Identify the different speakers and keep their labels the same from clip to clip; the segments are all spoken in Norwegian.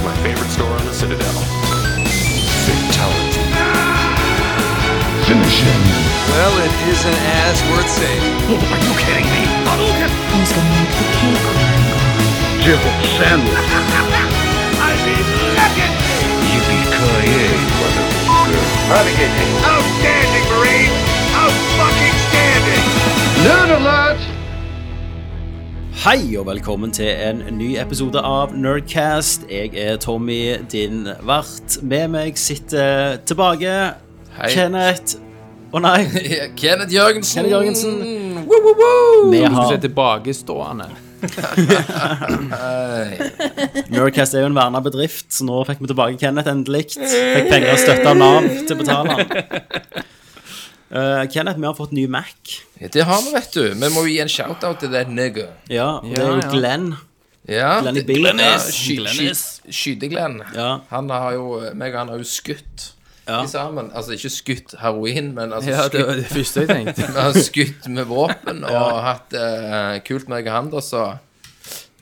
Speaker 1: store on the Citadel. Fatality.
Speaker 2: Finish him.
Speaker 3: Well, it isn't as worth saying.
Speaker 4: Oh,
Speaker 5: Who's gonna make the cake?
Speaker 2: Jill Sandwich. Yippee-ki-yay, motherfucker.
Speaker 4: Outstanding, Marine! Out fucking standing!
Speaker 2: Nerd alert!
Speaker 6: Hei og velkommen til en ny episode av Nerdcast. Jeg er Tommy, din vert. Med meg sitter tilbake
Speaker 7: Hei.
Speaker 6: Kenneth Å nei,
Speaker 8: Mm.
Speaker 7: Kenneth Jørgensen.
Speaker 6: Kenneth Jørgensen.
Speaker 7: Woo, woo, woo.
Speaker 6: Vi
Speaker 8: Du skal
Speaker 6: har-
Speaker 8: se tilbakestående.
Speaker 6: Nerdcast er jo en verna bedrift, så nå fikk vi tilbake Kenneth endelig. Fikk penger og støtte av Nav til å betale han. Eh, Kenneth, vi har fått ny Mac.
Speaker 7: Det har vi, vet du. Vi må jo gi en shout-out til that nigger.
Speaker 6: Ja, og det er jo
Speaker 8: Ja, ja.
Speaker 6: Glenn.
Speaker 7: Ja.
Speaker 6: Glenny
Speaker 7: det-
Speaker 6: B.
Speaker 7: Ja,
Speaker 6: Glennis.
Speaker 7: sky,
Speaker 6: Glennis.
Speaker 7: sky, Skyteglenn.
Speaker 6: Ja.
Speaker 7: Han har jo eh, Meg og han har jo skutt
Speaker 6: Ja.
Speaker 7: i sammen. Altså ikke skutt heroin, men altså
Speaker 8: Ja, det
Speaker 7: skutt,
Speaker 8: var det første jeg tenkte.
Speaker 7: vi har skutt med våpen og hatt eh, kult, meg og han, da, så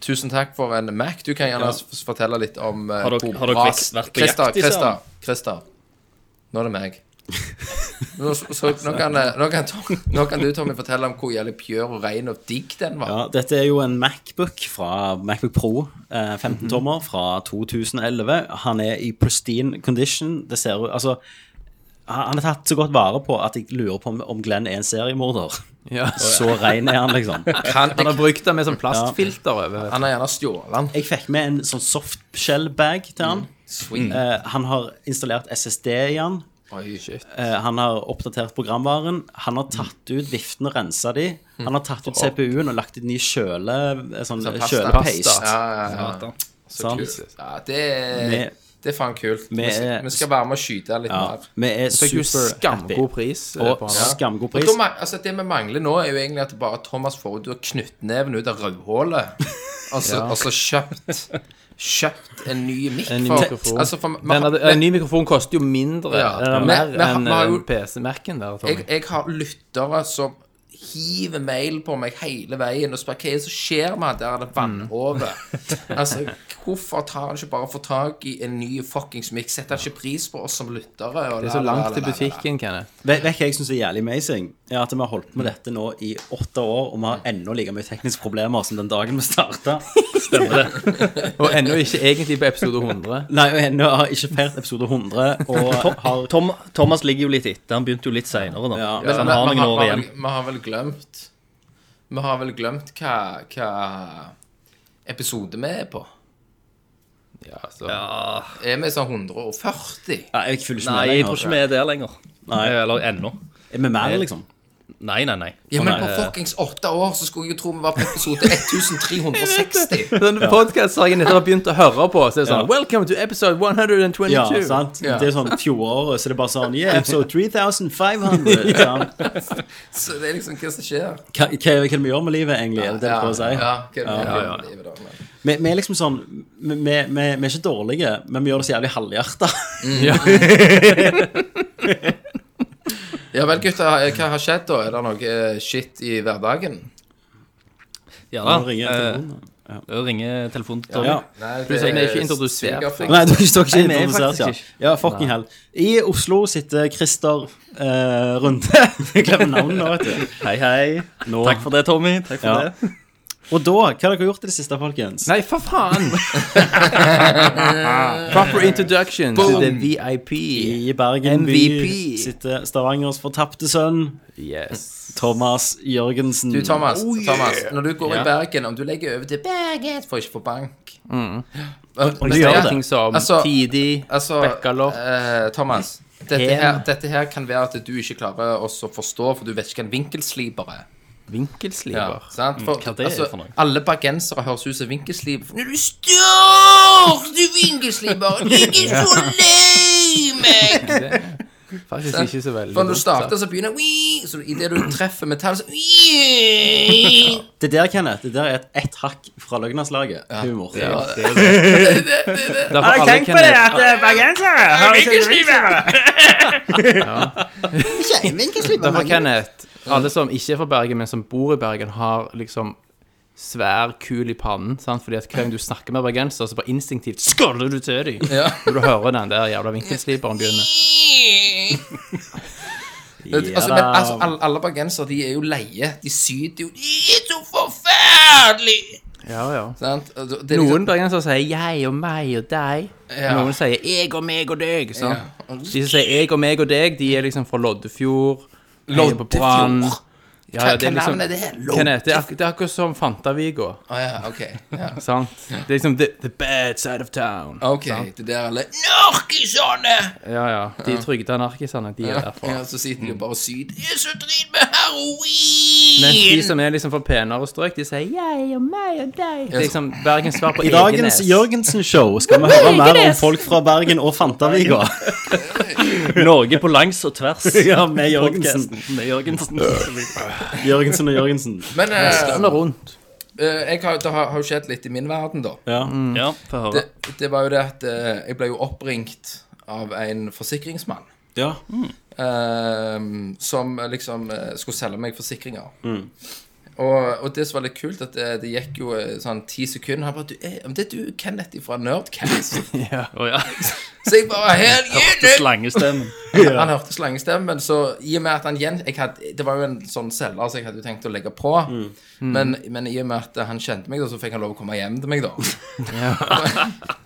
Speaker 7: Tusen takk for en Mac. Du kan gjerne f- fortelle litt om eh,
Speaker 9: Har dere-
Speaker 7: hvor
Speaker 9: har dere
Speaker 7: bra-
Speaker 9: vært- vært på
Speaker 7: Christer,
Speaker 9: jakt i
Speaker 7: Christer,
Speaker 9: sammen?
Speaker 7: Christer. Nå er det meg. Nå, så, nå, kan, eh, nå, kan Tom, nå kan du, Tommy, fortelle om hvor jævlig pjør og rein og digg den var.
Speaker 6: Ja, dette er jo en Macbook fra Macbook Pro, eh, 15 tommer, fra 2011. Han er i pristine condition. Det ser ut Altså, han han er tatt så godt vare på at jeg lurer på om- om Glenn er en seriemorder.
Speaker 8: Ja.
Speaker 6: Så rein er han, liksom.
Speaker 7: Han,
Speaker 8: Han har brukt det med sånn plastfilter over.
Speaker 7: han har gjerne stjålet den.
Speaker 6: Jeg fikk med en sånn softshell-bag til han.
Speaker 7: Swing.
Speaker 6: Eh, han har installert SSD i han.
Speaker 7: Oi, shit.
Speaker 6: Eh, han har oppdatert programvaren. Han har tatt ut viftene og rensa de. Han har tatt ut CPU-en og lagt ut ny kjøle, eh, sånn
Speaker 7: Altså pasta.
Speaker 6: kjølepaste.
Speaker 7: Ja, ja, ja.
Speaker 6: sant?
Speaker 7: ja det, er-
Speaker 6: Med-
Speaker 7: det er faen kult. Vi,
Speaker 6: med-
Speaker 7: skal- vi skal være med og skyte litt
Speaker 6: Ja,
Speaker 7: mer.
Speaker 6: vi er
Speaker 8: Fikk jo
Speaker 6: superhappy.
Speaker 8: skamgod pris eh,
Speaker 6: Og
Speaker 8: på han.
Speaker 6: skamgod
Speaker 7: Og
Speaker 6: pris.
Speaker 7: da ma- altså, det vi mangler nå, er jo egentlig at bare Thomas får ut knyttneven ut av rødhålet. Og så og så kjøpt Kjøpt en ny mic.
Speaker 8: En ny
Speaker 7: for-
Speaker 8: mikrofon.
Speaker 7: Altså, for,
Speaker 8: Den, hadde- en ny mikrofon koster jo mindre
Speaker 7: Ja.
Speaker 8: eller
Speaker 7: Ja.
Speaker 8: mer
Speaker 7: Men- men han-
Speaker 8: enn
Speaker 7: vi har jo-
Speaker 8: eh, PC-Mac-en der.
Speaker 7: jeg,
Speaker 8: Tommy.
Speaker 7: jeg har lyttere som hiver mail på meg hele veien og spør hva er det som skjer med han der det
Speaker 8: Mm.
Speaker 7: vannhovet. altså, hvorfor tar han ikke bare for tak i en ny fuckings mic? Setter han ikke pris på oss som lyttere? Og
Speaker 8: Det er så langt til butikken, Kenneth.
Speaker 6: Vet vet hva jeg syns er jævlig amazing? Er at vi har holdt på med dette nå i åtte år, og vi har ennå like mye tekniske problemer som den dagen vi starta.
Speaker 8: Og ennå ikke egentlig på episode 100.
Speaker 6: Nei, og ennå har ikke feiret episode 100, og har
Speaker 9: Tom, Thomas ligger jo litt etter. Han begynte jo litt seinere, da.
Speaker 6: Ja.
Speaker 9: så han har noen år igjen.
Speaker 7: Vi har vel glemt Vi har vel glemt hva, hva episode vi er på.
Speaker 8: Ja, så.
Speaker 7: Er vi sånn 140?
Speaker 6: Nei, jeg følger ikke
Speaker 9: Nei,
Speaker 6: med lenger.
Speaker 9: jeg tror ikke vi er der lenger. Nei. Eller ennå.
Speaker 6: Er vi mer, liksom?
Speaker 9: Nei, nei, nei.
Speaker 7: Ja,
Speaker 9: Sånn
Speaker 7: men
Speaker 9: er-
Speaker 7: på fuckings åtte år så skulle jeg jo tro vi var på episode 1360.
Speaker 8: Den podcasten som jeg nettopp har begynt å høre på, så er det sånn Welcome to episode 122.
Speaker 6: Ja, sant?
Speaker 7: Ja.
Speaker 6: Det er sånn fjoråret, så det er bare sånn Yeah, so 3500. sant?
Speaker 7: Så det er liksom hva som skjer.
Speaker 6: Hva hva- hva er det vi gjør med livet, egentlig? Er det det du prøver å si?
Speaker 7: Ja, ok, men det er jo livet da, men-
Speaker 6: Vi, vi er liksom sånn vi, vi, vi er ikke dårlige, men vi gjør det så jævlig halvhjerta.
Speaker 7: Mm. Ja vel, gutter. Hva har skjedd, da? Er det noe eh, shit i hverdagen?
Speaker 9: Ja,
Speaker 6: Nå
Speaker 9: da.
Speaker 6: ringer
Speaker 9: Eh,
Speaker 6: telefonen.
Speaker 9: Nå ringer telefonen til Tommy.
Speaker 6: Ja.
Speaker 7: Nei,
Speaker 8: Du sier vi er ikke introdusert.
Speaker 6: Nei, du står ikke
Speaker 8: Nei, vi er
Speaker 6: interessert, ja.
Speaker 8: faktisk
Speaker 6: Ja, fucking hell. I Oslo sitter Christer eh, Runde. Jeg glemmer navnet nå, vet du.
Speaker 9: Hei, hei.
Speaker 6: Nå.
Speaker 9: Takk for det, Tommy. Takk for
Speaker 6: Ja.
Speaker 9: det.
Speaker 6: Og da, hva har dere gjort i det siste, folkens?
Speaker 8: Nei, for faen! Proper introduction til the VIP.
Speaker 6: I Bergen by
Speaker 8: MVP.
Speaker 6: sitter Stavangers fortapte sønn,
Speaker 8: Yes.
Speaker 6: Thomas Jørgensen.
Speaker 7: Du, Thomas, Thomas når du går i Bergen, om du legger over til Bergen For ikke få bank. Og- men
Speaker 6: gjør
Speaker 7: det-
Speaker 6: det.
Speaker 8: Ting som
Speaker 7: Altså-
Speaker 8: Tidig,
Speaker 7: Altså,
Speaker 8: Bekkalopp.
Speaker 7: eh, Thomas, dette
Speaker 8: Hen.
Speaker 7: her, dette her kan være at du ikke klarer også å forstå, for du vet ikke hva en vinkelsliper er.
Speaker 8: vinkelsliver.
Speaker 7: sant? For,
Speaker 9: hva det er
Speaker 7: altså,
Speaker 9: for noe?
Speaker 7: Alle bergensere høres ut som vinkelsliper. Når du står, du vinkelsliper, jeg er så lei meg!
Speaker 8: Faktisk ikke så veldig.
Speaker 7: For når du
Speaker 8: dumt,
Speaker 7: starter,
Speaker 8: sant?
Speaker 7: så begynner Wii! Så idet du treffer metall, så Wii!
Speaker 6: Det der, Kenneth, det der er et ett hakk fra løgnanslaget. Humor.
Speaker 8: Derfor alle kan lese- Derfor Kenneth, alle som ikke er fra Bergen, men som bor i Bergen, har liksom svær kul i pannen. Sant? Fordi at hver gang du snakker med bergenser, så bare instinktivt skåler du til dem når du hører den der jævla vinkelsliperen begynne.
Speaker 7: Altså, men altså, alle, alle bergensere, de er jo leie. De syter jo De er så forferdelig!
Speaker 8: Ja, ja.
Speaker 7: Sant? Og Det er liksom-
Speaker 8: Noen bergensere sier 'jeg og meg og deg'.
Speaker 7: Ja.
Speaker 8: Noen sier 'jeg og meg og deg'. Sant?
Speaker 7: Ja.
Speaker 8: De som sier 'jeg og meg og deg', de er liksom fra Loddefjord. heier på Brann.
Speaker 7: Loddefjord?
Speaker 8: Ja, ja,
Speaker 7: Hva-
Speaker 8: det er
Speaker 7: hva
Speaker 8: liksom,
Speaker 7: navn er det her?
Speaker 8: Hva er det? Det er ak- det er akkurat som Fantaviga.
Speaker 7: liksom- Å ja, ok. Ja.
Speaker 8: Sant? Det er liksom the, the bad side of town.
Speaker 7: Ok,
Speaker 8: Sant?
Speaker 7: det der alle Narkisene!
Speaker 8: Ja, ja. De trygde anarkisene, de er derfra.
Speaker 7: Ja, så sitter de
Speaker 9: Mm.
Speaker 7: bare og syter. De er så drit med heroin!
Speaker 8: Mens de som er liksom fra penere strøk, de sier 'jeg og meg og deg'. Det er liksom Bergens svar på
Speaker 6: I dagens
Speaker 8: Egenes.
Speaker 6: Jørgensen-show skal vi høre mer om folk fra Bergen og Fantaviga.
Speaker 9: Norge på langs og tvers.
Speaker 6: Ja, med Jørgensen.
Speaker 9: Podcasten Med Jørgensen.
Speaker 6: Jørgensen og Jørgensen.
Speaker 7: Men eh,
Speaker 8: Landet rundt.
Speaker 7: eh, jeg har, det har, har jo skjedd litt i min verden, da.
Speaker 6: Ja.
Speaker 9: Ja, få høre.
Speaker 7: Det, det var jo det at eh, jeg ble jo oppringt av en forsikringsmann.
Speaker 6: ja.
Speaker 7: eh, som liksom eh, skulle selge meg forsikringer.
Speaker 9: Mm.
Speaker 7: Og, og det som var litt kult, at det, det gikk jo eh, sånn ti sekunder Han bare du, eh, men 'Det er du, Kenneth, fra Nerdcast.'
Speaker 9: Å ja.
Speaker 7: så jeg bare Hell
Speaker 9: Det
Speaker 7: yeah!
Speaker 9: slangestemmen.
Speaker 7: dude!» Han hørte slangestemmen, så i og med at han gjen... Jeg hadde, det var jo en sånn selger, så jeg hadde jo tenkt å legge på.
Speaker 6: Mm.
Speaker 7: Men, men i og med at han kjente meg, da, så fikk han lov å komme hjem til meg, da.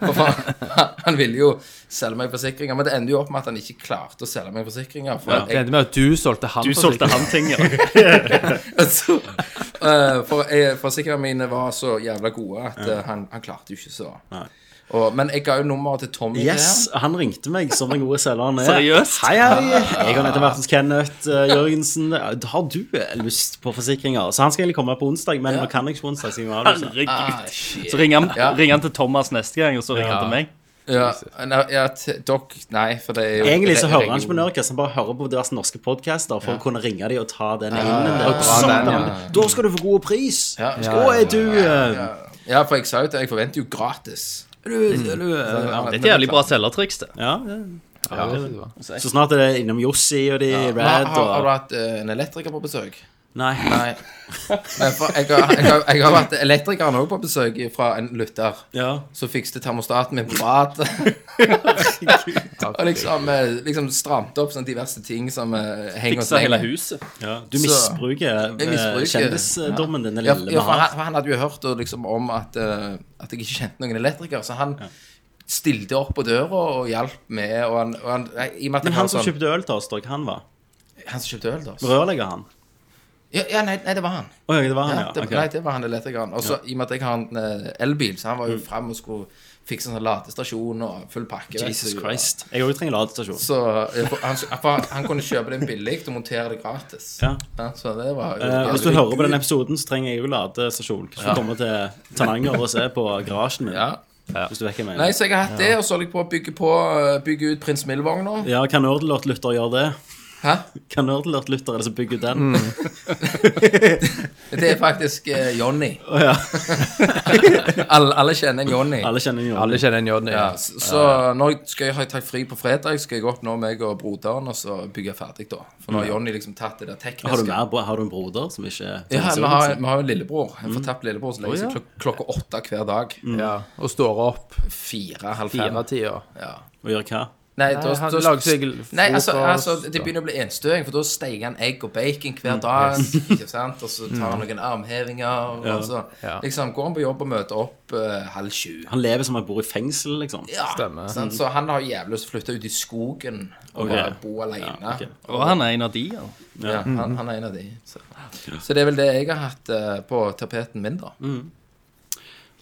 Speaker 7: For han, han ville jo selge meg forsikringer, men det endte jo opp med at han ikke klarte å selge meg forsikringer. For
Speaker 8: Det endte med at du solgte han.
Speaker 9: Du
Speaker 8: for
Speaker 9: solgte
Speaker 8: sikkert.
Speaker 9: han ting, ja.
Speaker 7: Altså, eh, for jeg, forsikringene mine var så jævla gode at eh, han, han klarte jo ikke så. Og, men jeg ga jo nummeret til Tommy.
Speaker 6: Yes, han ringte meg som den gode selgeren er.
Speaker 9: Seriøst?
Speaker 6: Hei, hei. Jeg har nettopp vært hos Kenneth eh, Jørgensen. Har du eh, lyst på forsikringer? Så han skal egentlig komme på onsdag, men nå kan jeg ikke på onsdag. siden vi har det, så.
Speaker 9: Herregud.
Speaker 7: der. Shit.
Speaker 9: Så ringer han,
Speaker 7: Ja.
Speaker 9: ringer han til Thomas neste gang, og så ringer han til meg.
Speaker 7: Ja, nei, ja, t- dok, nei, for det er jo
Speaker 6: Egentlig så
Speaker 7: det-
Speaker 6: hører han ikke på
Speaker 7: region-
Speaker 6: Nerdcast, han bare hører på diverse norske podcaster for å kunne ringe dem og ta den inn.
Speaker 8: og dra den, ja.
Speaker 6: Da skal du få god pris!
Speaker 7: Ja.
Speaker 6: Skal- Å, er du eh,
Speaker 7: Ja, for jeg sa jo det. Jeg forventer jo gratis. Mm.
Speaker 6: er du, er du, eh, ja.
Speaker 9: Det er et jævlig bra selgertriks, det.
Speaker 6: Ja, ja.
Speaker 8: Ja, det var-
Speaker 6: Så snart er det innom Jossi og de
Speaker 7: Har,
Speaker 6: Red
Speaker 7: har, har du
Speaker 6: og
Speaker 7: hatt eh, en elektriker på besøk?
Speaker 6: Nei.
Speaker 7: Nei. Nei, for jeg har, jeg har, jeg har vært elektrikeren òg på besøk fra en lytter.
Speaker 6: Ja.
Speaker 7: Så fikste termostaten min på badet. og liksom, eh, liksom stramt opp sånne diverse ting som eh, henger
Speaker 9: Fiksa hele
Speaker 7: lenge.
Speaker 9: huset.
Speaker 6: ja. Du misbruker,
Speaker 7: Jeg misbruker.
Speaker 6: eh, kjendisdommen din, den
Speaker 7: Ja,
Speaker 6: lille
Speaker 7: ja, for
Speaker 6: vi har.
Speaker 7: han, for han hadde jo hørt eh, liksom, om at, eh, at jeg ikke kjente noen elektriker, så han stilte opp på døra og hjalp med. Og han, og han, nei, i og med at
Speaker 6: Men
Speaker 7: jeg
Speaker 6: han
Speaker 7: var
Speaker 6: som
Speaker 7: sånn-
Speaker 6: kjøpte øl til oss, Dag, han var
Speaker 7: han som kjøpte øl, da? så-
Speaker 6: Rørlegger, han?
Speaker 7: Ja, ja nei, nei, det var han.
Speaker 6: Å Ah, ja, det var han,
Speaker 7: Ja,
Speaker 6: ja.
Speaker 7: det,
Speaker 6: Ok.
Speaker 7: Nei, det var han elektrikeren. Og så i og med at jeg har en eh, elbil, så han var jo
Speaker 6: Mm.
Speaker 7: frem og skulle fikse en sånn ladestasjon og full pakke. vet
Speaker 6: Jesus
Speaker 7: du, og-
Speaker 6: Christ. Jeg òg trenger ladestasjon.
Speaker 7: Så eh, for- han, for han kunne kjøpe den billig og montere det gratis.
Speaker 6: Ja.
Speaker 7: så det var jo
Speaker 6: Eh, hvis du hører på den episoden, så trenger jeg jo ladestasjon. Så du kommer til Tananger og se på garasjen min.
Speaker 7: ja.
Speaker 6: Hvis du vet hva jeg
Speaker 7: Nei,
Speaker 6: mener.
Speaker 7: så jeg har hatt det, og så holder jeg på å bygge, på, eh, bygge ut Prins Mill-vogna.
Speaker 6: Ja, kan Nerdlort-lytter gjøre det?
Speaker 7: Hæ?
Speaker 6: Kan Nerdlort-lytter eller så bygge ut den?
Speaker 7: Mm. Det er faktisk eh, Jonny.
Speaker 6: Å ja.
Speaker 7: Alle, alle kjenner en Jonny.
Speaker 6: Alle kjenner jo
Speaker 8: Alle kjenner en J.
Speaker 7: Ja,
Speaker 8: Ja. Eh.
Speaker 7: så, Eh, så nå skal jeg ha tatt fri på fredag, skal jeg opp nå, meg og broderen, og så bygge ferdig, da. For nå
Speaker 8: Mm.
Speaker 7: har Jonny liksom tatt det der tekniske.
Speaker 6: Har du, mer, bro- har du en broder som ikke er
Speaker 7: Ja,
Speaker 6: Thomas
Speaker 7: vi har,
Speaker 6: Jørgensen?
Speaker 7: vi har en lillebror. En
Speaker 8: Mm.
Speaker 7: fortapt lillebror som legger seg klok klokka åtte hver dag.
Speaker 8: Ja. Og står opp
Speaker 7: Fire, halv fem.
Speaker 8: fire-tida.
Speaker 7: Ja.
Speaker 6: Og gjør hva?
Speaker 7: Nei,
Speaker 8: Nei,
Speaker 7: da,
Speaker 8: han
Speaker 7: da,
Speaker 8: lager seg
Speaker 7: nei altså,
Speaker 8: frokost, Mm.
Speaker 7: altså, det begynner å bli enstøing, for da steiger han egg og bacon hver dag. Ikke sant? Og så tar han noen armhevinger, og så
Speaker 8: Ja.
Speaker 7: liksom går han på jobb og møter opp eh, halv sju.
Speaker 6: Han lever som om han bor i fengsel, liksom.
Speaker 7: Ja,
Speaker 8: Stemmer.
Speaker 7: sant? Så han har jævlig lyst til å flytte ut i skogen og
Speaker 6: Ok.
Speaker 7: bare bo alene.
Speaker 6: Ja, ok.
Speaker 9: Og han er en av de, ja.
Speaker 7: Ja, han, han er en av de. Så. så det er vel det jeg har hatt eh, på tapeten min, da.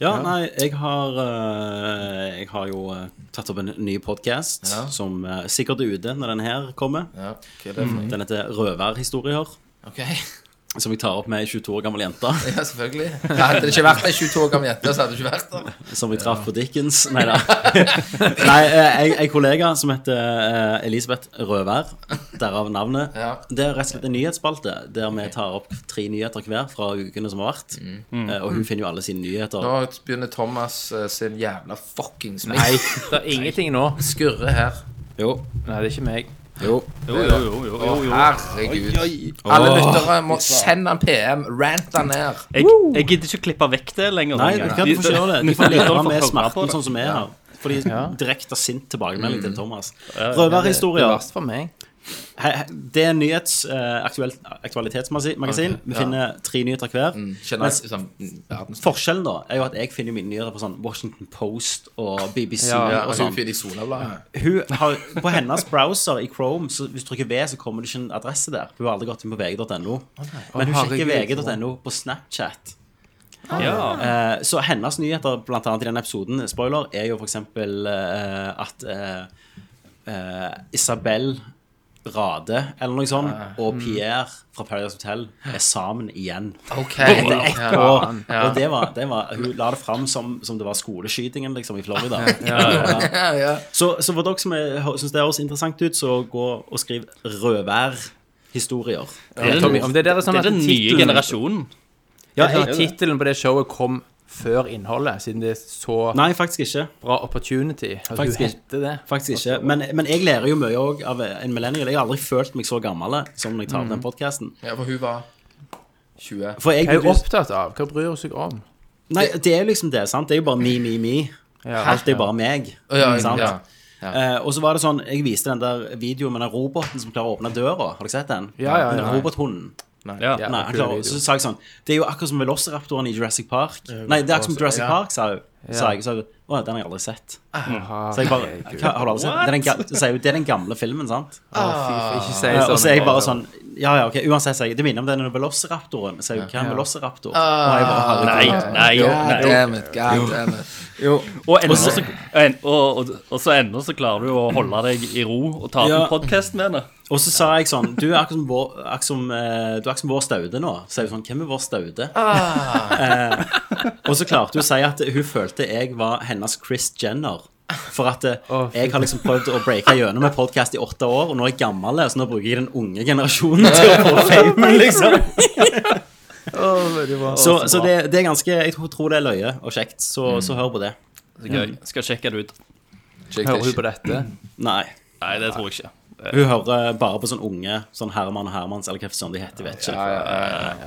Speaker 6: Ja, nei, jeg har eh, Jeg har jo eh, tatt opp en ny podkast
Speaker 7: Ja.
Speaker 6: som eh, sikkert er ute når den her kommer.
Speaker 7: Ja, hva er
Speaker 8: Mm.
Speaker 7: det for noe?
Speaker 6: Den heter Røverhistorier.
Speaker 7: Ok,
Speaker 6: Som jeg tar opp med ei 22 år gammel jente
Speaker 7: ja, selvfølgelig. Ja, hadde det ikke vært ei 22 år gammel jente, så hadde det ikke vært der.
Speaker 6: som jeg traff på Dickens. Nei da. Nei, eh, ei- ei kollega som heter eh, Elisabeth Rødvær, derav navnet.
Speaker 7: Ja.
Speaker 6: Det er rett og slett en nyhetsspalte der vi tar opp tre nyheter hver fra ukene som har vært.
Speaker 8: Mm.
Speaker 6: Eh, Og hun finner jo alle sine nyheter.
Speaker 7: Nå begynner Thomas eh, sin jævla fuckings
Speaker 8: Nei, det er ingenting nå.
Speaker 7: skurre her.
Speaker 6: Jo.
Speaker 8: Nei, det er ikke meg.
Speaker 6: Jo.
Speaker 9: Jo, jo, jo. jo, jo, jo.
Speaker 7: Herregud. Alle lyttere må sende en PM. Rant han ned.
Speaker 9: Jeg, jeg gidder ikke å klippe vekk det lenger.
Speaker 6: Nei,
Speaker 9: engang.
Speaker 6: du kan ikke gjøre det. De får
Speaker 9: lytterne
Speaker 6: leve
Speaker 9: får
Speaker 6: med
Speaker 9: høre på
Speaker 6: smerten
Speaker 9: det.
Speaker 6: sånn som vi er her. Fordi direkte sint tilbakemelding til Thomas.
Speaker 8: Det er
Speaker 6: Røverhistorier.
Speaker 8: verst for meg.
Speaker 6: He- he- Det er nyhets eh, aktuelt, aktualitetsmagasin. Vi finner tre nyheter hver.
Speaker 7: Kjenner jeg liksom verdens
Speaker 6: Forskjellen da er jo at jeg finner mine nyheter på sånn Washington Post og BBC
Speaker 7: Ja,
Speaker 6: og
Speaker 7: og
Speaker 6: sånn.
Speaker 7: hun fyrer i solabladet.
Speaker 6: Hun har, på hennes browser i Chrome, så hvis du trykker V, så kommer det ikke en adresse der. Hun har aldri gått inn på vg.no. Men hun sjekker
Speaker 8: herregud.
Speaker 6: vg.no på Snapchat.
Speaker 7: Ah.
Speaker 9: Ja.
Speaker 6: Eh, så hennes nyheter, blant annet i den episoden, spoiler, er jo for eksempel eh, at eh, eh, Isabel Rade, eller noe sånt,
Speaker 7: Ah, mm.
Speaker 6: og Pierre fra Paradise Hotel er sammen igjen.
Speaker 7: OK.
Speaker 6: Etter ett år.
Speaker 7: Ja.
Speaker 6: Og det var, det var, hun la det fram som, som det var skoleskytingen liksom, i Florida.
Speaker 7: Ja, ja.
Speaker 6: Så, så for dere som syns det høres interessant ut, så gå og skriv rødværhistorier.
Speaker 9: Det er
Speaker 8: Tommy, om
Speaker 9: den,
Speaker 8: det der er sånn
Speaker 9: det
Speaker 8: at
Speaker 9: er den nye
Speaker 8: titelen-
Speaker 9: generasjonen.
Speaker 8: Ja, jeg, tittelen på det showet kom før innholdet, siden det er så
Speaker 6: Nei, faktisk ikke.
Speaker 8: bra opportunity. At
Speaker 6: Faktisk
Speaker 8: du
Speaker 6: ikke.
Speaker 8: henter det.
Speaker 6: Faktisk ikke. Men, men jeg lærer jo mye òg av en millennial. Jeg har aldri følt meg så gammel eh, som når jeg tar opp den podkasten.
Speaker 7: ja, for hun var 20.
Speaker 6: For jeg,
Speaker 8: Hva Mm. er du opptatt av? Hva bryr hun seg om?
Speaker 6: Nei, det er jo liksom det, sant. Det er jo bare me, me, me.
Speaker 8: Ja,
Speaker 6: Alt er bare meg.
Speaker 7: Å, ja,
Speaker 6: sant?
Speaker 7: ja.
Speaker 6: Eh, og så var det sånn, jeg viste den der videoen med den roboten som klarer å åpne døra. Har dere sett den?
Speaker 8: Ja, ja,
Speaker 6: den
Speaker 8: ja.
Speaker 6: robothunden.
Speaker 9: Ja.
Speaker 8: Ja.
Speaker 6: Nei, han
Speaker 8: kul
Speaker 6: klarer,
Speaker 8: video.
Speaker 6: så sa jeg sånn Det er jo akkurat som Velociraptoren i Jurassic Park. Nei, det er akkurat som Jurassic Park, sa hun. Sa jeg, så jeg, Å, den har jeg aldri sett. Så jeg bare Hva, Har du aldri sett den? Det er den? ga- Så sier hun det er den gamle filmen, sant?
Speaker 8: Ikke si
Speaker 6: Eh,
Speaker 8: sånn.
Speaker 6: og så er jeg bare sånn Ja, ja, ok, uansett, sier jeg. Det minner om den Velociraptoren. Så jeg, hva er en velociraptor? Og jeg bare herregud.
Speaker 9: Nei, nei, jo, nei. jo.
Speaker 7: Damn it, god damn it.
Speaker 9: Og ennå så, en, og, og, og så ennå så klarer du å holde deg i ro og ta opp
Speaker 6: Ja.
Speaker 9: en podkast med det.
Speaker 6: Og så sa jeg sånn Du er akkurat som vår, akkurat som, eh, du er akkurat som vår staude nå. Så er hun sånn Hvem er vår staude?
Speaker 8: Ah.
Speaker 6: Eh, og så klarte hun å si at hun følte jeg var hennes Chris Jenner. For at eh,
Speaker 8: Å, fy.
Speaker 6: jeg har liksom prøvd å breake gjennom med podkast i åtte år, og nå er jeg gammel, eh, så nå bruker jeg den unge generasjonen til å få famen, liksom. Så, så det, det er ganske Jeg tror tror det er løye og kjekt, så,
Speaker 8: Mm.
Speaker 6: så hør på det.
Speaker 9: Så gøy. Skal sjekke det ut.
Speaker 8: Hører hun på dette?
Speaker 6: Nei.
Speaker 9: Nei, det tror jeg ikke.
Speaker 6: Hun hører bare på sånn unge sånn Herman og Hermans, eller hva sånn de heter. vet ikke.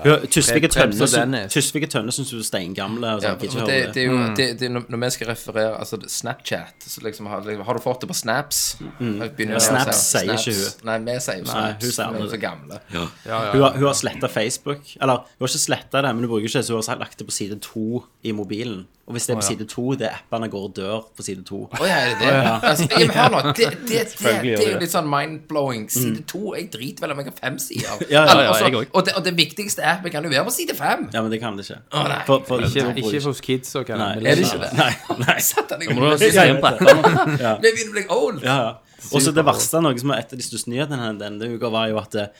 Speaker 6: Hun- Tysvik og
Speaker 8: Krebs og
Speaker 6: Tønne syn-
Speaker 8: Dennis.
Speaker 6: Tysvik og Tønne syns hun er steingamle. Og
Speaker 7: Ja,
Speaker 6: sånn,
Speaker 7: for
Speaker 6: ikke hører
Speaker 7: det, det
Speaker 6: det.
Speaker 7: er jo, det, det, når når vi skal referere altså det- Snapchat så liksom, har, liksom, har du fått det på snaps? Begynner vi å si-
Speaker 6: Mm. Snaps sier ikke
Speaker 7: snaps. Nei, vi sier jo snaps.
Speaker 6: hun sier
Speaker 7: vi er
Speaker 6: aldri
Speaker 7: så gamle.
Speaker 6: Hun har, hun har sletta Facebook. Eller hun har ikke sletta det, men hun bruker ikke det, så hun har lagt det på side to i mobilen. Og hvis det er på side to, det er appene går og dør på side to.
Speaker 7: Å ja, er det det? Altså, jeg, men hør nå, det, det, det, det, er jo litt sånn mind-blowing. Side to Jeg driter vel om jeg har fem sider.
Speaker 6: Mm. Ja, ja, ja,
Speaker 7: Altså,
Speaker 9: jeg også.
Speaker 7: og, det, og det viktigste appen kan jo være på side fem.
Speaker 6: Ja, men det kan det ikke.
Speaker 7: nei.
Speaker 6: For- for-
Speaker 8: Ikke,
Speaker 6: hun bruker
Speaker 8: ikke hos kidsa, kan
Speaker 6: Nei,
Speaker 8: jeg.
Speaker 7: Er det ikke det?
Speaker 6: Nei. nei.
Speaker 7: Satan, jeg
Speaker 9: Må du ha
Speaker 7: begynner
Speaker 9: system på appene?
Speaker 7: å bli old.
Speaker 6: Ja, ja. Og så det verste, noe som er et av de største nyhetene denne- denne uka, var jo at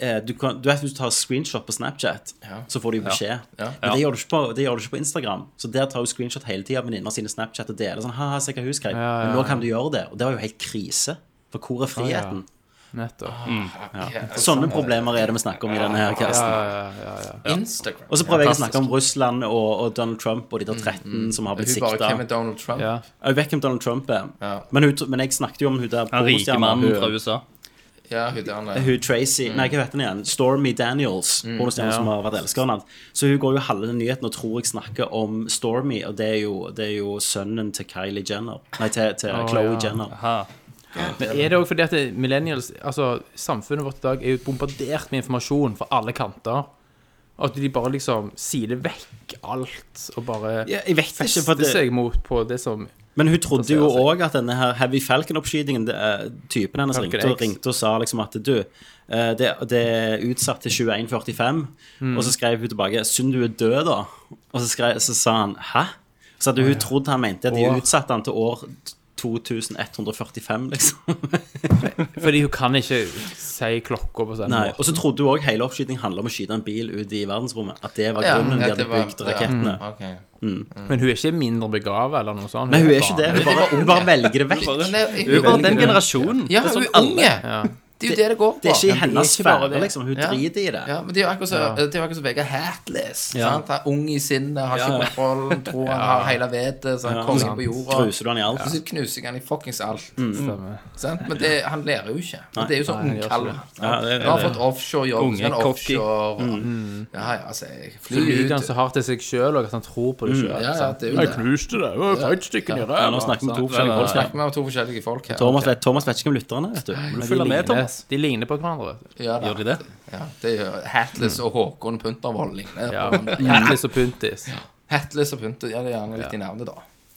Speaker 6: eh, du, kan, du vet Hvis du tar screenshot på Snapchat, så får du jo beskjed. Men det gjør, du ikke på, det gjør du ikke på Instagram. Så der tar du screenshot hele tida av venninner sine Snapchat og deler. sånn, haha, se hva hun skrev. Men nå kan du gjøre det. Og det var jo helt krise. For hvor er friheten?
Speaker 8: Nettopp.
Speaker 6: Sånne problemer er det vi snakker om i denne her casten.
Speaker 7: Instagram.
Speaker 6: Og så prøver jeg å snakke om Russland og, og Donald Trump og de der 13 som har blitt
Speaker 7: Mm, Hun bare
Speaker 6: sikta.
Speaker 7: hvem er Donald Trump?
Speaker 8: Ja.
Speaker 6: Jeg vet hvem Donald Trump er,
Speaker 7: Ja.
Speaker 6: men, hun, men jeg snakket jo om hun der
Speaker 9: Den rike
Speaker 6: pornostjerna,
Speaker 9: mannen
Speaker 6: hun-
Speaker 9: fra USA.
Speaker 7: Ja, hun der nei.
Speaker 6: hun Tracy Nei, hva heter hun igjen? Stormy Daniels. pornostjernen som har vært elskeren hans. Så hun går jo halve den nyheten og tror jeg snakker om Stormy, og det er jo, det er jo sønnen til Kylie Jenner. Nei, til, til Chloé
Speaker 8: ja.
Speaker 6: Jenner.
Speaker 9: Ha.
Speaker 8: Men er det òg fordi at det- millennials Altså, samfunnet vårt i dag er jo bombardert med informasjon fra alle kanter. Og at de bare liksom siler vekk alt, og bare
Speaker 6: Ja, jeg vet ikke,
Speaker 8: fester
Speaker 6: for det,
Speaker 8: seg mot på det som
Speaker 6: men hun trodde jo
Speaker 8: Plasserer seg.
Speaker 6: òg at denne her Heavy Falcon-oppskytingen det er Typen hennes
Speaker 8: Falcon
Speaker 6: ringte og,
Speaker 8: X.
Speaker 6: ringte og sa liksom at du, eh, det, det er utsatt til 21.45. Og så skrev hun tilbake 'Synd du er død', da. Og så, skrev, så sa han 'hæ?' Så hadde hun trodd han mente at de
Speaker 8: Åh.
Speaker 6: utsatte han til år 2145, liksom.
Speaker 8: Fordi hun kan ikke si klokka på sånn
Speaker 6: Nei,
Speaker 8: måte.
Speaker 6: og så trodde hun òg hele oppskytingen handla om å skyte en bil ut i verdensrommet. At det var
Speaker 7: Ja,
Speaker 6: grunnen de
Speaker 7: at
Speaker 6: hadde
Speaker 7: det var-
Speaker 6: bygd rakettene.
Speaker 7: Ja, Mm. ok.
Speaker 8: Men hun er ikke mindre begava eller noe sånt.
Speaker 6: Nei, hun er
Speaker 8: bare-
Speaker 6: ikke det. Hun bare, hun bare velger det vekk.
Speaker 7: Nei,
Speaker 9: Du
Speaker 7: hun-
Speaker 9: var den generasjonen.
Speaker 7: Ja,
Speaker 9: Det er
Speaker 7: hun
Speaker 9: sånn
Speaker 7: er unge.
Speaker 8: Ja.
Speaker 7: Det er jo det det går på.
Speaker 6: Det er ikke i hennes
Speaker 8: ikke bare
Speaker 6: sfære,
Speaker 8: det.
Speaker 6: liksom. Hun
Speaker 7: Ja.
Speaker 6: driter i det.
Speaker 7: Ja, men det er jo akkurat som det er jo akkurat som Vegard Hatless.
Speaker 6: Ja.
Speaker 7: sant? Han er ung i sinnet, har
Speaker 6: Ja,
Speaker 7: ikke
Speaker 6: ja.
Speaker 7: kontroll, tror han har hele vettet, så han
Speaker 6: Ja,
Speaker 7: kongen
Speaker 6: sant.
Speaker 7: på jorda.
Speaker 6: Kruser du han i alt?
Speaker 7: Og så knuser han i fuckings alt. Mm.
Speaker 8: Stemmer.
Speaker 7: Sant? Men det, han lærer jo ikke. Men det er jo sånn
Speaker 8: Nei, han gjør
Speaker 7: ungkall.
Speaker 8: ikke
Speaker 6: Ja, det er
Speaker 7: Han har
Speaker 6: det.
Speaker 7: fått offshore-jobb,
Speaker 9: Unge,
Speaker 7: så han er
Speaker 9: cocky.
Speaker 7: offshore og, Ja, ja, altså jeg
Speaker 8: Så
Speaker 7: Fly
Speaker 8: lyver han
Speaker 7: ut.
Speaker 8: så hardt til seg sjøl, og at han tror på det sjøl.
Speaker 7: Ja, ja, det er jo
Speaker 8: Jeg
Speaker 7: det.
Speaker 8: knuste det. Det var jo feitstykken i ræva.
Speaker 6: Mm,
Speaker 8: altså.
Speaker 6: Ja, nå snakker vi to forskjellige folk.
Speaker 7: Snakker vi om to forskjellige folk her.
Speaker 6: Thomas, vet, Thomas vet ikke om lytterne, vet du. Men de
Speaker 9: følger med,
Speaker 6: ligner.
Speaker 9: Tom.
Speaker 8: De ligner på hverandre.
Speaker 7: Ja, da.
Speaker 9: Gjør de det?
Speaker 7: Ja, det gjør Hatless og Håkon Puntervold ligner.
Speaker 8: Ja.
Speaker 7: på hverandre.
Speaker 8: Atlas og Puntis.
Speaker 7: Hatless og Punter, ja, det er gjerne litt i navnet, da.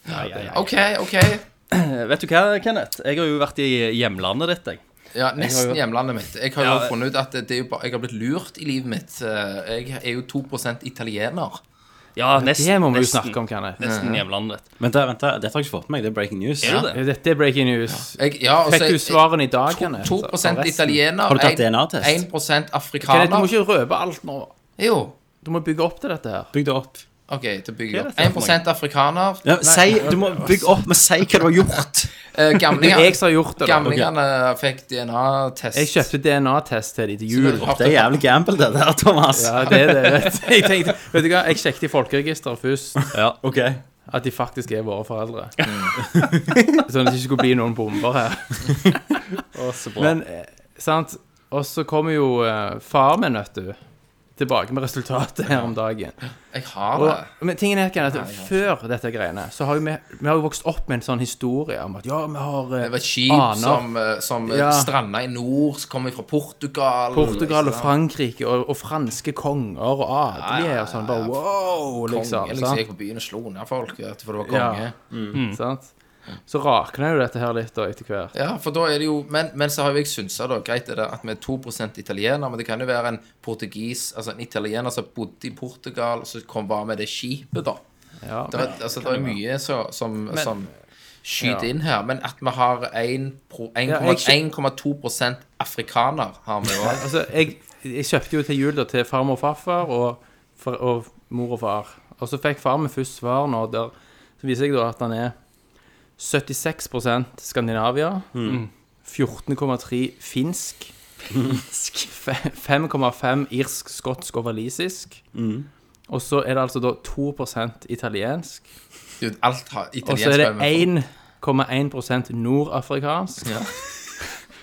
Speaker 8: Ja, ja, ja.
Speaker 7: OK, OK.
Speaker 9: Eh, Vet du hva, Kenneth? Jeg har jo vært i hjemlandet ditt, jeg.
Speaker 7: Ja, nesten hjemlandet mitt. Jeg har jo
Speaker 9: Ja.
Speaker 7: funnet ut at det er jo bare, jeg har blitt lurt i livet mitt. Eh, Jeg er jo 2 italiener.
Speaker 9: Ja, nesten.
Speaker 8: Det må vi jo
Speaker 9: nesten.
Speaker 8: snakke om, Kenneth.
Speaker 9: Nesten hjemlandet ditt.
Speaker 6: Vent, da, vent, da. Dette har jeg ikke fått med meg. Det er breaking news.
Speaker 9: Er det det?
Speaker 8: Dette er breaking news.
Speaker 7: Jeg, ja,
Speaker 9: Altså,
Speaker 7: og så-
Speaker 8: Fikk du svarene i dag, Kenneth?
Speaker 7: 2
Speaker 8: Forresten.
Speaker 7: italiener.
Speaker 6: Har du tatt
Speaker 7: en-
Speaker 6: DNA-test?
Speaker 7: 1
Speaker 8: Kenneth, du må
Speaker 7: afrikaner.
Speaker 8: ikke røpe alt nå.
Speaker 7: Jo.
Speaker 8: Du må bygge opp til dette her.
Speaker 6: Bygg det opp.
Speaker 7: OK, da bygger jeg
Speaker 9: Hva er
Speaker 7: opp.
Speaker 9: dette for
Speaker 7: 1 afrikaner.
Speaker 6: Ja, si, du må bygge opp, men si hva du har gjort.
Speaker 7: Eh,
Speaker 8: Det er jeg
Speaker 7: Gamlinger.
Speaker 8: som har gjort det. da.
Speaker 7: Gamlingene fikk
Speaker 8: Jeg
Speaker 7: DNA-test.
Speaker 8: kjøpte DNA-test til de til jul.
Speaker 6: Det er jævlig gamble, det der, Thomas.
Speaker 8: Ja, det er det. Vet du. Jeg tenkte, vet du hva, jeg sjekket i folkeregisteret først
Speaker 9: Ja.
Speaker 6: Ok.
Speaker 8: at de faktisk er våre foreldre. Sånn at det ikke skulle bli noen bomber her.
Speaker 9: Mm. Å, så bra.
Speaker 8: Men, eh, sant Og så kommer jo eh, far min, vet du Tilbake med resultatet her om dagen
Speaker 7: Jeg har
Speaker 8: og,
Speaker 7: det.
Speaker 8: Men tingen er ikke at før dette greiene Så har jo vi, vi har jo vokst opp med en sånn historie Om at ja, vi har eh,
Speaker 7: Det var et skip
Speaker 8: aner.
Speaker 7: som, eh, som eh,
Speaker 8: Ja.
Speaker 7: stranda i nord, som kom fra Portugal.
Speaker 8: Portugal og
Speaker 7: Ikke sant?
Speaker 8: Frankrike og, og franske konger og adelige og sånn Bare wow,
Speaker 7: Konge,
Speaker 8: liksom,
Speaker 7: liksom,
Speaker 8: sant?
Speaker 7: gikk på byen og slo ned folk vet du, for det var
Speaker 8: Ja. Mm.
Speaker 7: konge. Mm.
Speaker 8: sant? Så rakner jo dette her litt da etter hvert
Speaker 7: Ja, for da er det jo Men, men så har jo jeg synsa, da. Greit er det at vi er 2 italiener, men det kan jo være en portugis Altså en italiener som bodde i Portugal, så kom bare med det skipet, da.
Speaker 8: ja,
Speaker 7: Det er, altså, det er mye så, som, som skyter inn her. Men at vi har en pro- en
Speaker 8: Ja,
Speaker 7: komma-
Speaker 8: jeg-
Speaker 7: 1,2 afrikaner, har vi òg.
Speaker 8: Altså, jeg, jeg kjøpte jo til jul da, til farmor og farfar og, for, og mor og far. Og så fikk far min først svar nå der Så viser jeg da at han er 76 Skandinavia. 14,3 finsk. 5,5 irsk, skotsk og walisisk. Og så er det altså da 2 italiensk.
Speaker 7: Alt har
Speaker 8: Og så er
Speaker 7: italiensk
Speaker 8: det
Speaker 7: vi får.
Speaker 8: 1,1 nordafrikansk.
Speaker 9: Det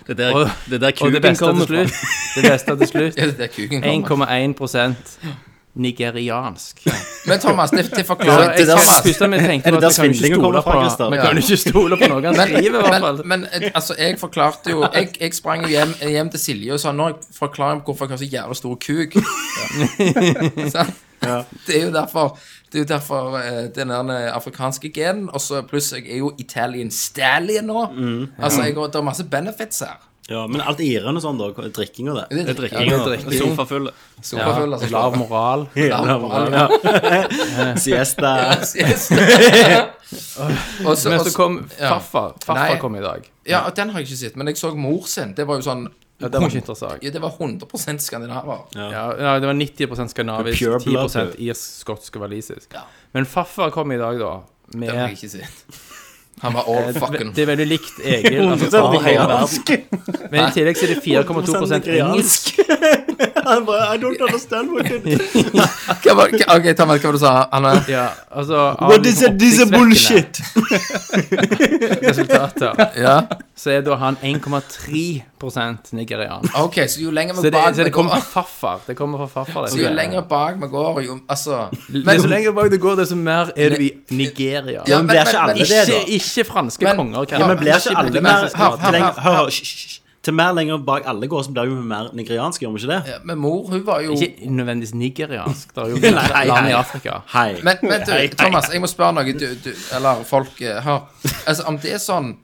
Speaker 9: er der,
Speaker 8: og-
Speaker 9: det er der
Speaker 8: Og det
Speaker 9: kuken
Speaker 8: beste til
Speaker 9: kommer fra.
Speaker 8: slutt Det beste til slutt
Speaker 7: Ja, det er der kuken kommer.
Speaker 8: 1,1 nigeriansk.
Speaker 7: Men Thomas, det, det
Speaker 8: Så
Speaker 7: forklarer
Speaker 8: jeg,
Speaker 6: der-
Speaker 8: Thomas, første jeg tenkte
Speaker 6: Er det
Speaker 8: var at vi
Speaker 6: der
Speaker 8: kan jo ikke
Speaker 6: svindlingen kommer
Speaker 8: stole
Speaker 6: fra, Christer?
Speaker 8: på, vi kan jo ikke stole på noe han skriver, i hvert fall.
Speaker 7: men, men eh, altså, jeg forklarte jo Jeg, jeg sprang jo hjem, hjem til Silje og sa Nå forklarer jeg hvorfor jeg har så jævla stor kuk. Sant? Det er jo derfor Det er jo derfor eh, den der afrikanske genen, og så pluss jeg er jo Italian stallion nå.
Speaker 8: Mm.
Speaker 7: Altså, jeg, har- det er masse benefits her.
Speaker 6: Ja, men alt irene og sånn, da. Drikking og det.
Speaker 7: Det er dritt.
Speaker 9: Drikking
Speaker 8: Ja,
Speaker 9: og
Speaker 8: det er drikking.
Speaker 9: sofafull.
Speaker 8: Ja,
Speaker 7: Sofafull, altså.
Speaker 8: lav moral.
Speaker 6: Ja. Siesta.
Speaker 7: Yes. Og så-
Speaker 8: Men
Speaker 7: og
Speaker 8: så
Speaker 7: så-
Speaker 8: kom
Speaker 7: ja.
Speaker 8: farfar. Farfar
Speaker 7: Nei.
Speaker 8: kom i dag.
Speaker 7: Ja, og den har jeg ikke sett, men jeg så mor sin. Det var jo sånn
Speaker 8: Ja, det var ikke interessant.
Speaker 7: Ja, det var 100 skandinaver.
Speaker 8: Ja, ja, det var 90 skandinavisk,
Speaker 6: Pure blood,
Speaker 8: 10
Speaker 6: du.
Speaker 8: irsk, skotsk og walisisk. Men farfar kom i dag, da,
Speaker 7: Det har jeg
Speaker 8: med
Speaker 7: ikke sett. Han var all fucking
Speaker 8: Det er veldig likt Egil. altså,
Speaker 6: Over hele
Speaker 8: farfar.
Speaker 6: verden.
Speaker 8: Men i tillegg så er det 4,2 engelsk.
Speaker 6: Han bare, I don't understand what it is.
Speaker 7: Hva var- hva- Ok, Thomas, hva var det du sa? Han er
Speaker 8: Ja, altså
Speaker 6: What is it? This is bullshit.
Speaker 8: Resultater.
Speaker 7: Ja.
Speaker 8: Så er da han 1,3 nigerian.
Speaker 7: Ok, så jo lenger
Speaker 8: Så
Speaker 7: vi
Speaker 8: det, så
Speaker 7: bak vi
Speaker 8: det kommer
Speaker 7: går
Speaker 8: fra farfar. Det kommer fra farfar det.
Speaker 7: Så jo lenger bak vi går, jo Altså
Speaker 8: Men så lenger bak du går, desto mer er du i Nigeria.
Speaker 7: Ja,
Speaker 6: men blir ikke alle det, da?
Speaker 8: ikke, ikke franske
Speaker 7: Men-
Speaker 8: konger.
Speaker 7: Ja,
Speaker 8: Kenneth.
Speaker 6: Men blir ikke alle mer
Speaker 7: Hør, hør,
Speaker 6: lenger-
Speaker 7: hør.
Speaker 6: Hør, hør, hysj, hysj. Til mer lenger bak alle går, så blir vi mer nigerianske, gjør vi ikke det?
Speaker 7: ja, Men mor, hun var jo
Speaker 8: Ikke nødvendigvis nigeriansk. Det er jo
Speaker 6: nei,
Speaker 8: land i
Speaker 6: nei.
Speaker 8: Afrika.
Speaker 6: Hei.
Speaker 7: Men, men du, Thomas, jeg må spørre noe, du, du Eller folk eh, her. Altså, om det er sånn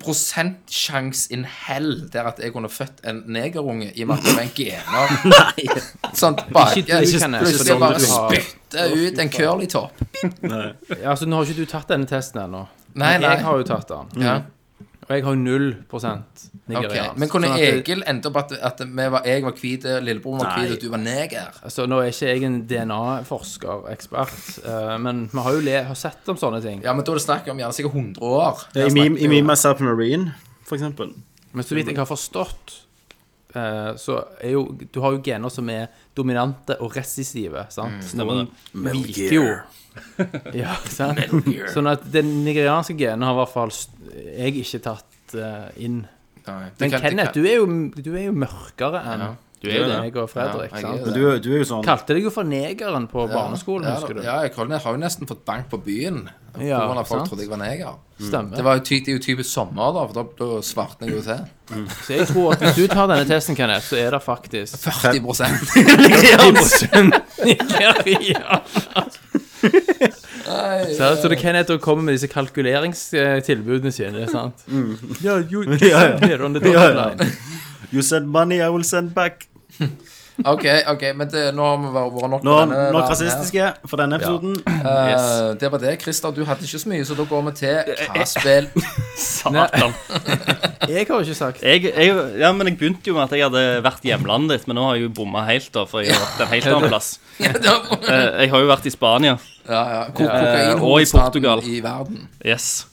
Speaker 7: prosentsjanse in hell der at jeg kunne født en negerunge i og med at det var en gener
Speaker 6: Nei.
Speaker 7: Sånn bak
Speaker 8: Ikke- ikke Kenneth,
Speaker 7: Plutselig
Speaker 8: fordi
Speaker 7: bare
Speaker 8: du har-
Speaker 7: spytte ut en curlytopp.
Speaker 8: Ja, altså, nå har ikke du tatt denne testen ennå.
Speaker 7: Nei,
Speaker 8: Men Jeg
Speaker 7: nei.
Speaker 8: har jo tatt den.
Speaker 7: Ja.
Speaker 8: Og jeg har jo 0 nigeriansk.
Speaker 7: Ok, Men kunne
Speaker 8: Sånn at det-
Speaker 7: Egil endt opp at, at vi var, jeg var hvit, lillebror var
Speaker 6: Nei.
Speaker 7: hvit, og du var neger?
Speaker 8: Altså, nå er ikke jeg en DNA-forsker-ekspert, eh, men vi har jo le har sett om sånne ting.
Speaker 7: Ja, men da er det snakk om gjerne sikkert 100 år.
Speaker 6: I Me, I me Myself and Marine, for eksempel.
Speaker 8: Men så vidt jeg har forstått, eh, så er jo Du har jo gener som er dominante og resistive, sant?
Speaker 7: Mm.
Speaker 8: Stemmer det. Viker jo. ja, sant? Sånn at det nigerianske genet har i hvert fall st- jeg ikke tatt eh, inn. Men
Speaker 7: Nei, det kan- det
Speaker 8: Kenneth, du
Speaker 7: kan-
Speaker 8: er jo, du er jo mørkere enn
Speaker 6: Du er jo det.
Speaker 8: meg og Fredrik.
Speaker 7: Ja, jeg er
Speaker 8: sant?
Speaker 7: det.
Speaker 6: Men du, du er jo sånn
Speaker 8: Kalte deg jo for negeren på barneskolen,
Speaker 7: ja,
Speaker 8: husker du?
Speaker 7: Ja, jeg har jo- har jo nesten fått bank på byen. På
Speaker 8: Ja,
Speaker 7: grunn av at folk
Speaker 8: sant.
Speaker 7: trodde jeg var neger.
Speaker 8: Stemmer.
Speaker 7: Det, var jo ty, det er jo typisk sommer, da, for da, da svartner jeg jo til.
Speaker 8: Så jeg tror at hvis du tar denne testen, Kenneth, så er det faktisk
Speaker 7: 40
Speaker 8: Nigeria. Så, så det Kenneth å komme med disse kalkuleringstilbudene sine, sant? Ja, jo,
Speaker 6: Mm. Ja, ja.
Speaker 8: here on the
Speaker 6: Ja, ja.
Speaker 8: dotted line.
Speaker 6: You send money, I will send back.
Speaker 7: OK, ok, men det, nå har vi vært vært nok
Speaker 6: Nå,
Speaker 7: på denne
Speaker 6: nok
Speaker 7: verden
Speaker 6: rasistiske for denne episoden.
Speaker 7: her.
Speaker 8: Yes.
Speaker 7: Eh, Det var det, Christer. Du hadde ikke så mye, så da går vi til hva spill
Speaker 9: Satan.
Speaker 8: Jeg har jo ikke sagt
Speaker 9: Jeg, jeg, ja, men jeg begynte jo med at jeg hadde vært hjemlandet ditt, men nå har jeg jo bomma helt, da, for jeg har vært en helt annen plass.
Speaker 7: Ja, da-
Speaker 9: Eh, Jeg har jo vært i Spania.
Speaker 7: ja, ja. Ko
Speaker 9: og i Portugal.
Speaker 7: Kokainhovedstaden i verden.
Speaker 9: Yes.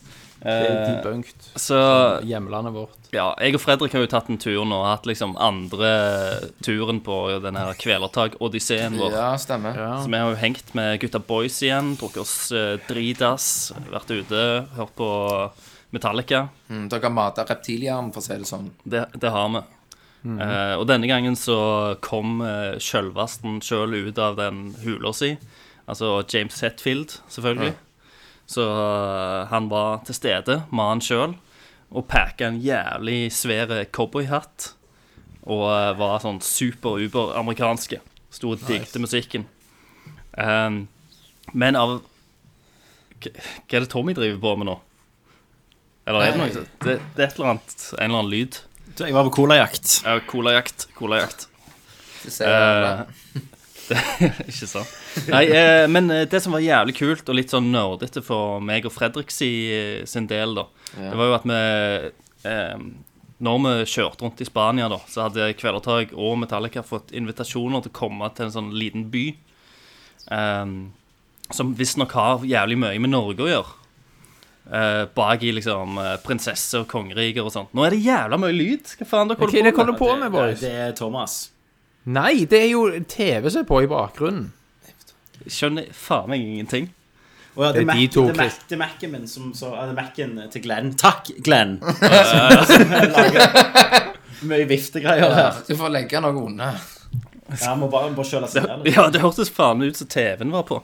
Speaker 6: Eh,
Speaker 9: Eh,
Speaker 8: det er debunkt.
Speaker 9: Så
Speaker 6: ah.
Speaker 8: Hjemlandet vårt.
Speaker 9: ja, jeg og Fredrik har jo tatt en tur nå, hatt liksom andre turen på den her Kvelertak-odysseen vår.
Speaker 7: Ja, stemmer.
Speaker 8: Ja.
Speaker 9: Så vi har jo hengt med gutta boys igjen, drukket oss eh, dritass, vært ute, hørt på Metallica.
Speaker 7: Mm, Dere mata reptilhjernen, for å si det sånn.
Speaker 9: Det, det har vi. Eh, og denne gangen så kom uh, sjølvesten sjøl ut av den hula si. Altså James Hetfield, selvfølgelig. Så eh, han var til stede, mannen sjøl, og pakka en jævlig svær cowboyhatt. Og eh, var sånn super-uber-amerikanske. Sto og digget musikken. Ehm, men av Hva hva er det Tommy driver på med nå? Eller er det noe? sånt? Det, det er et eller annet, en eller annen lyd.
Speaker 6: Så Jeg var på colajakt.
Speaker 9: Ja, colajakt. Colajakt.
Speaker 7: Det
Speaker 9: Eh,
Speaker 7: ser jeg.
Speaker 9: Ikke sant? Nei, eh, men eh, det som var jævlig kult, og litt sånn nerdete for meg og Fredrik si, sin del, da, det var jo at vi eh, Når vi kjørte rundt i Spania, da, så hadde Kvelertak og Metallica fått invitasjoner til å komme til en sånn liten by eh, som visstnok har jævlig mye med Norge å gjøre. Eh, bak i liksom eh, prinsesser og kongeriker og sånt. Nå er det jævla mye lyd! Hva faen dere
Speaker 8: Hva er det
Speaker 9: holder på
Speaker 8: kom
Speaker 9: med?
Speaker 8: du på med, boys?
Speaker 6: Det er Thomas.
Speaker 8: Nei, det er jo TV som er på i bakgrunnen.
Speaker 9: Skjønner faen meg ingenting.
Speaker 6: Å ja, det,
Speaker 8: Det er
Speaker 6: er Mac,
Speaker 8: de to,
Speaker 6: det, er Mac,
Speaker 8: Chris.
Speaker 6: det er Mac-en min som så ja, Det er Mac-en til Glenn. Takk, Glenn! Mye viftegreier her.
Speaker 7: Du får legge noe unna.
Speaker 6: Ja, må bare, bare kjøle seg ned. litt.
Speaker 9: Ja, det hørtes faen ut som TV-en var på.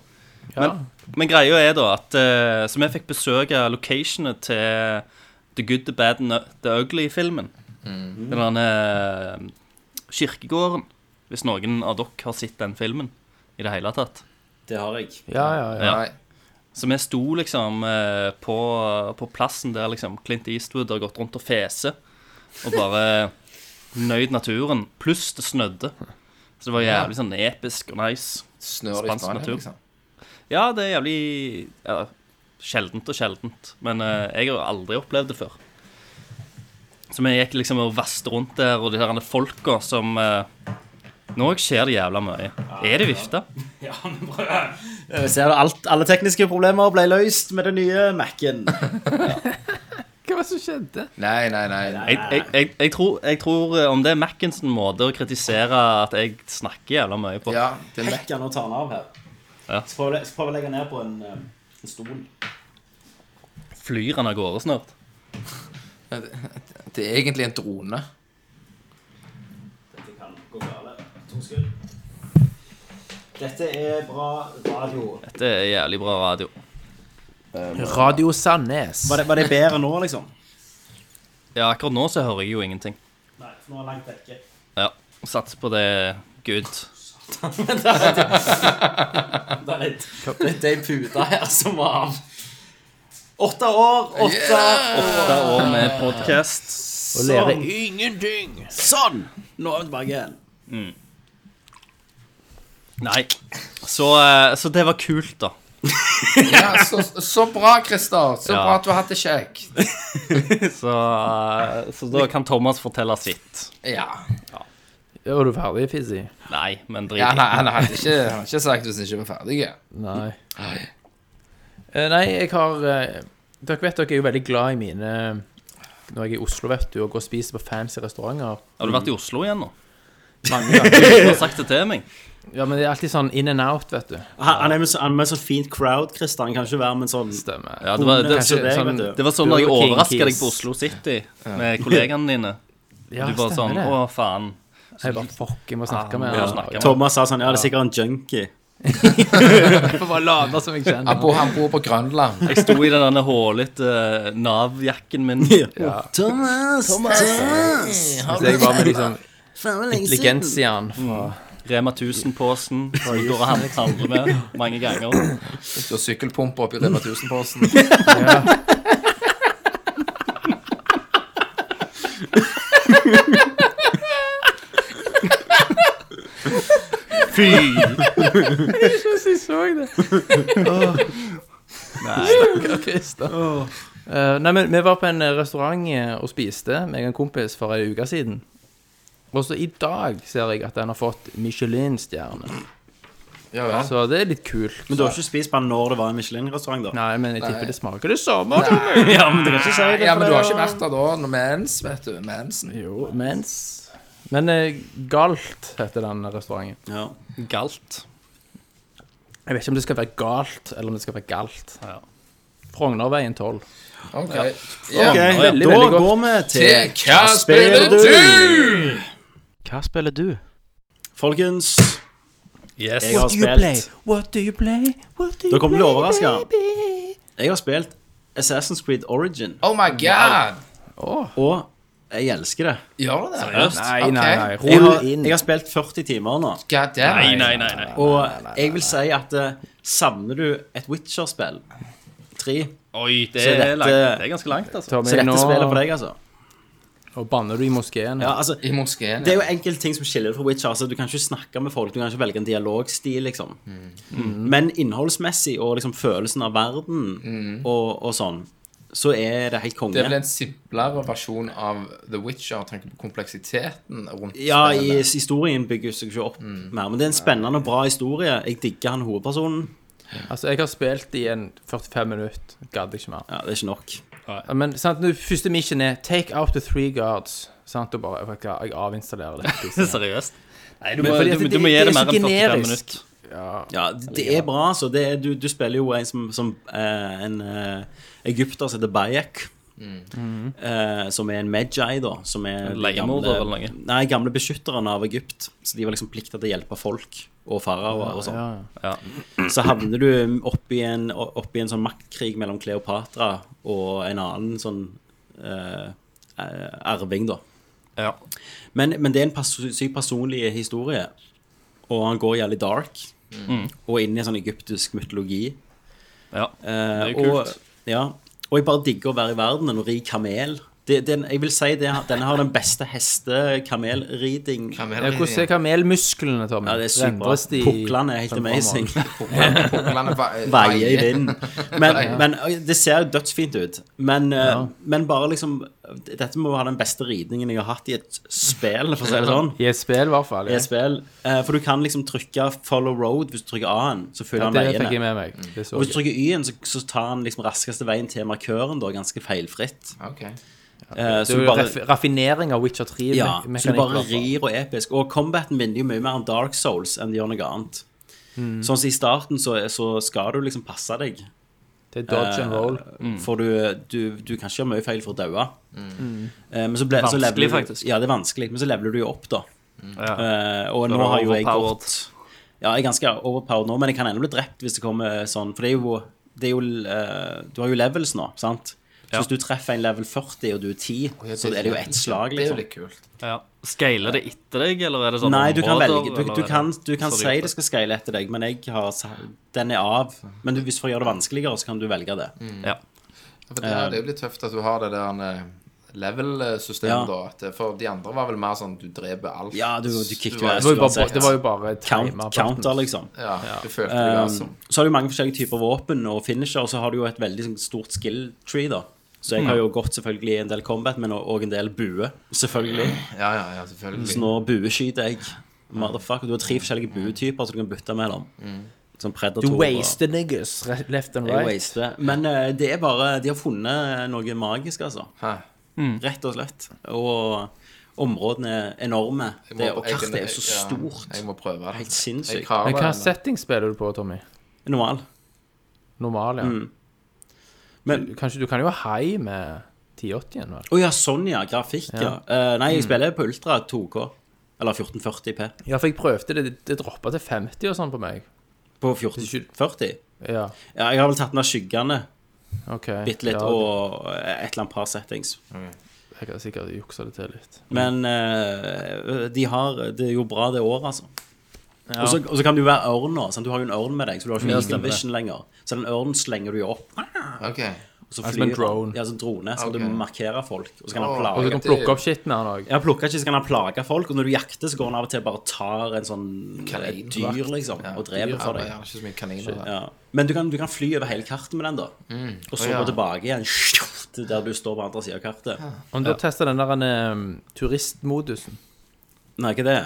Speaker 9: Men, men greia er da at eh, Så vi fikk besøke locationet til The Good, The Bad and The Ugly-filmen. Den derne kirkegården. Hvis noen av dere har sett den filmen i det hele tatt.
Speaker 6: Det har jeg.
Speaker 8: Ja, ja, ja.
Speaker 9: Ja.
Speaker 7: Nei.
Speaker 9: Så vi sto liksom eh, på, på plassen der liksom Clint Eastwood har gått rundt og fese og bare nøyd naturen. Pluss det snødde. Så det var jævlig sånn episk og nice.
Speaker 7: Snør i
Speaker 9: Spansk
Speaker 7: Spania,
Speaker 9: natur.
Speaker 7: liksom.
Speaker 9: Ja, det er jævlig ja, sjeldent og sjeldent. Men eh, jeg har aldri opplevd det før. Så vi gikk liksom og vasste rundt der, og de der andre folka som eh, Nå skjer det jævla mye. Er det vifte?
Speaker 6: Ja, men bra. Jeg Eh, ser du, alt, alle tekniske problemer ble løst med den nye Mac-en.
Speaker 8: Hva var det som skjedde?
Speaker 7: Nei, nei, nei.
Speaker 9: Jeg, jeg, jeg, jeg, tror, jeg tror eh, om det er Mackens måte å kritisere at jeg snakker jævla mye på.
Speaker 7: Ja, det er Mac.
Speaker 6: Hekk han og ta den av her.
Speaker 9: Ja.
Speaker 6: Så prøver jeg prøver å legge den ned på en, eh, en stol.
Speaker 9: Flyr han av gårde snart?
Speaker 7: Det er egentlig en drone.
Speaker 6: Dette kan gå galt. To skudd. Dette er bra radio.
Speaker 9: Dette er jævlig bra radio.
Speaker 8: Radio Sandnes.
Speaker 6: Var det, var det bedre nå, liksom?
Speaker 9: Ja, akkurat nå så hører jeg jo ingenting.
Speaker 6: Nei, for nå er jeg langt vekke.
Speaker 9: Ja, Satser på det good.
Speaker 6: Det er et- Dette er en pute her som var av. Åtte år, åtte
Speaker 9: Åtte år med podkast.
Speaker 8: Å lære
Speaker 6: sånn.
Speaker 8: ingenting.
Speaker 6: Sånn! Nå er vi tilbake igjen.
Speaker 9: Nei. Så, eh, så det var kult, da.
Speaker 7: Ja, så, så bra, Christer. Så
Speaker 9: Ja.
Speaker 7: bra at du har hatt det kjekt.
Speaker 9: Så, eh, så da kan Thomas fortelle sitt.
Speaker 7: Ja.
Speaker 8: Er du ferdig, Fizzy?
Speaker 9: Nei, men drit
Speaker 7: ja
Speaker 9: i.
Speaker 7: nei, han hadde ikke, han hadde ikke sagt hvis han ikke var ferdig.
Speaker 8: Nei. Eh, Nei, jeg har eh, Dere vet dere er jo veldig glad i mine når jeg er i Oslo, vet du, og går og spiser på fancy restauranter.
Speaker 9: Har du vært i Oslo igjen nå?
Speaker 8: Mange ganger.
Speaker 9: Du har sagt det til meg.
Speaker 8: Ja, men det er alltid sånn in and out, vet du.
Speaker 6: Han, han er med så- han er med sånn fint crowd, Christer. Han kan ikke være med en sånn
Speaker 8: Stemmer.
Speaker 9: Ja, det var, det,
Speaker 6: Kanskje
Speaker 9: det,
Speaker 6: deg,
Speaker 8: sånn-
Speaker 6: vet du.
Speaker 9: det var sånn da jeg
Speaker 8: Burger King
Speaker 9: overraska deg
Speaker 8: Kids.
Speaker 9: på Oslo City med kollegaene dine.
Speaker 8: Ja,
Speaker 9: Du bare sånn
Speaker 8: stemmer det.
Speaker 9: Å, faen.
Speaker 8: Jeg bare fuck, jeg må snakke med
Speaker 9: må
Speaker 8: han.
Speaker 9: Ah, snakke med
Speaker 8: Ja.
Speaker 6: Thomas sa sånn Ja, det er sikkert en junkie.
Speaker 8: Jeg får bare late som jeg kjenner
Speaker 7: Han bor, han bor på Grønland.
Speaker 9: Jeg sto i den derne hålete Nav-jakken min.
Speaker 6: Thomas!
Speaker 8: Hvis jeg var med liksom intelligensiaen fra
Speaker 9: Rema 1000-posen som jeg går og handler- handler med mange ganger.
Speaker 7: Du har sykkelpumpe oppi Rema 1000-posten.
Speaker 9: Fy!
Speaker 8: Jeg så det. Stakkar Christer. Eh, nei, men vi var på en restaurant eh, og spiste med en kompis for ei uke siden. Og så i dag ser jeg at den har fått Michelin-stjerne.
Speaker 7: Ja, ja.
Speaker 8: Så det er litt kult.
Speaker 6: Men du har ikke spist på den når det var en Michelin-restaurant, da?
Speaker 8: Nei, men jeg tipper det smaker det samme. Tommy.
Speaker 6: Ja, men du kan ikke si det.
Speaker 7: ja,
Speaker 6: for
Speaker 7: men du
Speaker 6: det
Speaker 7: har
Speaker 6: er-
Speaker 7: ikke vært der da når mens, vet du. Mensen.
Speaker 8: Jo, mens Men eh, Galt heter den restauranten.
Speaker 6: ja.
Speaker 9: Galt.
Speaker 8: Jeg vet ikke om det skal være galt, eller om det skal være galt.
Speaker 9: Ja.
Speaker 8: Frognerveien 12.
Speaker 7: Ok.
Speaker 6: Ok,
Speaker 7: Ja.
Speaker 8: veldig, veldig
Speaker 6: da
Speaker 8: godt.
Speaker 6: går vi
Speaker 7: Til
Speaker 6: til
Speaker 7: Hva spiller du?
Speaker 8: Hva spiller du?
Speaker 6: Folkens,
Speaker 9: Yes.
Speaker 6: jeg har spilt
Speaker 8: What do you play? What do
Speaker 6: Dere kommer til å bli overraska. Jeg har spilt Assassin's Creed Origin,
Speaker 7: Oh my god!
Speaker 6: og jeg elsker det.
Speaker 7: Gjør du det?
Speaker 8: Nei, nei,
Speaker 7: Ok.
Speaker 8: nei.
Speaker 6: Jeg
Speaker 8: Rull
Speaker 6: har,
Speaker 8: inn.
Speaker 6: jeg har spilt 40 timer nå,
Speaker 7: God damn.
Speaker 9: Nei, nei, nei. nei.
Speaker 6: og jeg vil si at eh, savner du et Witcher-spill, tre,
Speaker 9: Oi, det
Speaker 6: Så
Speaker 9: er,
Speaker 6: dette-
Speaker 9: langt. det er ganske langt, altså.
Speaker 8: Tommy,
Speaker 6: så er
Speaker 8: nå
Speaker 6: dette spillet for deg, altså.
Speaker 8: Og banner du i moskeen?
Speaker 6: Ja, altså
Speaker 7: I moskeen.
Speaker 6: det er jo enkelte ting som skiller det fra Witcher. Altså, du kan ikke snakke med folk, du kan ikke velge en dialogstil, liksom. Men innholdsmessig og liksom følelsen av verden og, og sånn, så er det helt konge.
Speaker 7: Det er vel en simplere versjon av The Witcher, tenker på kompleksiteten rundt
Speaker 6: Ja, i,
Speaker 7: spillet.
Speaker 6: historien bygger seg ikke opp mer. Men det er en spennende og bra historie. Jeg digger han hovedpersonen.
Speaker 8: Altså, jeg har spilt i en 45 minutt. Gadd ikke mer.
Speaker 6: Ja, det er ikke nok.
Speaker 8: Ja, Men sant, nå, første mission er take out the three guards. Sant, og bare vet du hva, Jeg avinstallerer det.
Speaker 9: Seriøst. Nei, du
Speaker 8: Men
Speaker 9: må,
Speaker 8: fordi at
Speaker 9: du,
Speaker 8: det-
Speaker 9: du må gi
Speaker 8: det er
Speaker 9: det
Speaker 8: så
Speaker 9: mer enn 45
Speaker 8: generisk.
Speaker 9: minutter.
Speaker 6: Ja, det det er bra, altså. Det er, du, du spiller jo en som, som eh, en eh, egypter som heter Bayek. Eh, som er en Medjai, da. Som er
Speaker 9: Mm. En
Speaker 6: de
Speaker 9: leiemorder
Speaker 6: gamle-
Speaker 9: eller noe?
Speaker 6: Nei, gamle beskytteren av Egypt. Så de var liksom plikta til å hjelpe folk og faraoer og sånn.
Speaker 8: Ja,
Speaker 9: Ja.
Speaker 6: Så havner du oppi en, oppi en sånn maktkrig mellom Kleopatra og en annen sånn eh, eh, arving, da.
Speaker 9: Ja.
Speaker 6: Men, men det er en perso sykt personlig historie. Og han går jævlig dark.
Speaker 9: Mm.
Speaker 6: Og inn i en sånn egyptisk mytologi.
Speaker 9: ja.
Speaker 6: Eh,
Speaker 9: Det er jo kult.
Speaker 6: Og, ja, og jeg bare digger å være i verden en ri kamel. Det, den, jeg vil si det, Denne har den beste heste-kamelriding.
Speaker 8: ja. Hvordan er kamelmusklene, Tommy?
Speaker 6: Ja, det er sykt bra.
Speaker 8: Rendres de-
Speaker 6: Puklene er helt amazing. Veie i
Speaker 7: Veie
Speaker 6: vinden. Men, men det ser jo dødsfint ut. Men, eh, men bare liksom Dette må ha den beste ridningen jeg har hatt i et spill, for å si det sånn.
Speaker 8: I et spill, i hvert fall.
Speaker 6: i
Speaker 8: Ja.
Speaker 6: et spill. Eh, For du kan liksom trykke 'follow road' hvis du trykker A-en. Så følger
Speaker 8: Ja,
Speaker 6: han
Speaker 8: det fikk jeg
Speaker 6: veiene.
Speaker 8: med meg. Det så
Speaker 6: Og hvis du
Speaker 8: jeg.
Speaker 6: trykker Y-en, så, så tar han liksom raskeste veien til markøren da, ganske feilfritt.
Speaker 7: Ok.
Speaker 6: Eh,
Speaker 8: Det
Speaker 6: Så
Speaker 8: er
Speaker 6: du
Speaker 8: jo
Speaker 6: bare
Speaker 8: raff- raffinering av Witcher 3.
Speaker 6: ja,
Speaker 8: me- altså.
Speaker 6: så du bare
Speaker 8: mekanikk, i hvert fall.
Speaker 6: rir og episk. Og combaten minner jo mye mer om Dark Souls enn det gjør noe annet.
Speaker 8: Hmm.
Speaker 6: Sånn som i starten, så, så skal du liksom passe deg. Eh, Mm.
Speaker 8: Det er dodge and roll.
Speaker 6: For du, du, du kan ikke gjøre mye feil for å daue.
Speaker 8: Hmm.
Speaker 6: Eh, Men så ble, så
Speaker 9: Vanskelig,
Speaker 6: leveler du-
Speaker 9: faktisk.
Speaker 6: Ja, det er vanskelig, men så leveler du jo opp, da.
Speaker 9: Mm. Ja.
Speaker 6: Eh, og
Speaker 9: Da
Speaker 6: nå
Speaker 9: er
Speaker 6: har jo jeg
Speaker 9: overpowered.
Speaker 6: gått Ja, jeg er ganske overpowered nå, men jeg kan ennå bli drept hvis det kommer sånn. For det er jo, det er jo eh, Du har jo levels nå, sant? Så
Speaker 9: Ja.
Speaker 6: hvis du treffer en level 40, og du er 10,
Speaker 7: ja,
Speaker 6: så
Speaker 7: det er
Speaker 6: er det jo
Speaker 7: kult.
Speaker 6: ett slag,
Speaker 7: Det er jo
Speaker 6: liksom.
Speaker 7: litt kult.
Speaker 9: Ja. Scaler det etter deg, eller er det sånn
Speaker 6: Nei, du kan
Speaker 9: områder,
Speaker 6: velge. Du,
Speaker 9: eller
Speaker 6: du
Speaker 9: er
Speaker 6: kan, du kan
Speaker 9: så
Speaker 6: si det skal scale etter deg, men jeg har, sa- den er av. Men du, hvis for å gjøre det vanskeligere, så kan du velge det.
Speaker 9: Ja.
Speaker 7: Ja, For det, er, det er jo litt tøft at du har det der eh,
Speaker 6: Ja.
Speaker 7: level-systemet, da. at det- For de andre var vel mer sånn du dreper alt.
Speaker 6: Ja, du, du kicker jo
Speaker 7: var-
Speaker 8: Det
Speaker 6: ass
Speaker 8: var jo bare,
Speaker 6: uansett.
Speaker 8: det var jo bare
Speaker 6: Count,
Speaker 8: timer
Speaker 6: counter,
Speaker 8: buttons.
Speaker 6: liksom.
Speaker 7: Ja, du følte det,
Speaker 6: Um,
Speaker 7: altså.
Speaker 6: så har du mange forskjellige typer våpen og finisher, og så har du jo et veldig sånn, stort skill tree, da. Så jeg har jo gått selvfølgelig en del combat, men òg en del bue, selvfølgelig.
Speaker 7: Ja, ja, ja,
Speaker 6: Så
Speaker 7: selvfølgelig.
Speaker 6: nå bueskyter jeg. Motherfucker. Du har tre forskjellige buetyper som du kan bytte mellom. Som predator.
Speaker 8: Du
Speaker 6: og-
Speaker 8: waster niggas re- left and
Speaker 6: Jeg
Speaker 8: right.
Speaker 6: waster. Men eh, det er bare De har funnet noe magisk, altså.
Speaker 7: Hæ?
Speaker 6: rett og slett. Og områdene er enorme.
Speaker 7: Jeg må-
Speaker 6: Det, og
Speaker 7: jeg-
Speaker 6: kartet er jo så
Speaker 7: jeg-
Speaker 6: stort.
Speaker 7: Ja, jeg må prøve det.
Speaker 6: Helt sinnssykt.
Speaker 7: Jeg har
Speaker 8: Men hva
Speaker 7: det ennå.
Speaker 8: setting spiller du på, Tommy?
Speaker 6: Normal.
Speaker 8: Normal, ja.
Speaker 6: Mm. Men
Speaker 8: Kanskje du kan jo ha high med 1080-en, vel?
Speaker 6: Å ja, sånn ja. Grafikk, ja. Eh,
Speaker 8: Mm.
Speaker 6: nei, jeg spiller på Ultra 2K. Eller 1440P.
Speaker 8: Ja, for jeg prøvde det. Det droppa til 50 og sånn på meg.
Speaker 6: På 1440?
Speaker 8: Ja,
Speaker 6: Ja, jeg har vel tatt med skyggene
Speaker 8: ok.
Speaker 6: bitte litt,
Speaker 8: ja,
Speaker 6: og eh, et eller annet par settings.
Speaker 8: Jeg har sikkert juksa det til litt.
Speaker 6: Men eh, de har Det er jo bra det året, altså. Og, så, og så kan du være ørn nå. Sant? Du har jo en ørn med deg, så du har ikke Eagle Vision lenger. Så den ørnen slenger du jo opp.
Speaker 7: Ok.
Speaker 6: Og så
Speaker 8: Altså med en
Speaker 6: flyr
Speaker 8: drone.
Speaker 6: han. Ja, som drone. Så
Speaker 7: Ok.
Speaker 6: du markerer folk. Og så kan
Speaker 7: Åh,
Speaker 6: han
Speaker 8: Og
Speaker 6: plage
Speaker 8: du kan plukke opp shit med han òg.
Speaker 6: Jeg plukker ikke, så kan han plage folk. Og når du jakter, så går han av og til og bare tar en sånn et
Speaker 7: Kaninvakt.
Speaker 6: dyr, liksom,
Speaker 7: Ja,
Speaker 6: og dreper for
Speaker 7: Ja,
Speaker 6: deg.
Speaker 7: jeg har ikke så mye kaniner. da.
Speaker 6: Ja. Men du kan, du kan fly over hele kartet med den, da.
Speaker 8: Mm.
Speaker 6: Og så
Speaker 7: Å, ja.
Speaker 6: gå tilbake igjen til der du står på andre sida av kartet.
Speaker 8: Om du har testa den der eh, turistmodusen
Speaker 6: Nei, ikke det.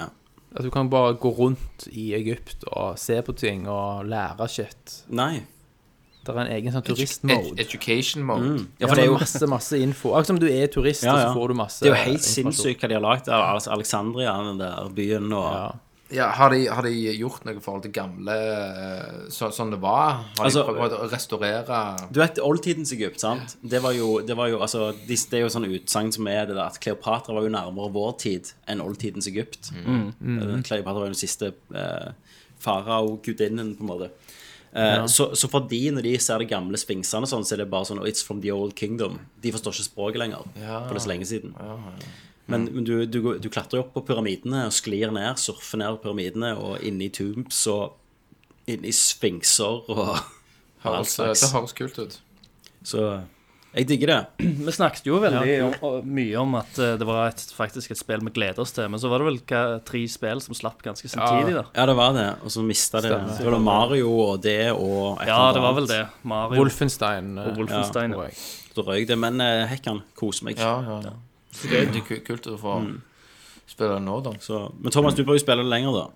Speaker 8: At du kan bare gå rundt i Egypt og se på ting og lære shit.
Speaker 6: Nei.
Speaker 8: Det er en egen sånn
Speaker 7: Edu-
Speaker 8: turistmode.
Speaker 7: Education mode.
Speaker 6: Ja, for det er jo
Speaker 8: masse, masse info. Akkurat som du er turist,
Speaker 6: ja,
Speaker 8: og så får du
Speaker 6: ja.
Speaker 8: masse
Speaker 6: Det er jo helt
Speaker 8: informasjon.
Speaker 6: sinnssykt hva de har lagd av Alex- Alexandria, den der byen og
Speaker 8: Ja.
Speaker 7: Ja, har de, har de gjort noe i forhold til gamle eh, så, sånn det var? Har
Speaker 6: Altså-
Speaker 7: de prøvd å restaurere
Speaker 6: Du vet oldtidens Egypt, sant? Det var jo, det var jo altså, de- Det er jo sånn utsagn som er det der at Kleopatra var jo nærmere vår tid enn oldtidens Egypt. Eh, Kleopatra var jo den siste eh, farao-gudinnen, på en måte. Eh, så, så for de, når de ser de gamle sfinksene, og sånn, så er det bare sånn oh, It's from the old kingdom. De forstår ikke språket lenger. For det er så lenge siden. Men, men du, du, går- du klatrer jo opp på pyramidene og sklir ned, surfer ned pyramidene og inn i tombs og inn i sfinkser og all
Speaker 7: høres,
Speaker 6: slags.
Speaker 7: Det høres kult ut.
Speaker 6: Så jeg digger det.
Speaker 9: Vi snakket jo veldig om- mye om at eh, det var et, faktisk et spill vi gleder oss til, men så var det vel hva, tre spill som slapp ganske samtidig, da.
Speaker 6: Ja, det var det. Og så mista det Det var da Mario og det og et eller
Speaker 9: Ja, det var vel
Speaker 6: annet.
Speaker 9: det. Mario
Speaker 8: Wolfenstein. eh,
Speaker 9: og Wolfenstein.
Speaker 8: tror
Speaker 9: Ja.
Speaker 8: jeg.
Speaker 6: Da røyk det. Men eh, hekkan koser meg.
Speaker 7: Ja, ja. ja. Så det er veldig ku- kult å få
Speaker 6: Mm.
Speaker 7: spille nå, da.
Speaker 6: Så, men Thomas, du bør jo spille det lenger, da.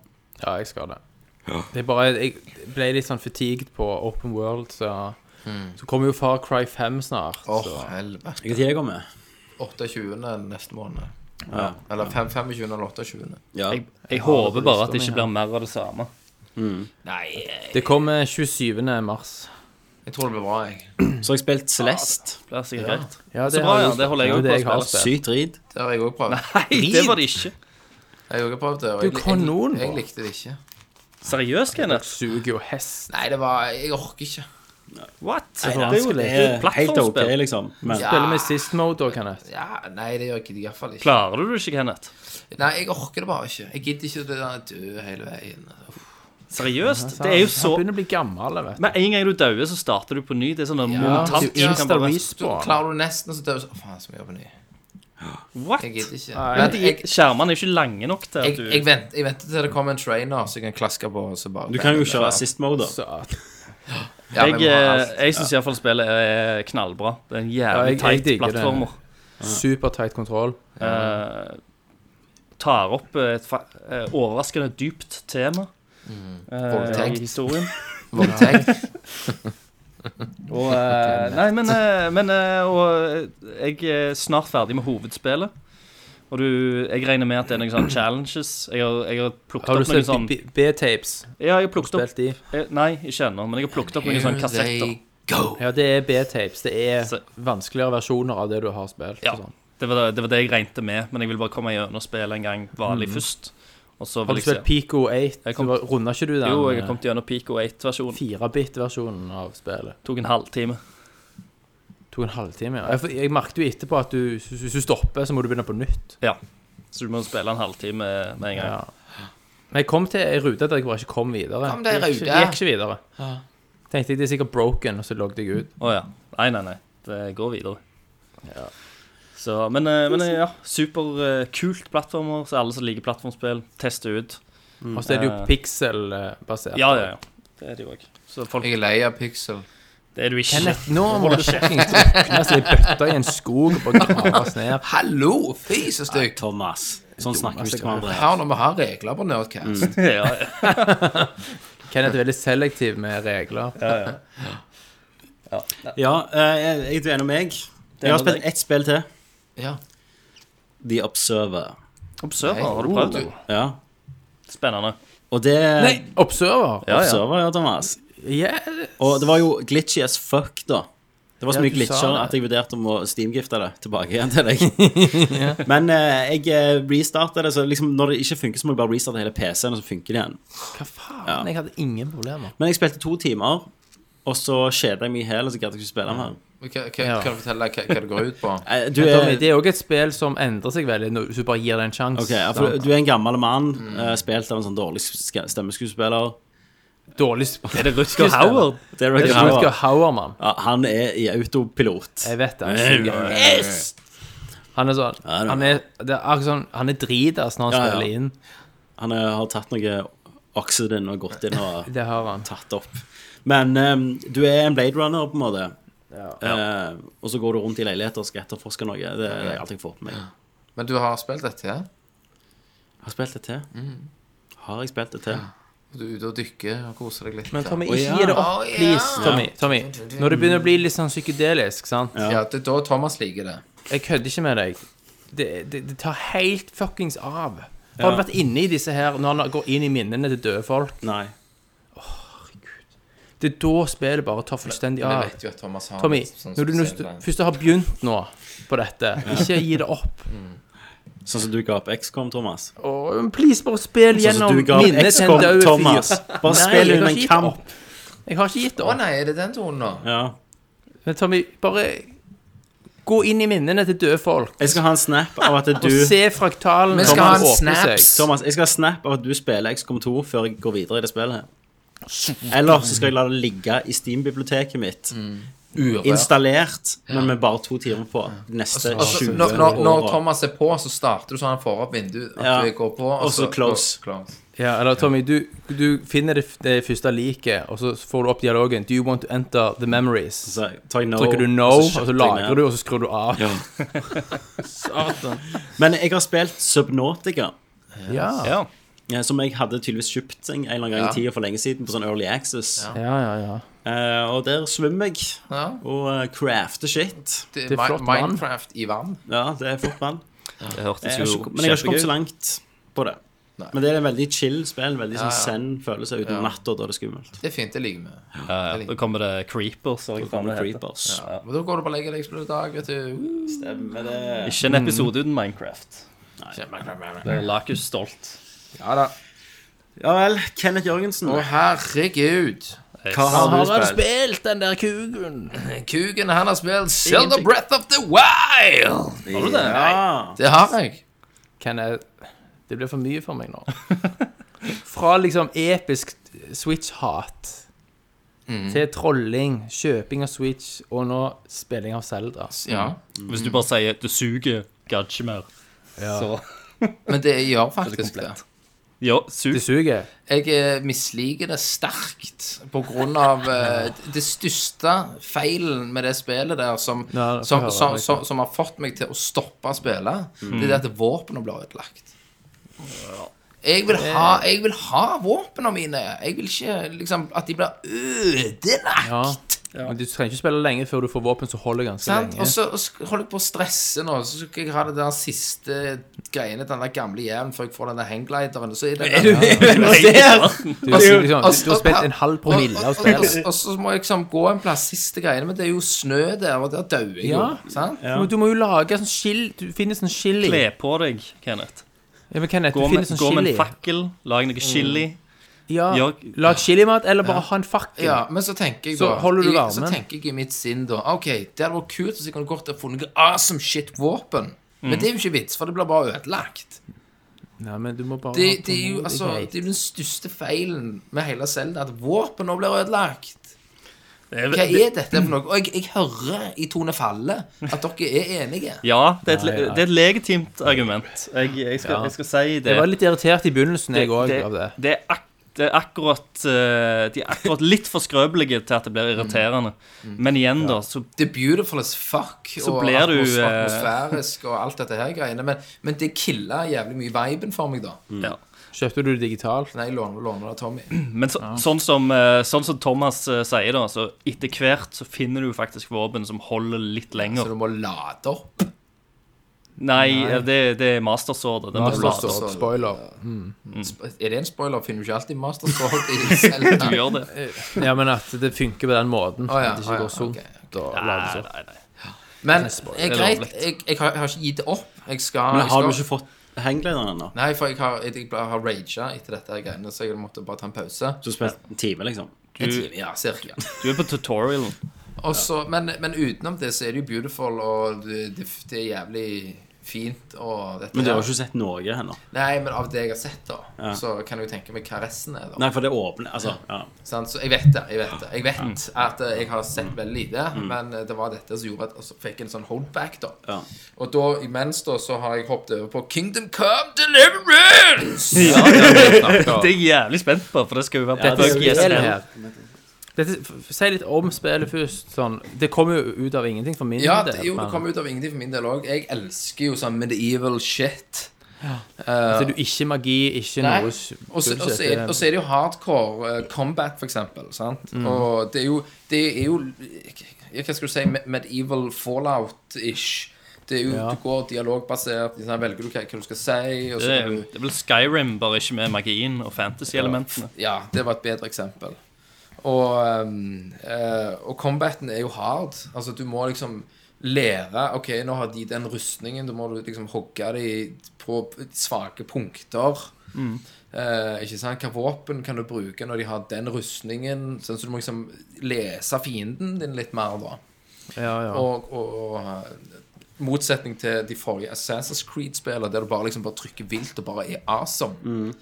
Speaker 8: Ja, jeg skal det. Det er bare, jeg ble litt sånn fatigued på Open World, så
Speaker 9: Hmm.
Speaker 8: Så kommer jo Far Cry 5 snart.
Speaker 7: Åh,
Speaker 8: så.
Speaker 7: helvete.
Speaker 6: Jeg kan komme.
Speaker 7: 28. neste måned.
Speaker 6: Ja.
Speaker 7: Eller fem- 25. eller 28.
Speaker 6: ja.
Speaker 9: Jeg, jeg håper bare at det ikke blir mer av det samme.
Speaker 8: Det kommer 27. mars.
Speaker 7: Jeg tror det blir bra, jeg.
Speaker 6: Så har jeg spilt Celeste.
Speaker 9: Det er sikkert greit.
Speaker 8: Ja,
Speaker 9: Så bra,
Speaker 8: har
Speaker 9: ja,
Speaker 8: jeg-
Speaker 9: det holder jeg
Speaker 8: er
Speaker 9: også
Speaker 8: det
Speaker 9: på å
Speaker 8: har
Speaker 9: spille.
Speaker 8: spilt.
Speaker 6: Sykt drit.
Speaker 7: Det har jeg òg prøvd.
Speaker 9: Nei, det var det ikke.
Speaker 7: Jeg har også prøvd det. og
Speaker 8: Du,
Speaker 7: jeg- jeg-
Speaker 8: kanon,
Speaker 7: Jeg
Speaker 8: bra.
Speaker 7: likte det ikke.
Speaker 9: Seriøst, Kenneth?
Speaker 8: Suger jo hest.
Speaker 7: Nei, det var Jeg orker ikke.
Speaker 9: What?
Speaker 6: Nei,
Speaker 9: det er jo
Speaker 6: det
Speaker 9: litt
Speaker 6: er helt ok,
Speaker 9: plattformspill.
Speaker 6: liksom. Men
Speaker 8: Spiller med sist mode da, Kenneth.
Speaker 7: Ja, Nei, det gjør jeg ikke, i hvert fall ikke.
Speaker 9: Klarer du det ikke, Kenneth?
Speaker 7: Nei, jeg orker det bare ikke. Jeg gidder ikke det der dø hele veien.
Speaker 9: Seriøst? Det er jo så
Speaker 8: Han begynner å bli gammel, vet du.
Speaker 9: Med en gang du dauer, så starter du på ny. Det er sånn en
Speaker 8: det
Speaker 9: mutant.
Speaker 8: er jo
Speaker 9: som kan bare-
Speaker 8: Insta-respawn.
Speaker 7: Så klarer du nesten, så dør du sånn Faen, så må jeg jobbe ny.
Speaker 9: What?
Speaker 7: Jeg gidder ikke.
Speaker 8: Nei.
Speaker 7: Men jeg,
Speaker 9: Skjermene er ikke lange nok til
Speaker 7: jeg,
Speaker 9: at du
Speaker 7: jeg, vent, jeg venter til det kommer en trainer så jeg kan klaske på. og Så bare
Speaker 6: du kan jo kjøre assist mode, da.
Speaker 8: Så,
Speaker 7: Ja,
Speaker 9: Jeg,
Speaker 7: men vi må ha
Speaker 9: eh,
Speaker 7: alt.
Speaker 9: jeg syns iallfall spillet er knallbra. Det er en
Speaker 8: Ja, jeg-
Speaker 9: jævlig
Speaker 8: jeg
Speaker 9: teit
Speaker 8: digger det.
Speaker 9: plattformer.
Speaker 8: super tight kontroll.
Speaker 9: Eh, tar opp et fa eh, overraskende dypt tema eh,
Speaker 7: Mm. Voldtekt.
Speaker 9: i historien.
Speaker 7: Voldtekt.
Speaker 9: Og, eh, nei, men, eh, men eh, og, eh, jeg er snart ferdig med hovedspillet. Og du, jeg regner med at det er noen sånne challenges. Jeg har, jeg har plukket
Speaker 8: Har du
Speaker 9: opp noen
Speaker 8: sett
Speaker 9: sånn
Speaker 8: B- B- B-tapes?
Speaker 9: Ja, jeg har plukket opp
Speaker 8: Spilt de?
Speaker 9: eh, Nei, ikke ennå, men jeg har plukket opp noen sånne kassetter.
Speaker 8: Ja, det er B-tapes. Det er
Speaker 9: Så-
Speaker 8: vanskeligere versjoner av det du har spilt.
Speaker 9: Ja.
Speaker 8: og sånn.
Speaker 9: Det var det, det var det jeg regnet med, men jeg vil bare komme gjennom spillet en gang vanlig først. Og så
Speaker 8: Mhm. Har
Speaker 9: vil
Speaker 8: du
Speaker 9: jeg se.
Speaker 8: spilt Pico 8?
Speaker 9: Jeg kom-
Speaker 8: Runda ikke du den?
Speaker 9: Jo, jeg har kommet gjennom Pico 8-versjonen.
Speaker 8: 4-bit-versjonen av spillet.
Speaker 9: Tok en halvtime.
Speaker 8: To og en halvtime, ja. Jeg, jeg merket jo etterpå at du, hvis du stopper, så må du begynne på nytt.
Speaker 9: Ja. Så du må spille en halvtime med en gang.
Speaker 8: Ja. Men jeg kom til ei rute der jeg bare ikke kom videre.
Speaker 7: Kom deg i
Speaker 8: Jeg gikk ikke-
Speaker 7: rute.
Speaker 8: jeg gikk ikke videre. Tenkte jeg det er sikkert broken, og så logget jeg ut.
Speaker 9: Å ja. Nei, nei, nei. Det går videre. Så, men, eh, men eh, ja, superkult plattformer, så alle som liker plattformspill, tester ut.
Speaker 8: Og så er det jo
Speaker 9: Eh.
Speaker 8: pixel-basert.
Speaker 9: Ja, ja, ja. Det er det jo òg. Så folk
Speaker 7: Jeg er lei av Pixel.
Speaker 9: Det er du ikke.
Speaker 8: Kenneth, nå må du fuckings drukne så i bøtta i en skog og bare grave oss ned.
Speaker 7: Hallo! Fy, så stygt.
Speaker 6: Thomas. Sånn snakker vi ikke til hverandre.
Speaker 7: Her når vi har regler på Nerdcast.
Speaker 9: ja, ja.
Speaker 8: Kenneth er veldig selektiv med regler.
Speaker 6: Ja, eh, jeg, jeg du er enig med meg. Jeg har spilt ett spill til.
Speaker 7: Ja.
Speaker 6: The Observer.
Speaker 9: Observer, har du prøvd?
Speaker 8: Oh.
Speaker 7: Du-
Speaker 6: Ja.
Speaker 9: Spennende.
Speaker 6: Og det
Speaker 8: Nei, Observer.
Speaker 9: Ja, ja.
Speaker 6: Observer, ja, Thomas.
Speaker 8: Yeah.
Speaker 6: Og det var jo glitchy as fuck, da. Det var så
Speaker 8: Ja,
Speaker 6: mye
Speaker 8: du sa
Speaker 6: glitcher
Speaker 8: det.
Speaker 6: at jeg vurderte om å steamgifte det tilbake igjen til deg. Men eh, jeg eh, restarta det, så liksom når det ikke funker, så må du bare restarte hele PC-en, og så funker det igjen.
Speaker 8: Hva faen? Jeg hadde ingen problemer.
Speaker 6: Men jeg spilte to timer, og så kjeda jeg meg i hæl, og så gadd jeg ikke spille mer.
Speaker 7: Men hva- hva- Kan du fortelle hva, hva det går ut på?
Speaker 6: Eh, Du
Speaker 8: Tommy,
Speaker 6: er,
Speaker 8: det er òg et spill som endrer seg veldig når- hvis du bare gir det en sjanse.
Speaker 6: ok, ja, for du er en gammel mann,
Speaker 8: Mm.
Speaker 6: eh, spilt av en sånn dårlig sk- stemmeskuespiller.
Speaker 8: Dårlig spill.
Speaker 9: Er det Rutger Hauer?
Speaker 6: Det
Speaker 8: Det
Speaker 6: er Rutger
Speaker 8: er Rutger
Speaker 6: Hauer.
Speaker 8: Hauer, mann.
Speaker 6: Ja, han er i autopilot.
Speaker 8: Jeg vet det. han suger. Yes! Han er sånn
Speaker 6: Ja, det er
Speaker 8: Han er, det er akkurat sånn Han er dritass når han
Speaker 6: Ja, ja.
Speaker 8: spiller inn.
Speaker 6: Han er, har tatt noe Oxyden og gått inn og
Speaker 8: Det har han.
Speaker 6: tatt opp. Men ehm, du er en Blade Runner, på en måte. Eh, og så går du rundt i leiligheter og skal etterforske noe. Det er alt jeg får på meg.
Speaker 7: Men du har spilt dette, ja?
Speaker 6: Har jeg spilt det til? Har jeg spilt det til?
Speaker 7: Du er ute og dykker og koser deg litt.
Speaker 8: Men Tommy,
Speaker 6: Å, ja.
Speaker 8: ikke gi det opp,
Speaker 7: Å, ja.
Speaker 8: please. Tommy, Tommy, når det begynner å bli litt sånn psykedelisk, sant
Speaker 7: ja. ja, det er da Thomas liker det.
Speaker 8: Jeg kødder ikke med deg. Det, det, det tar helt fuckings av. Har du vært inne i disse her når han går inn i minnene til døde folk?
Speaker 6: Nei.
Speaker 8: Det er da spillet bare tar fullstendig
Speaker 7: Men jeg
Speaker 8: av.
Speaker 7: vet jo at Thomas har
Speaker 8: Tommy,
Speaker 7: en sånn
Speaker 8: når du nå
Speaker 7: spesiell plan.
Speaker 8: først har begynt nå på dette, ikke gi det opp.
Speaker 6: Sånn som du ga opp XCOM, Thomas.
Speaker 8: Og um, please, bare spill
Speaker 6: Sånn
Speaker 8: gjennom
Speaker 6: som du ga opp
Speaker 8: minnet til en
Speaker 6: XCOM,
Speaker 8: død
Speaker 6: Thomas.
Speaker 8: fyr.
Speaker 6: Bare
Speaker 8: Nei,
Speaker 6: spill
Speaker 8: jeg har
Speaker 6: under
Speaker 8: ikke
Speaker 6: en
Speaker 8: gitt
Speaker 6: kamp.
Speaker 8: Jeg har ikke gitt det
Speaker 7: Å
Speaker 8: opp.
Speaker 7: nei, er det den tonen nå?
Speaker 6: Ja.
Speaker 8: Men Tommy, bare gå inn i minnene til døde folk.
Speaker 6: Jeg skal ha en snap av at
Speaker 8: Og
Speaker 6: du
Speaker 8: se fraktalen
Speaker 7: Vi skal ha en
Speaker 8: åpne seg.
Speaker 7: snaps.
Speaker 6: Thomas, jeg skal ha snap av at du spiller XCOM 2 før jeg går videre i det spillet. Eller så skal jeg la det ligge i Steam-biblioteket mitt.
Speaker 7: Urørt.
Speaker 6: Installert, men med bare to timer på. De neste
Speaker 7: Altså,
Speaker 6: 20
Speaker 7: når, når, når
Speaker 6: åra.
Speaker 7: Thomas er på, så starter du sånn han får opp vinduet. At
Speaker 6: Ja.
Speaker 7: du går på, og
Speaker 6: Og så close.
Speaker 7: close.
Speaker 8: Ja, eller Tommy, du, du finner det, det første liket, og så får du opp dialogen. Do you want to enter the memories?
Speaker 6: Så tar jeg no,
Speaker 8: Trykker du no,
Speaker 6: og så
Speaker 8: og
Speaker 6: shutter
Speaker 8: så
Speaker 6: jeg
Speaker 8: lagrer
Speaker 6: ned.
Speaker 8: du, og så skrur du av.
Speaker 6: Ja. Men jeg har spilt Subnautica,
Speaker 8: Ja, ja,
Speaker 9: Ja.
Speaker 6: eh, som jeg hadde tydeligvis kjøpt en eller annen gang i
Speaker 7: Ja.
Speaker 6: tida for lenge siden, på sånn Early Access.
Speaker 8: ja. ja.
Speaker 6: Eh, og der svømmer jeg
Speaker 7: Ja.
Speaker 6: og eh, crafter shit.
Speaker 7: Det,
Speaker 8: Det er
Speaker 7: Mi-
Speaker 8: flott vann.
Speaker 7: Minecraft i vann.
Speaker 6: Ja, det er fort vann.
Speaker 9: Det
Speaker 6: Jeg
Speaker 9: hørtes
Speaker 6: har
Speaker 9: jo
Speaker 6: ikke, men jeg har ikke kommet så langt på det.
Speaker 7: Nei.
Speaker 6: Men det er en veldig chill spill. Veldig sånn
Speaker 7: Ja, ja.
Speaker 6: zen følelse uten
Speaker 7: Ja.
Speaker 6: natta da det er skummelt.
Speaker 7: Det er fint, det liker vi.
Speaker 9: Ja, ja. Da kommer det Creepers. eller hva
Speaker 6: Gamle
Speaker 9: det heter.
Speaker 6: creepers.
Speaker 7: Men da går du bare og legger deg i dag, vet du.
Speaker 6: Stemmer det.
Speaker 9: Ikke en episode uten Minecraft.
Speaker 7: Å,
Speaker 9: Det er Lakus stolt.
Speaker 6: Ja vel, Kenneth Jørgensen.
Speaker 7: herregud.
Speaker 6: Hva har du
Speaker 8: Har du
Speaker 6: spilt?
Speaker 8: spilt den der kugen?
Speaker 7: Kuken han har spilt Zelda Breath of the Wild.
Speaker 9: Har du det?
Speaker 6: Ja.
Speaker 7: Det har jeg.
Speaker 8: Kan jeg Det blir for mye for meg nå. Fra liksom episk Switch-hat til trolling, kjøping av Switch og nå spilling av Zelda.
Speaker 7: Ja.
Speaker 8: Mm.
Speaker 9: Hvis du bare sier 'det suger', gadd ikke mer. Så
Speaker 7: Men det gjør faktisk det.
Speaker 9: ja, sug.
Speaker 8: Det suger.
Speaker 7: Jeg eh, misliker det sterkt på grunn av eh, det største feilen med det spillet der som,
Speaker 8: Ja, det får
Speaker 7: som,
Speaker 8: jeg Mm. høre,
Speaker 7: som,
Speaker 8: liksom.
Speaker 7: som, som har fått meg til å stoppe å spille, det er det at våpenet blir ødelagt. Jeg vil, ha, jeg vil ha våpnene mine. Jeg vil ikke liksom at de blir ødelagt.
Speaker 8: Ja. Men du trenger ikke spille lenge før du får våpen som holder ganske
Speaker 7: Sant?
Speaker 8: lenge.
Speaker 7: Og så og så holder jeg på å stresse nå, så skal jeg ha det der siste greiene til den der gamle jævelen før jeg får den der hangglideren. og Så er det der,
Speaker 8: Du, liksom, du,
Speaker 7: altså-
Speaker 8: du har spilt en halv promille av spillet.
Speaker 7: Og, og, og så må jeg liksom gå en plass siste greiene, men det er jo snø der, og der dauer jeg jo.
Speaker 8: Ja.
Speaker 7: Sant?
Speaker 8: Men du må jo lage sånn skill Du finner sånn chili.
Speaker 9: Kle på deg, Kenneth.
Speaker 8: Ja, men Kenneth,
Speaker 9: Gå
Speaker 8: du
Speaker 9: med,
Speaker 8: finner sånn
Speaker 9: gå med
Speaker 8: chili.
Speaker 9: en fakkel, lag noe chili.
Speaker 8: Ja,
Speaker 9: Ja.
Speaker 8: Lag chilimat, eller bare ha en fakkel.
Speaker 7: Ja, men så tenker jeg
Speaker 8: Så
Speaker 7: da
Speaker 8: holder du
Speaker 7: i, Så
Speaker 8: varmen.
Speaker 7: tenker jeg i mitt sinn da OK, det hadde vært kult hvis jeg kunne gått og funnet noe awesome shit våpen.
Speaker 8: Mm.
Speaker 7: Men det er jo ikke vits, for det blir bare ødelagt.
Speaker 8: Nei, men du må bare
Speaker 7: Det,
Speaker 8: ha
Speaker 7: det er jo
Speaker 8: tålmodighet.
Speaker 7: altså, det er jo den største feilen med hele Zelda, at våpen nå blir ødelagt. Hva er dette for noe? Og jeg, jeg hører i tonefallet at dere er enige.
Speaker 9: Ja, det er et, le- det er et legitimt argument. Jeg, jeg, skal,
Speaker 8: Ja.
Speaker 9: jeg skal si det.
Speaker 8: Jeg var litt irritert i begynnelsen, jeg òg,
Speaker 9: det-
Speaker 8: av det.
Speaker 9: det er ak det er akkurat eh, De er akkurat litt for skrøpelige til at det blir irriterende. Men igjen, da, så
Speaker 7: det er beautiful as fuck,
Speaker 9: Så
Speaker 7: og
Speaker 9: blir du,
Speaker 7: atmos
Speaker 9: eh,
Speaker 7: atmosfærisk og alt dette her greiene, men, men det killa jævlig mye viben for meg, da.
Speaker 9: ja.
Speaker 8: Kjøpte du det digitalt?
Speaker 7: Nei, jeg låner, låner det av Tommy.
Speaker 9: Men så, sånn, som, eh, sånn som Thomas eh, sier, da, så etter hvert så finner du faktisk våpen som holder litt
Speaker 7: Så
Speaker 9: lenger.
Speaker 7: du må lade opp.
Speaker 9: Nei, Det, det er Master Sword. og Den må du
Speaker 7: Master
Speaker 9: lade.
Speaker 7: Sword.
Speaker 8: Mastersword. Spoiler.
Speaker 9: Mm.
Speaker 7: Sp- Er det en spoiler? Finner du ikke alltid Master Sword i Zelda?
Speaker 9: Du gjør det.
Speaker 8: Ja, men at det funker på den måten.
Speaker 7: Å ja,
Speaker 8: at det
Speaker 7: å
Speaker 8: ikke
Speaker 7: ja,
Speaker 8: går sunk.
Speaker 7: ok,
Speaker 8: og lades
Speaker 9: Nei,
Speaker 8: opp.
Speaker 9: nei, nei.
Speaker 7: Men
Speaker 9: er
Speaker 7: jeg, greit,
Speaker 9: lovlig.
Speaker 7: jeg, jeg, har, jeg har ikke gitt det opp. Jeg skal,
Speaker 6: Men
Speaker 7: jeg
Speaker 6: har du
Speaker 7: skal
Speaker 6: ikke fått hanglederen ennå?
Speaker 7: Nei, for jeg har, jeg, jeg bare har raga etter dette her greiene, så jeg måtte bare ta en pause.
Speaker 6: Du har spilt en time, liksom?
Speaker 7: En time, ja, cirka.
Speaker 9: Du er på tutorialen.
Speaker 7: Og så- men, men utenom det så er det jo beautiful, og det, det, det er jævlig fint og dette
Speaker 6: Men du har
Speaker 7: her.
Speaker 6: jo ikke sett noe ennå?
Speaker 7: Nei, men av det jeg har sett, da, så kan jeg jo tenke meg hva resten er, da.
Speaker 6: Nei, for det åpner Altså, ja.
Speaker 7: Sant? Så jeg vet det. Jeg vet det Jeg vet at eh, jeg har sett
Speaker 6: Mm.
Speaker 7: veldig lite, men eh, det var dette som gjorde at jeg fikk en sånn holdback, da.
Speaker 6: Ja.
Speaker 7: Og da, imens, da, så har jeg hoppet over på Kingdom Come Deliverance!
Speaker 9: Det er jeg jævlig spent på, for det skal jo være på
Speaker 8: Dette
Speaker 9: Bug
Speaker 8: spillet
Speaker 9: ISL.
Speaker 8: her dette, f- Si litt om spillet først. Sånn. Det kommer jo ut av ingenting for min
Speaker 7: Ja,
Speaker 8: del.
Speaker 7: det, jo, det
Speaker 8: men-
Speaker 7: kom ut av ingenting for min del òg. Jeg elsker jo sånn medieval shit.
Speaker 8: Så du ikke magi, ikke
Speaker 7: Nei.
Speaker 8: noe
Speaker 7: Og
Speaker 8: s-
Speaker 7: så og så er, og så er det jo hardcore eh, combat, for eksempel. Sant?
Speaker 8: Mm.
Speaker 7: Og det er jo, det er jo ja, Hva skal du si? me- Medieval fallout-ish. Det er jo,
Speaker 8: Ja.
Speaker 7: Du går dialogbasert, liksom, velger du hva, hva du skal si. Og så
Speaker 9: Det er,
Speaker 7: kan du,
Speaker 9: det er vel Skyrim, bare ikke med magien og fantasy-elementene.
Speaker 7: ja, det var et bedre eksempel. Og, um, eh, og combaten er jo hard. Altså, du må liksom lære OK, nå har de den rustningen, da må du liksom hogge de på svake punkter. Eh, ikke sant? Hva våpen kan du bruke når de har den rustningen? Sånn, så du må liksom lese fienden din litt mer, da.
Speaker 8: ja, ja.
Speaker 7: Og, og, og eh, motsetning til de forrige Assassin's Creed-spillene, der du bare liksom bare trykker vilt og bare er awesome,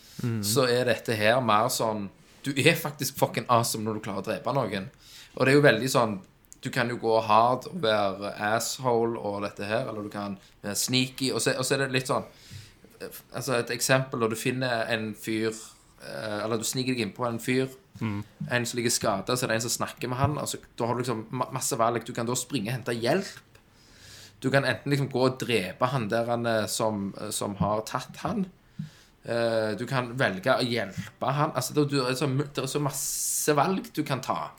Speaker 7: så er dette her mer sånn Du er faktisk fucking awesome når du klarer å drepe noen. Og det er jo veldig sånn Du kan jo gå hard og være asshole og dette her, eller du kan være sneaky, og så, og så er det litt sånn Altså Et eksempel når du finner en fyr eh, Eller du sniker deg innpå en fyr. En som ligger skada, så er det en som snakker med han. Altså, da har du liksom ma- masse valg. Du kan da springe og hente hjelp. Du kan enten liksom gå og drepe han der han eh, som, eh, som har tatt han. Eh, du kan velge å hjelpe han. Altså, det, det, er så, det er så masse valg du kan ta,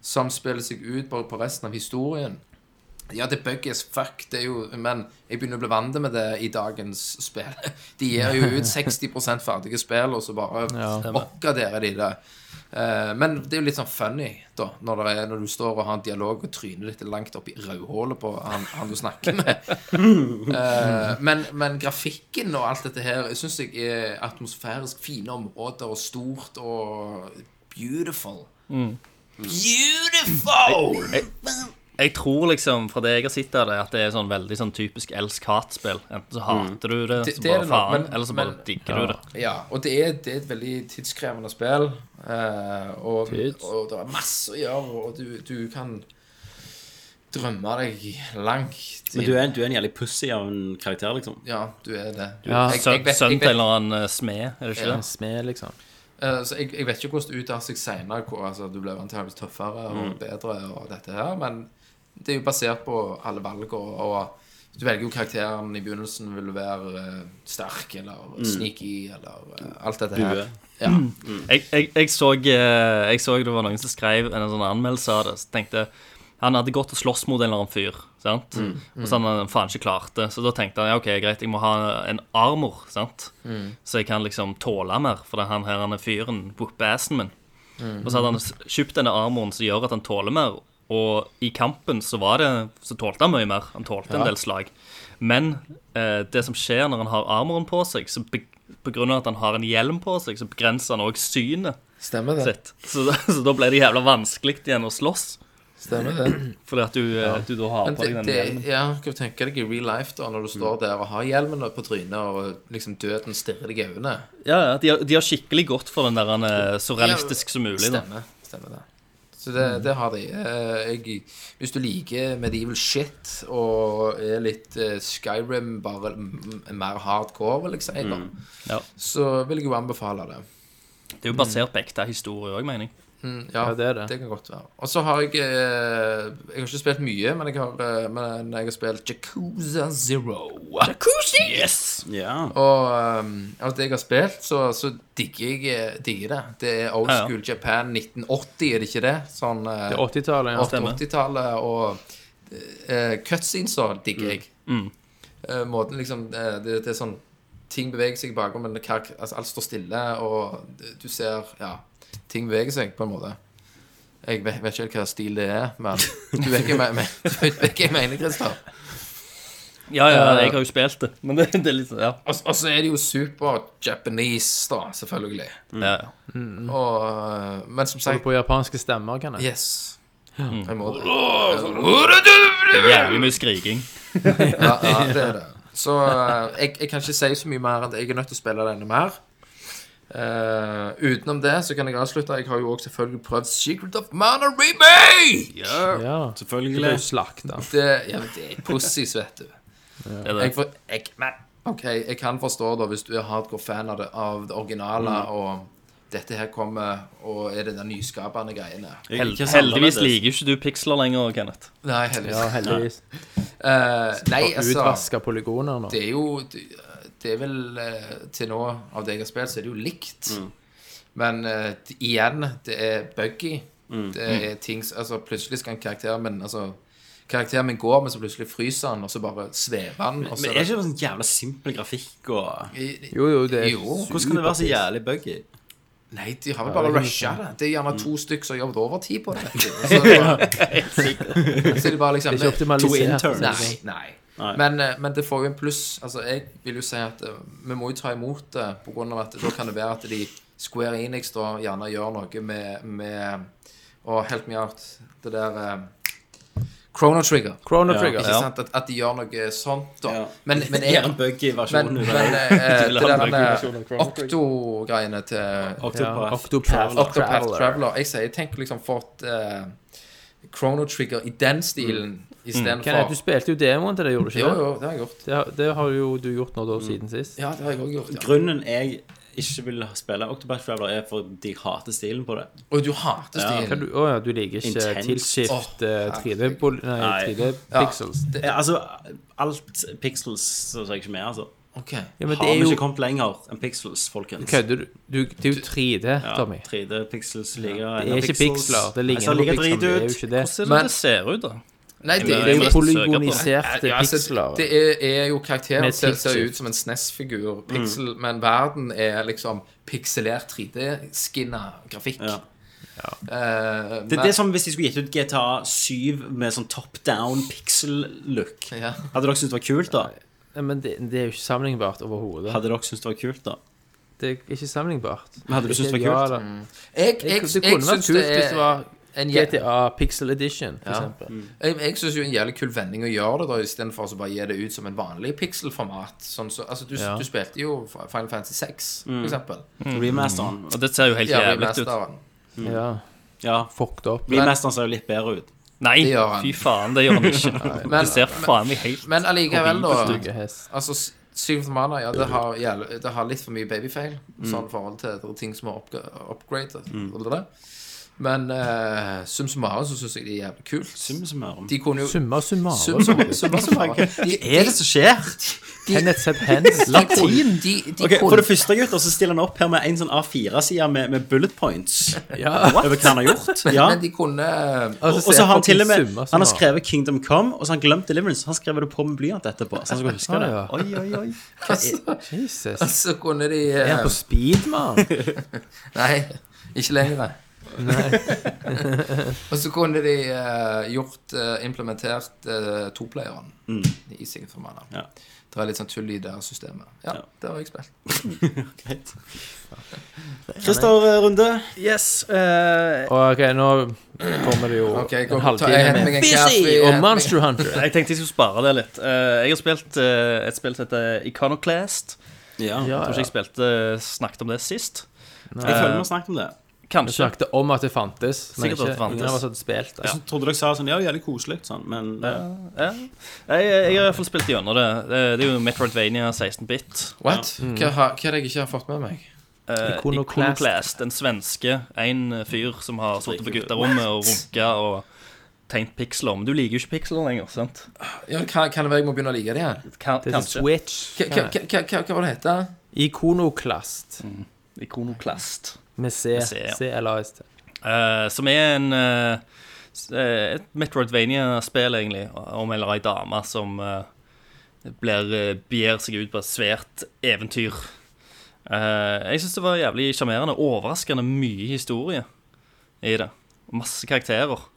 Speaker 7: som spiller seg ut bare på resten av historien. Ja, det er buggy as fuck, det er jo, men jeg begynner å bli vant med det i dagens spill. De gir jo ut 60 ferdige spill, og så bare oppgraderer de det. Eh, men det er jo litt sånn funny, da, når, det er, når du står og har en dialog og tryner litt langt opp i rødhålet på han, han du snakker med. Eh, men, men grafikken og alt dette her syns jeg er atmosfærisk fine områder og stort og beautiful. Beautiful!
Speaker 9: Jeg tror liksom, fra det jeg har sett av det, at det er sånn veldig sånn typisk elsk-hat-spill. Enten så hater du det,
Speaker 7: Mm. Det-
Speaker 9: så
Speaker 7: det er det
Speaker 9: bare
Speaker 7: nok,
Speaker 9: faen,
Speaker 7: men-
Speaker 9: eller så bare
Speaker 7: men-
Speaker 9: digger du det.
Speaker 7: Ja, og det er, det er et veldig tidskrevende spill. eh, og,
Speaker 8: Tids.
Speaker 7: og det er masse å gjøre, og du, du kan drømme deg langt
Speaker 6: Men du er, du er en jævlig pussy av en karakter, liksom?
Speaker 7: Ja, du er det.
Speaker 8: Ja,
Speaker 7: Jeg- jeg
Speaker 9: Sønn
Speaker 7: vet- jeg
Speaker 9: sønn
Speaker 7: vet-
Speaker 9: til en eller annen eh, smed, er det ikke
Speaker 8: En
Speaker 9: det?
Speaker 8: smed, liksom.
Speaker 7: Eh, Så jeg, jeg vet ikke hvordan det utarter seg senere, hvor altså, du blir antakeligvis tøffere og bedre og dette her, men det er jo basert på alle valg og, og du velger jo karakteren i begynnelsen vil du være eh, sterk eller sneaky eller eh, alt dette her.
Speaker 6: Bue.
Speaker 7: Ja.
Speaker 9: Jeg, jeg, jeg, så, eh, jeg så det var noen som skrev en sånn anmeldelse av det, så tenkte jeg, han hadde gått og slåss mot en eller annen fyr, sant? Og så hadde han faen ikke klart det. Så da tenkte han, ja, ok, greit, jeg må ha en armor, sant? Så jeg kan liksom tåle mer, for han her, han er fyren, whooper assen min. Og så hadde han s- kjøpt denne armoren som gjør at han tåler mer. Og i kampen så var det Så tålte han mye mer. Han tålte en del slag. Men eh, det som skjer når han har armoren på seg, så be, på grunn av at han har en hjelm på seg, så begrenser han òg synet
Speaker 7: Stemmer det.
Speaker 9: sitt. Så, da- så da ble det jævla vanskelig igjen å slåss.
Speaker 7: Stemmer det.
Speaker 9: Fordi at du, eh, du da har
Speaker 7: Men
Speaker 9: på deg
Speaker 7: det,
Speaker 9: den
Speaker 7: det,
Speaker 9: hjelmen.
Speaker 7: ja, kan du tenke deg i real life da Når du står der og har hjelmen på trynet Og liksom døden stirrer deg i øynene
Speaker 9: Ja, ja, de, har- de har skikkelig gått for den der han er så realistisk som mulig. Da.
Speaker 7: Stemmer, stemmer det Så det,
Speaker 8: Mm.
Speaker 7: det har de Eh, jeg, Hvis du liker medieval shit Og er litt eh, Skyrim Bare m- mer hardcore vil jeg si da
Speaker 8: Mm.
Speaker 9: Ja.
Speaker 7: Så vil jeg jo anbefale det
Speaker 9: Det er jo basert på ekte historie òg, mener jeg.
Speaker 7: Mm, ja,
Speaker 8: Ja, det er det.
Speaker 7: kan godt være. Og så har jeg eh, Jeg har ikke spilt mye, men jeg har, eh, men jeg har spilt Jacuzza Zero. Jacuzzi! Yes!
Speaker 6: Ja.
Speaker 7: Og um, av det jeg har spilt, så, så digger jeg eh, digger det. Det er old
Speaker 9: Ja, ja.
Speaker 7: school Japan 1980, er det ikke det? Sånn eh,
Speaker 8: Det er 80-tallet. Ja.
Speaker 9: stemmer.
Speaker 7: Mm. 80-tallet og eh, cutscenes og digger jeg. eh, måten liksom eh, det, det er sånn Ting beveger seg i bakgrunnen, men karak- altså, alt står stille, og det- du ser Ja, ting beveger seg, på en måte. Jeg vet, vet ikke helt hva stil det er, men du vet ikke hva jeg men- du vet ikke hva jeg mener, Christer.
Speaker 9: Ja, ja, jeg har jo spilt det, men det, det er litt sånn, Ja.
Speaker 7: Og og så Altså, er det jo super Japanese, da, selvfølgelig.
Speaker 9: ja, ja.
Speaker 7: Mm. Og, eh, men som sagt
Speaker 8: På japanske stemmer, kan jeg.
Speaker 7: Yes. Jeg må det. sånn-
Speaker 9: Jævlig mye skriking.
Speaker 7: Ja, ja, det er det. Så eh, jeg, jeg kan ikke si så mye mer enn at jeg er nødt til å spille denne mer. Eh, utenom det så kan jeg avslutte. Jeg har jo også selvfølgelig prøvd Secret of Mana Remake!
Speaker 8: Ja. Du ble
Speaker 6: Selvfølgelig.
Speaker 8: jo slakta.
Speaker 7: Det, ja, men det er pussies, vet du.
Speaker 9: Det er det.
Speaker 7: Jeg, for, jeg, men, ok, jeg kan forstå da hvis du er hardcore fan av det, av det originale,
Speaker 8: Mm.
Speaker 7: og dette her kommer og er det de nyskapende greiene.
Speaker 6: Jeg
Speaker 9: Hel
Speaker 6: liker ikke sånn
Speaker 9: heldigvis
Speaker 6: annerledes.
Speaker 9: liker ikke du piksler lenger, Kenneth.
Speaker 7: Nei, heldigvis.
Speaker 8: Ja, heldigvis.
Speaker 7: Eh, nei, altså
Speaker 8: Utvaska polygoner nå.
Speaker 7: det er jo Det er vel eh, Til nå, av det jeg har spilt, så er det jo likt. Men eh, det- igjen, det er buggy. Det er ting s- Altså, plutselig skal en karakter min Altså, karakteren min går, men så plutselig fryser han, og så bare svever han, og så
Speaker 6: Men er det ikke sånn jævla simpel grafikk og
Speaker 7: det
Speaker 8: Jo, jo, det er
Speaker 7: Jo.
Speaker 6: Hvordan kan det være så jævlig buggy?
Speaker 7: Nei, de har vel bare rusha
Speaker 8: liksom-
Speaker 7: det. Det er gjerne to stykker som har jobbet overtid på det. vet du. Og Så, så er det bare liksom
Speaker 8: Det er ikke
Speaker 6: To
Speaker 8: optimalisert.
Speaker 6: interns.
Speaker 7: Nei, nei. Men, eh, men det får jo en pluss. Altså, jeg vil jo si at eh, vi må jo ta imot det, på grunn av at da kan det være at de Square Enix da gjerne gjør noe med, med Og help me out, det der eh, Chrono Trigger.
Speaker 8: Chrono Trigger.
Speaker 7: Ikke
Speaker 8: Ja.
Speaker 7: sant? At, at de gjør noe sånt, da.
Speaker 6: Ja.
Speaker 7: Men, men jeg
Speaker 6: Gjerne buggy
Speaker 7: men,
Speaker 6: versjon
Speaker 7: men
Speaker 6: ut
Speaker 7: eh,
Speaker 6: av det.
Speaker 7: eh, det
Speaker 9: ha
Speaker 7: der
Speaker 9: en
Speaker 7: med Okto-greiene til
Speaker 8: Ja,
Speaker 6: Octopath.
Speaker 8: Octopath
Speaker 7: Octopath
Speaker 8: Traveler.
Speaker 7: Traveler. Jeg sier, jeg tenker liksom fått eh, Chrono Trigger i den stilen
Speaker 8: Kenneth,
Speaker 7: istedenfor
Speaker 8: du spilte jo demoen til det, gjorde du ikke?
Speaker 7: Jo,
Speaker 8: det?
Speaker 7: jo, det har jeg gjort.
Speaker 8: Det, har- det har jo du gjort nå da siden sist.
Speaker 7: Ja, det har jeg også gjort. Ja.
Speaker 6: Grunnen jeg ikke vil spille Octopath Traveler, er fordi jeg hater stilen på det.
Speaker 7: Og du hater
Speaker 8: Hva
Speaker 7: stilen.
Speaker 8: du- Å ja, du liker ikke
Speaker 6: Intenst.
Speaker 8: tilskift
Speaker 7: Åh,
Speaker 8: eh, 3D pol-
Speaker 6: Nei.
Speaker 8: nei, 3D pixels.
Speaker 7: det,
Speaker 6: Ja, altså, alt pixels så ser jeg ikke med, altså.
Speaker 7: ok.
Speaker 8: Ja, men det
Speaker 6: Har
Speaker 8: er
Speaker 6: vi ikke
Speaker 8: jo
Speaker 6: kommet lenger enn pixels, folkens?
Speaker 8: Kødder du? du? Det er jo 3D,
Speaker 6: Ja,
Speaker 8: Tommy.
Speaker 6: 3D pixels ligger
Speaker 8: Det er ikke piksler. Det ligner
Speaker 6: ser
Speaker 8: på
Speaker 6: like
Speaker 8: piksler, men
Speaker 6: drit
Speaker 8: det er jo
Speaker 6: ut.
Speaker 8: ikke det.
Speaker 9: Hvordan er
Speaker 7: Men-
Speaker 9: det det ser ut, da?
Speaker 7: Nei, det,
Speaker 8: Det
Speaker 9: Jeg
Speaker 8: er
Speaker 9: må
Speaker 8: jo
Speaker 9: nesten søke på det.
Speaker 8: polygoniserte
Speaker 7: Ja, altså,
Speaker 8: piksler.
Speaker 7: det er, er jo karakterer
Speaker 8: Med
Speaker 7: som ser
Speaker 8: tidsskift.
Speaker 7: ut som en SNES-figur, pixel, men verden er liksom pikselert 3D-skinna grafikk.
Speaker 6: Ja.
Speaker 7: Eh,
Speaker 6: Det er
Speaker 7: men-
Speaker 6: det som hvis de skulle gitt ut GTA 7 med sånn top down pixel-look.
Speaker 7: ja.
Speaker 6: Hadde dere syntes det var kult, da?
Speaker 8: Nei, Men det, det er jo ikke sammenlignbart overhodet.
Speaker 6: Hadde dere syntes det var kult, da?
Speaker 8: Det er ikke sammenlignbart.
Speaker 6: Men hadde du syntes det var
Speaker 8: Ja,
Speaker 6: kult?
Speaker 8: da.
Speaker 7: Jeg,
Speaker 8: Det,
Speaker 7: jeg,
Speaker 8: det
Speaker 7: jeg,
Speaker 8: kunne vært
Speaker 7: syns
Speaker 8: kult
Speaker 7: det
Speaker 8: hvis
Speaker 7: er
Speaker 8: det var
Speaker 7: en jæ-
Speaker 8: GTA Pixel Edition, for
Speaker 7: Ja. Mm-hmm.
Speaker 8: eksempel.
Speaker 7: Jeg, jeg syns jo en jævlig kul vending å gjøre det, da istedenfor å så bare gi det ut som en vanlig pixelformat. Sånn så, altså, du,
Speaker 8: Ja.
Speaker 7: du spilte jo Final Fantasy 6, for eksempel.
Speaker 6: Remasteren.
Speaker 9: Og det ser jo helt
Speaker 7: Ja,
Speaker 9: jævlig ut.
Speaker 7: remasteren.
Speaker 8: Ja.
Speaker 6: Ja,
Speaker 8: Fucked up.
Speaker 6: remasteren ser jo litt bedre ut.
Speaker 9: Nei,
Speaker 7: Det gjør han.
Speaker 9: fy faen, det gjør han ikke.
Speaker 7: Men-
Speaker 9: Det ser faen meg helt
Speaker 7: Men allikevel, da.
Speaker 8: Stygge hest.
Speaker 7: Altså, S- Secret of Mana, ja, det har, jævlig- det har litt for mye babyfeil.
Speaker 6: Mm.
Speaker 7: Sånn i forhold til til ting som er oppgra- upgraded. eller det. Men uh, sum summarum så syns jeg det er jævlig kult.
Speaker 6: Summa summarum.
Speaker 7: De kunne jo
Speaker 8: Summa
Speaker 7: Sum
Speaker 8: summarum.
Speaker 7: summarum. Sum summarum. De,
Speaker 6: Hva er det som skjer?
Speaker 8: Kenneth said hands.
Speaker 7: de, kunne- de, de
Speaker 6: Ok, For
Speaker 7: kunne
Speaker 6: det første, gutter, så stiller han opp her med en sånn A4-side med, med bullet points.
Speaker 8: Ja.
Speaker 6: Over hva han har gjort. Ja.
Speaker 7: Men de kunne
Speaker 6: Og og så har han til og med
Speaker 8: Summa
Speaker 6: Han har
Speaker 8: summarum.
Speaker 6: skrevet Kingdom Come, og så har han glemt Deliverance. Han skrev det på med blyant etterpå. Så han skulle huske det.
Speaker 8: Ah, ja. Jesus.
Speaker 7: eh,
Speaker 8: Altså,
Speaker 7: Så kunne de
Speaker 8: Er
Speaker 7: eh,
Speaker 8: han på speed, mann?
Speaker 7: Nei, ikke lenger. og så kunne de eh, gjort eh, implementert eh, toplayeren
Speaker 6: Mm.
Speaker 7: i Sigurd Formanna.
Speaker 6: Ja.
Speaker 7: Det var litt sånn tull i det systemet. Ja, det har jeg spilt.
Speaker 6: Greit. Christer eh, Runde.
Speaker 9: Yes.
Speaker 7: eh,
Speaker 8: Ok, nå kommer det jo
Speaker 7: Ok, jeg,
Speaker 8: en
Speaker 7: går, ta, jeg
Speaker 8: halvtime
Speaker 7: henter
Speaker 8: med
Speaker 7: meg en kaffe. jeg
Speaker 8: og
Speaker 7: henter meg-
Speaker 8: Monster Hunter.
Speaker 9: Jeg tenkte jeg skulle spare det litt. Eh, jeg har spilt eh, et spill som heter Iconoclast.
Speaker 6: Ja.
Speaker 8: Ja,
Speaker 9: Jeg tror ikke jeg spilte, snakket om det sist.
Speaker 6: Jeg føler vi har snakket om det.
Speaker 8: Vi
Speaker 9: Kanskje.
Speaker 8: snakket om at det fantes, men
Speaker 9: Sikkert at
Speaker 8: ikke,
Speaker 9: det fantes.
Speaker 8: ingen av oss hadde spilt det.
Speaker 6: Jeg trodde dere sa sånn Ja, jævlig koselig, sånn, men eh,
Speaker 9: Ja. Jeg, jeg har i hvert fall spilt gjennom det. Det det er jo Metroidvania 16-bit.
Speaker 7: What? Hva, har- hva er det jeg ikke har fått med meg?
Speaker 9: Eh,
Speaker 8: Iconoclast.
Speaker 9: Iconoclast. En svenske. En eh, fyr som har sittet på gutterommet og runka og tegnet piksler. Men du liker jo ikke piksler lenger, sant?
Speaker 7: Ja, kan, kan det være jeg må begynne å like det igjen?
Speaker 9: Ka
Speaker 8: Det er til
Speaker 9: kanskje.
Speaker 8: Switch.
Speaker 7: Hva- hva- hva- hva- Hva hva var det hete?
Speaker 8: Ikonoklast.
Speaker 9: Iconoclast.
Speaker 8: Med C.
Speaker 9: C, ja.
Speaker 8: C-L-A-S-T.
Speaker 9: Eh, som er en eh, s- eh, et Metroidvania-spill, egentlig, om en eller ei dame som eh, blir, eh, begir seg ut på et svært eventyr. Eh, jeg syns det var jævlig sjarmerende. Overraskende mye historie i det. Masse karakterer.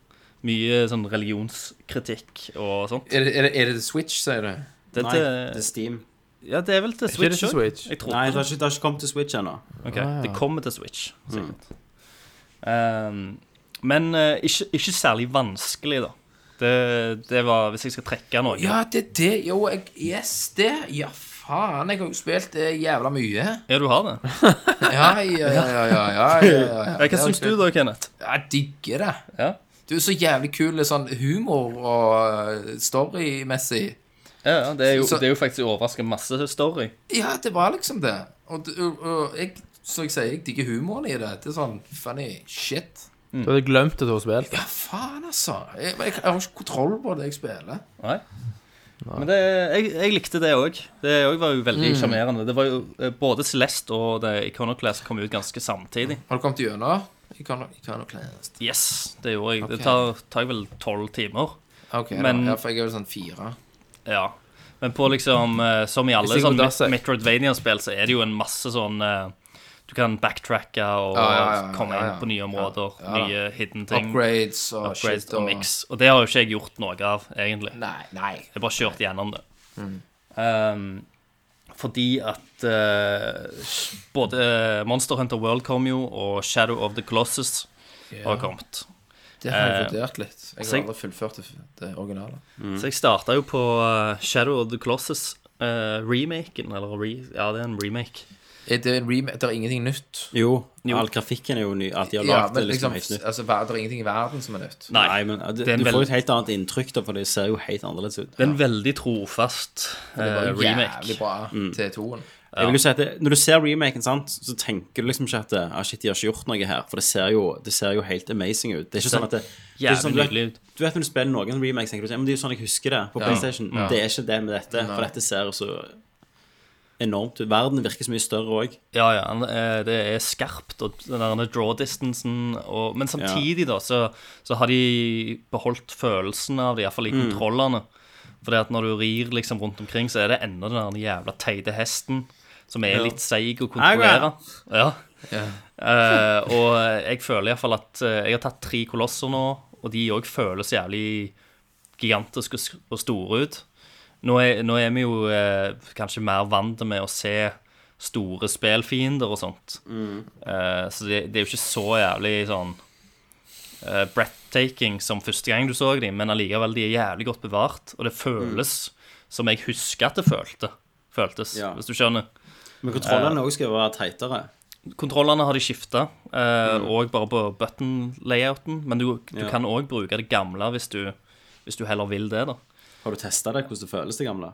Speaker 9: Mye sånn religionskritikk og sånt.
Speaker 7: Er det, er det, er det The Switch, sier du?
Speaker 9: Det,
Speaker 6: Nei, det er
Speaker 9: det,
Speaker 6: Steam.
Speaker 9: ja, det er vel til
Speaker 8: Ikke det
Speaker 9: Switch
Speaker 8: til
Speaker 9: òg?
Speaker 8: Switch.
Speaker 9: Jeg trodde
Speaker 6: Nei, det
Speaker 9: det.
Speaker 6: har ikke, det har ikke kommet til Switch ennå.
Speaker 9: Ok,
Speaker 8: Ah, ja.
Speaker 9: Det kommer til Switch, sikkert. Ehm, men eh, ikke, ikke særlig vanskelig, da. Det, det var Hvis jeg skal trekke noe
Speaker 7: Ja, det er det. Jo, jeg, yes, det. Ja, faen. Jeg har jo spilt eh, jævla mye.
Speaker 9: Ja, du har det?
Speaker 7: Ja, ja, ja, ja. ja, ja, ja, ja.
Speaker 9: Ja, Hva syns du da, Kenneth?
Speaker 7: Jeg digger det.
Speaker 9: Ja.
Speaker 7: Du er så jævlig kul sånn humor og eh, storymessig.
Speaker 9: Ja, ja, det, er jo,
Speaker 7: Så-
Speaker 9: det er jo faktisk overraskende masse story.
Speaker 7: Ja, det var liksom det. Og, du- og, og jeg, som jeg sier, jeg digger humoren i det. Det er sånn funny shit.
Speaker 8: Du hadde glemt det du har spilt.
Speaker 7: Ja, faen, altså. Jeg, jeg, jeg har ikke kontroll på det jeg spiller.
Speaker 9: Nei. Men det, jeg, jeg likte det òg. Det òg var jo veldig sjarmerende. Det var jo eh, Både Celeste og The Iconoclast kom ut ganske samtidig.
Speaker 7: Har du kommet gjennom? Jeg kan, jeg kan nok lese.
Speaker 9: Yes, det gjorde jeg.
Speaker 7: Ok.
Speaker 9: Det tar, tar vel tolv timer.
Speaker 7: Ok,
Speaker 9: Men-
Speaker 7: da, ja, for jeg er vel sånn fire.
Speaker 9: Ja. Men på liksom eh, Som i alle
Speaker 8: Hvis jeg
Speaker 9: sånn
Speaker 8: går der, så-
Speaker 9: Metroidvania-spill, så er det jo en masse sånn eh, Du kan backtracke og
Speaker 7: Ja, ja, ja,
Speaker 9: komme
Speaker 7: ja, ja.
Speaker 9: inn på nye områder.
Speaker 7: Ja, ja da.
Speaker 9: Nye hidden ting.
Speaker 7: Upgrades og
Speaker 9: upgrades
Speaker 7: shit
Speaker 9: og mix. Og det har jo ikke jeg gjort noe av, egentlig.
Speaker 7: Nei, nei.
Speaker 9: Jeg bare kjørte gjennom det.
Speaker 7: Mm.
Speaker 9: Ehm, fordi at eh, både eh, Monster Hunter World kom jo, og Shadow of the Colossus har kommet.
Speaker 7: Det har jeg
Speaker 9: Eh,
Speaker 7: vurdert litt. Jeg
Speaker 9: så
Speaker 7: har
Speaker 9: jeg-
Speaker 7: aldri fullført det, det originale.
Speaker 9: Så jeg starta jo på eh, Shadow of the Colossus. eh, remaken, eller re... Ja, det er en remake.
Speaker 7: Er Eh, det, en remake, det er ingenting nytt.
Speaker 6: Jo, all grafikken er jo ny. At de har
Speaker 7: Ja,
Speaker 6: lagd
Speaker 7: men
Speaker 6: det liksom
Speaker 7: liksom,
Speaker 6: helt nytt.
Speaker 7: altså, ver- det er ingenting i verden som er nytt.
Speaker 9: Nei,
Speaker 6: Nei, men uh, det,
Speaker 9: det er en
Speaker 6: du får jo et
Speaker 9: veld-
Speaker 6: helt annet inntrykk, da, for det ser jo helt annerledes ut.
Speaker 9: det er en veldig trofast
Speaker 7: Det
Speaker 9: eh,
Speaker 7: var jo jævlig
Speaker 9: remake.
Speaker 7: bra til toen.
Speaker 6: Jeg vil jo si at det, Når du ser remaken, sant, så tenker du liksom ikke at ah, shit, de har ikke gjort noe her. For det ser jo, det ser jo helt amazing ut. Det er ikke sånn at det, det er ikke sånn,
Speaker 9: Jævlig
Speaker 6: du,
Speaker 9: nydelig
Speaker 6: vet,
Speaker 9: ut.
Speaker 6: du vet når du spiller noen remakes, tenker du sånn, «Ja, men det er jo sånn jeg husker det på PlayStation. Det er ikke det med dette, for dette ser så enormt ut. Verden virker så mye større òg.
Speaker 9: Ja, ja. han, eh, Det er skarpt, og den der draw distancen og Men samtidig, da, så, så har de beholdt følelsen av det, iallfall i
Speaker 7: Mm.
Speaker 9: kontrollene. Fordi at når du rir liksom rundt omkring, så er det ennå den der jævla teite hesten som er litt seig å kontrollere. Ja. Eh, og jeg føler iallfall at eh, jeg har tatt tre kolosser nå, og de òg føles jævlig gigantiske og sk- og store ut. Nå er, nå er vi jo eh, kanskje mer vant med å se store spillfiender og sånt. Eh, så det, det er jo ikke så jævlig sånn eh, breathtaking som første gang du så dem, men allikevel, de er jævlig godt bevart, og det føles som jeg husker at det følte, føltes,
Speaker 6: Ja.
Speaker 9: hvis du skjønner.
Speaker 6: Men kontrollene òg skal være teitere.
Speaker 9: Kontrollene har de skifta, eh, og bare på button-layouten, men du, du
Speaker 6: Ja.
Speaker 9: kan òg bruke det gamle hvis du, hvis du heller vil det, da.
Speaker 6: Har du testa det, hvordan det føles, det gamle?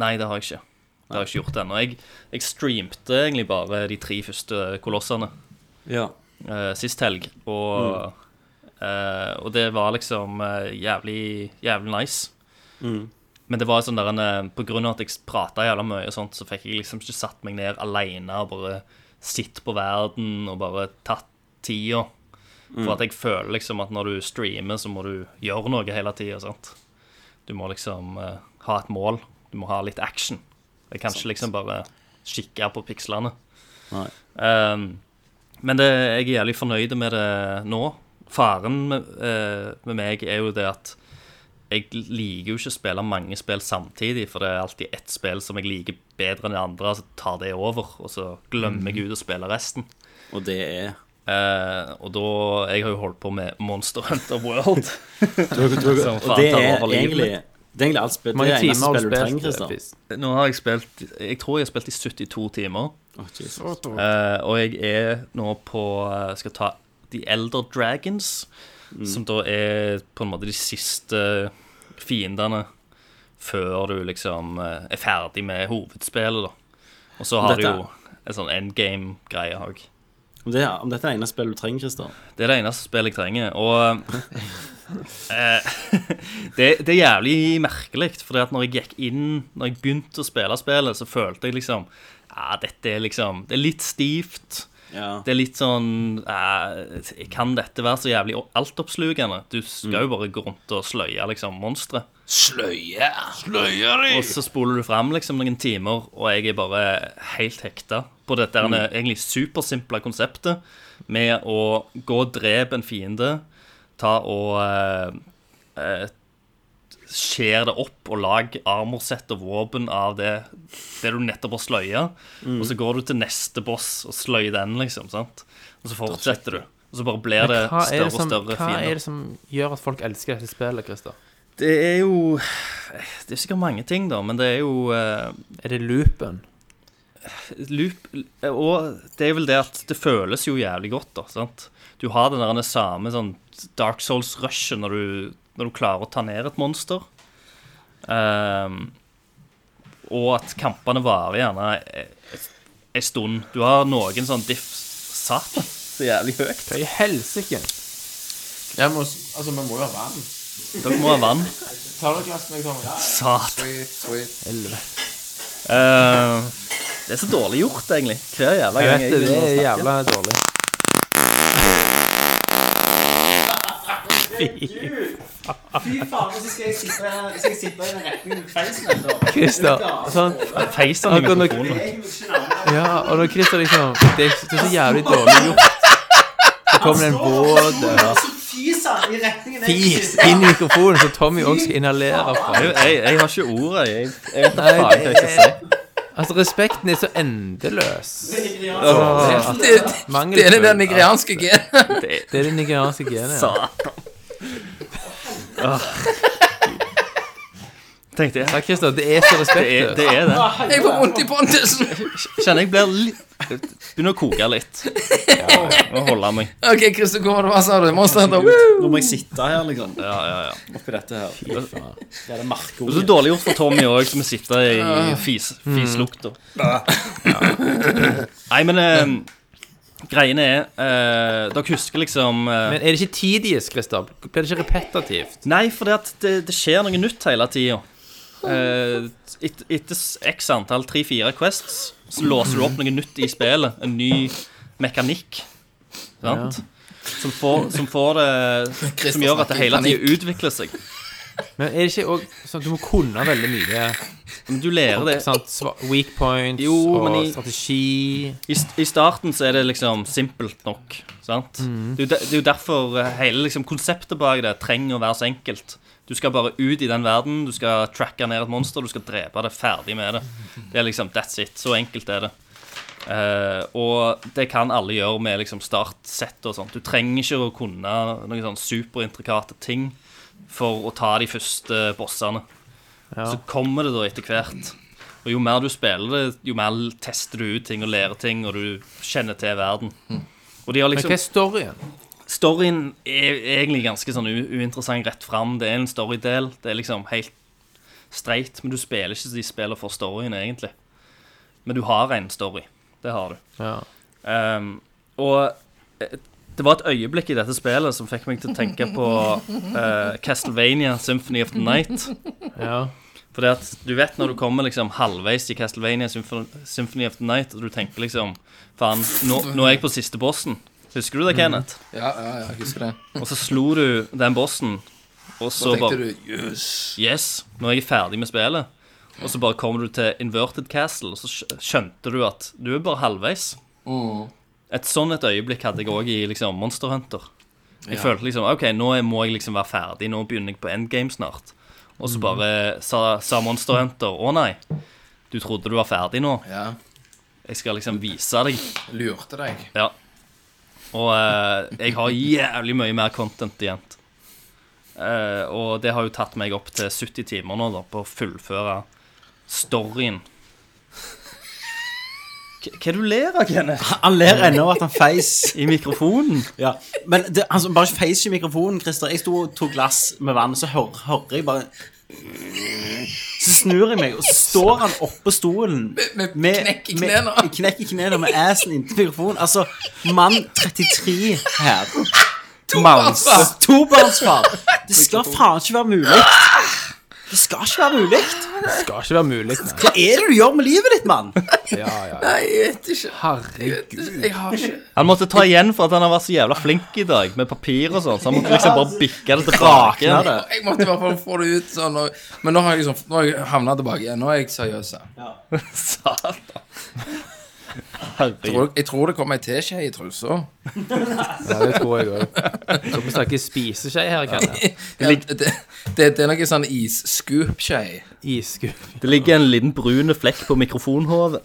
Speaker 9: Nei, det har jeg ikke. Det har jeg ikke gjort ennå. Jeg, jeg streamte egentlig bare de tre første kolossene
Speaker 6: Ja.
Speaker 9: eh, sist helg, og, eh, og det var liksom eh, jævlig, jævlig nice. Men det var sånn der en, eh, på grunn av at jeg prata jævla mye, og sånt, så fikk jeg liksom ikke satt meg ned aleine og bare sitt på verden og bare tatt tida. For at jeg føler liksom at når du streamer, så må du gjøre noe hele tida, sant. Du må liksom eh, ha et mål. Du må ha litt action. Jeg kan ikke liksom bare kikke på pikslene.
Speaker 6: Nei.
Speaker 9: Ehm, men det, jeg er jævlig fornøyd med det nå. Faren med, eh, med meg er jo det at jeg liker jo ikke å spille mange spill samtidig, for det er alltid ett spill som jeg liker bedre enn det andre, så tar det over, og så glemmer
Speaker 6: Mhm.
Speaker 9: jeg ut å spille resten.
Speaker 6: Og det er
Speaker 9: Eh, og da Jeg har jo holdt på med Monster Hunter World. Som
Speaker 6: Og
Speaker 9: faen
Speaker 6: det
Speaker 9: tar
Speaker 6: er
Speaker 9: over livet
Speaker 6: egentlig
Speaker 9: mitt.
Speaker 6: det er egentlig alt spill. Det
Speaker 8: Mange
Speaker 6: er
Speaker 8: timer
Speaker 6: eneste
Speaker 8: har
Speaker 6: spillet
Speaker 8: du
Speaker 6: du trenger,
Speaker 8: spilt.
Speaker 6: Christer.
Speaker 8: Fis.
Speaker 9: Nå har jeg spilt Jeg tror jeg har spilt i 72 timer.
Speaker 6: Å, Jesus.
Speaker 9: Eh, og jeg er nå på eh, Skal ta The Elder Dragons,
Speaker 6: Mm.
Speaker 9: som da er på en måte de siste fiendene før du liksom eh, er ferdig med hovedspillet, da. Og så har
Speaker 6: Dette-
Speaker 9: du jo en sånn endgame-greie òg.
Speaker 6: Om, det, om dette er det eneste spillet du trenger, Christer.
Speaker 9: Det er det eneste spillet jeg trenger. Og eh, det, det er jævlig merkelig, for når jeg gikk inn Når jeg begynte å spille spillet, så følte jeg liksom Ja, dette er liksom Det er litt stivt.
Speaker 6: Ja.
Speaker 9: Det er litt sånn eh, Kan dette være så jævlig altoppslukende? Du skal jo bare gå rundt og sløye liksom monstre.
Speaker 7: Sløye!
Speaker 9: Og så spoler du fram liksom, noen timer, og jeg er bare helt hekta på dette mm. egentlig supersimple konseptet med å gå og drepe en fiende, ta og eh, eh, skjer det opp og lag armorsett og våpen av det, det du nettopp har sløya.
Speaker 8: Mm.
Speaker 9: Og så går du til neste boss og sløyer den, liksom. sant? Og så fortsetter du. Og så bare blir det
Speaker 8: Men hva er
Speaker 9: større
Speaker 8: det, som,
Speaker 9: og
Speaker 8: hva
Speaker 9: større
Speaker 8: er
Speaker 9: fiender.
Speaker 8: det som gjør at folk elsker dette spillet, Christer?
Speaker 9: Det er jo Det er sikkert mange ting, da, men det er jo eh,
Speaker 8: Er det loopen?
Speaker 9: loop, og det er vel det at det føles jo jævlig godt, da. sant? Du har den der den samme sånn Dark Souls-rushet når, du- når du klarer å ta ned et monster. Ehm, og at kampene varer gjerne ei stund. Du har noen sånn diff Satan, så jævlig høyt.
Speaker 8: Hva i helsike?
Speaker 7: Jeg må, altså, vi må jo ha vann.
Speaker 9: Dere må ha vann.
Speaker 7: Tar du et glass med meg, Tom?
Speaker 9: Satan.
Speaker 7: Sweet, sweet.
Speaker 9: Ehm, det er så dårlig gjort, egentlig. Hver jævla
Speaker 8: Jeg
Speaker 9: gang
Speaker 8: vet det, det
Speaker 9: begynner å
Speaker 8: er
Speaker 9: snakke.
Speaker 8: jævla dårlig. Christer, sånn
Speaker 9: Feis den i
Speaker 8: Akkurat når-
Speaker 9: mikrofonen.
Speaker 8: Ja, og når Christer liksom Det er det er så jævlig dårlig gjort. Så kommer det en båt og Fis inn i mikrofonen, så Tommy òg skal inhalere fra.
Speaker 9: Jeg, jeg, jeg har ikke ordet. Jeg, jeg vet ikke
Speaker 8: Nei,
Speaker 9: faen hva jeg skal si.
Speaker 8: Altså, respekten er så endeløs.
Speaker 7: Det, det er det der
Speaker 8: Mangelfull.
Speaker 7: nigerianske genet.
Speaker 8: Det er det nigerianske genet. ja.
Speaker 9: Satan. Tenkte jeg.
Speaker 8: Ja, Christer, det er så
Speaker 9: Det er
Speaker 8: respektløst.
Speaker 9: det. Er det.
Speaker 7: Jeg får vondt i pondisen.
Speaker 9: Kjenner jeg blir litt Begynner å koke litt. Må holde meg.
Speaker 7: OK, Christer, hvor var det? Hva sa du? Monster Hunter? Woo!
Speaker 6: Nå må jeg sitte her, liksom.
Speaker 9: Ja, ja, ja.
Speaker 6: Oppi dette her. Det er det
Speaker 9: Og så
Speaker 6: markeordet.
Speaker 9: dårlig gjort for Tommy òg, som sitter i fis,
Speaker 6: Mm.
Speaker 9: fislukta. Nei, men eh, greiene er eh, Dere husker liksom eh,
Speaker 8: Men er det ikke tidis, Christer? Blir det ikke repetitivt?
Speaker 9: Nei, for det, det, det skjer noe nytt hele tida. Eh, et, etter s- x antall tre-fire quests så låser du opp noe nytt i spillet. En ny mekanikk. Sant? Som, får, som får det Som gjør at det hele tida utvikler seg.
Speaker 8: Men er det ikke òg sånn at du må kunne veldig mye?
Speaker 9: Men du lærer det.
Speaker 8: Sant? Sva- Weak points
Speaker 9: Jo,
Speaker 8: og
Speaker 9: men i-
Speaker 8: strategi
Speaker 9: I, st- I starten så er det liksom simpelt nok. Sant? Det, er jo de, det er jo derfor eh, hele liksom, konseptet bak det trenger å være så enkelt. Du skal bare ut i den verden, du skal tracke ned et monster, du skal drepe det, ferdig med det. Det er liksom that's it. Så enkelt er det. Eh, og det kan alle gjøre med liksom startsett og sånt. Du trenger ikke å kunne noen sånn superintrikate ting for å ta de første bossene. Så kommer det da etter hvert. Og jo mer du spiller det, jo mer tester du ut ting og lærer ting, og du kjenner til verden. Og de har
Speaker 8: Mm. Men
Speaker 9: liksom
Speaker 8: hva er storyen?
Speaker 9: Storyen er egentlig ganske sånn u uinteressant rett fram. Det er en storydel. Det er liksom helt streit, men du spiller ikke så de spiller for storyen, egentlig. Men du har en story. Det har du.
Speaker 8: Ja.
Speaker 9: Ehm, og eh, det var et øyeblikk i dette spillet som fikk meg til å tenke på eh, Castlevania Symphony of the Night.
Speaker 8: ja.
Speaker 9: For det at du vet når du kommer liksom halvveis i Castlevania Symphony, Symphony of the Night, og du tenker liksom Faen, nå, nå er jeg på siste bossen. Husker du det, Kenneth?
Speaker 7: Ja, ja, ja, jeg husker det.
Speaker 9: Og så slo du den bossen,
Speaker 7: Så
Speaker 9: og så
Speaker 7: tenkte
Speaker 9: bare
Speaker 7: du Jøss.
Speaker 9: Yes, nå er jeg ferdig med spillet. Og så bare kommer du til Inverted Castle, og så skj- skjønte du at du er bare halvveis.
Speaker 7: Mm.
Speaker 9: Et sånn et øyeblikk hadde jeg òg i liksom, Monster Hunter. Jeg følte liksom OK, nå er- må jeg liksom være ferdig. Nå begynner jeg på endgame snart. Og
Speaker 7: Mm.
Speaker 9: så bare sa, sa Monster Hunter Å nei, du trodde du var ferdig nå.
Speaker 7: Ja.
Speaker 9: Jeg skal liksom vise deg.
Speaker 7: Lurte deg.
Speaker 9: Ja. Og eh, jeg har jævlig mye mer content igjen. Eh, og det har jo tatt meg opp til 70 timer nå da, på å fullføre storyen. K hva er det du ler av, Kenneth?
Speaker 6: Han ler ennå at han feis.
Speaker 9: I mikrofonen?
Speaker 6: Ja. Men det, han som bare feis ikke i mikrofonen, Christer. Jeg sto og tok glass med vann, så hører, hører jeg bare Så snur jeg meg, og står han oppå stolen
Speaker 7: med knekk i knærne.
Speaker 6: med- Knekk i knærne med assen inntil mikrofonen. Altså, mann 33 her. Mounts. Tobarnsfar. Det skal faen ikke være mulig. Det skal ikke være mulig.
Speaker 8: Det skal ikke være mulig. Nei.
Speaker 6: Hva er det du gjør med livet ditt, mann?
Speaker 8: Ja, ja.
Speaker 7: Nei, jeg vet ikke.
Speaker 8: Herregud.
Speaker 7: Jeg har ikke
Speaker 9: Han måtte ta igjen for at han har vært så jævla flink i dag med papir og sånn, så han måtte liksom bare bikke det tilbake.
Speaker 6: Rakna det.
Speaker 7: Jeg måtte i hvert fall få det ut sånn. Og, men nå har jeg liksom Nå har jeg havna tilbake igjen. Nå er jeg seriøs. her.
Speaker 9: Satan.
Speaker 7: Jeg
Speaker 9: Herregud.
Speaker 7: tror, jeg tror det kom ei teskje i trusa.
Speaker 8: Ja, det tror jeg òg. Så vi snakker spiseskje her, Kalle.
Speaker 7: Ja, det, det, det er noe sånn isscoop-skje.
Speaker 8: Iskuff.
Speaker 9: Det ligger en liten brun flekk på mikrofonhovet.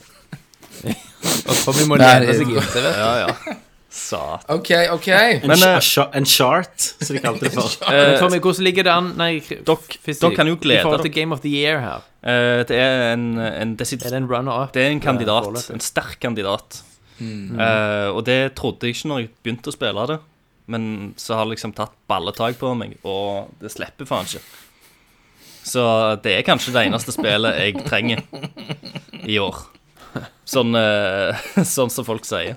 Speaker 8: Og Tommy må
Speaker 7: Nei,
Speaker 8: lene
Speaker 7: det-
Speaker 8: seg inntil, vet du.
Speaker 9: Ja, ja. Satan.
Speaker 7: OK, OK.
Speaker 6: En,
Speaker 9: Men, eh,
Speaker 6: sh en chart, som de kalte det for.
Speaker 8: Men Tommy, hvordan ligger det an? Nei,
Speaker 9: Dere- dere kan jo glede
Speaker 8: I forhold til
Speaker 9: dere.
Speaker 8: Game of the Year her.
Speaker 9: Eh, det er en, en desid...
Speaker 8: Er det en runner-up?
Speaker 9: Det er en kandidat.
Speaker 8: foreløpig?
Speaker 9: En sterk kandidat. Eh, og det trodde jeg ikke når jeg begynte å spille det. Men så har det liksom tatt balletak på meg, og det slipper faen ikke. Så det er kanskje det eneste spillet jeg trenger i år. Sånn, eh, sånn som folk sier.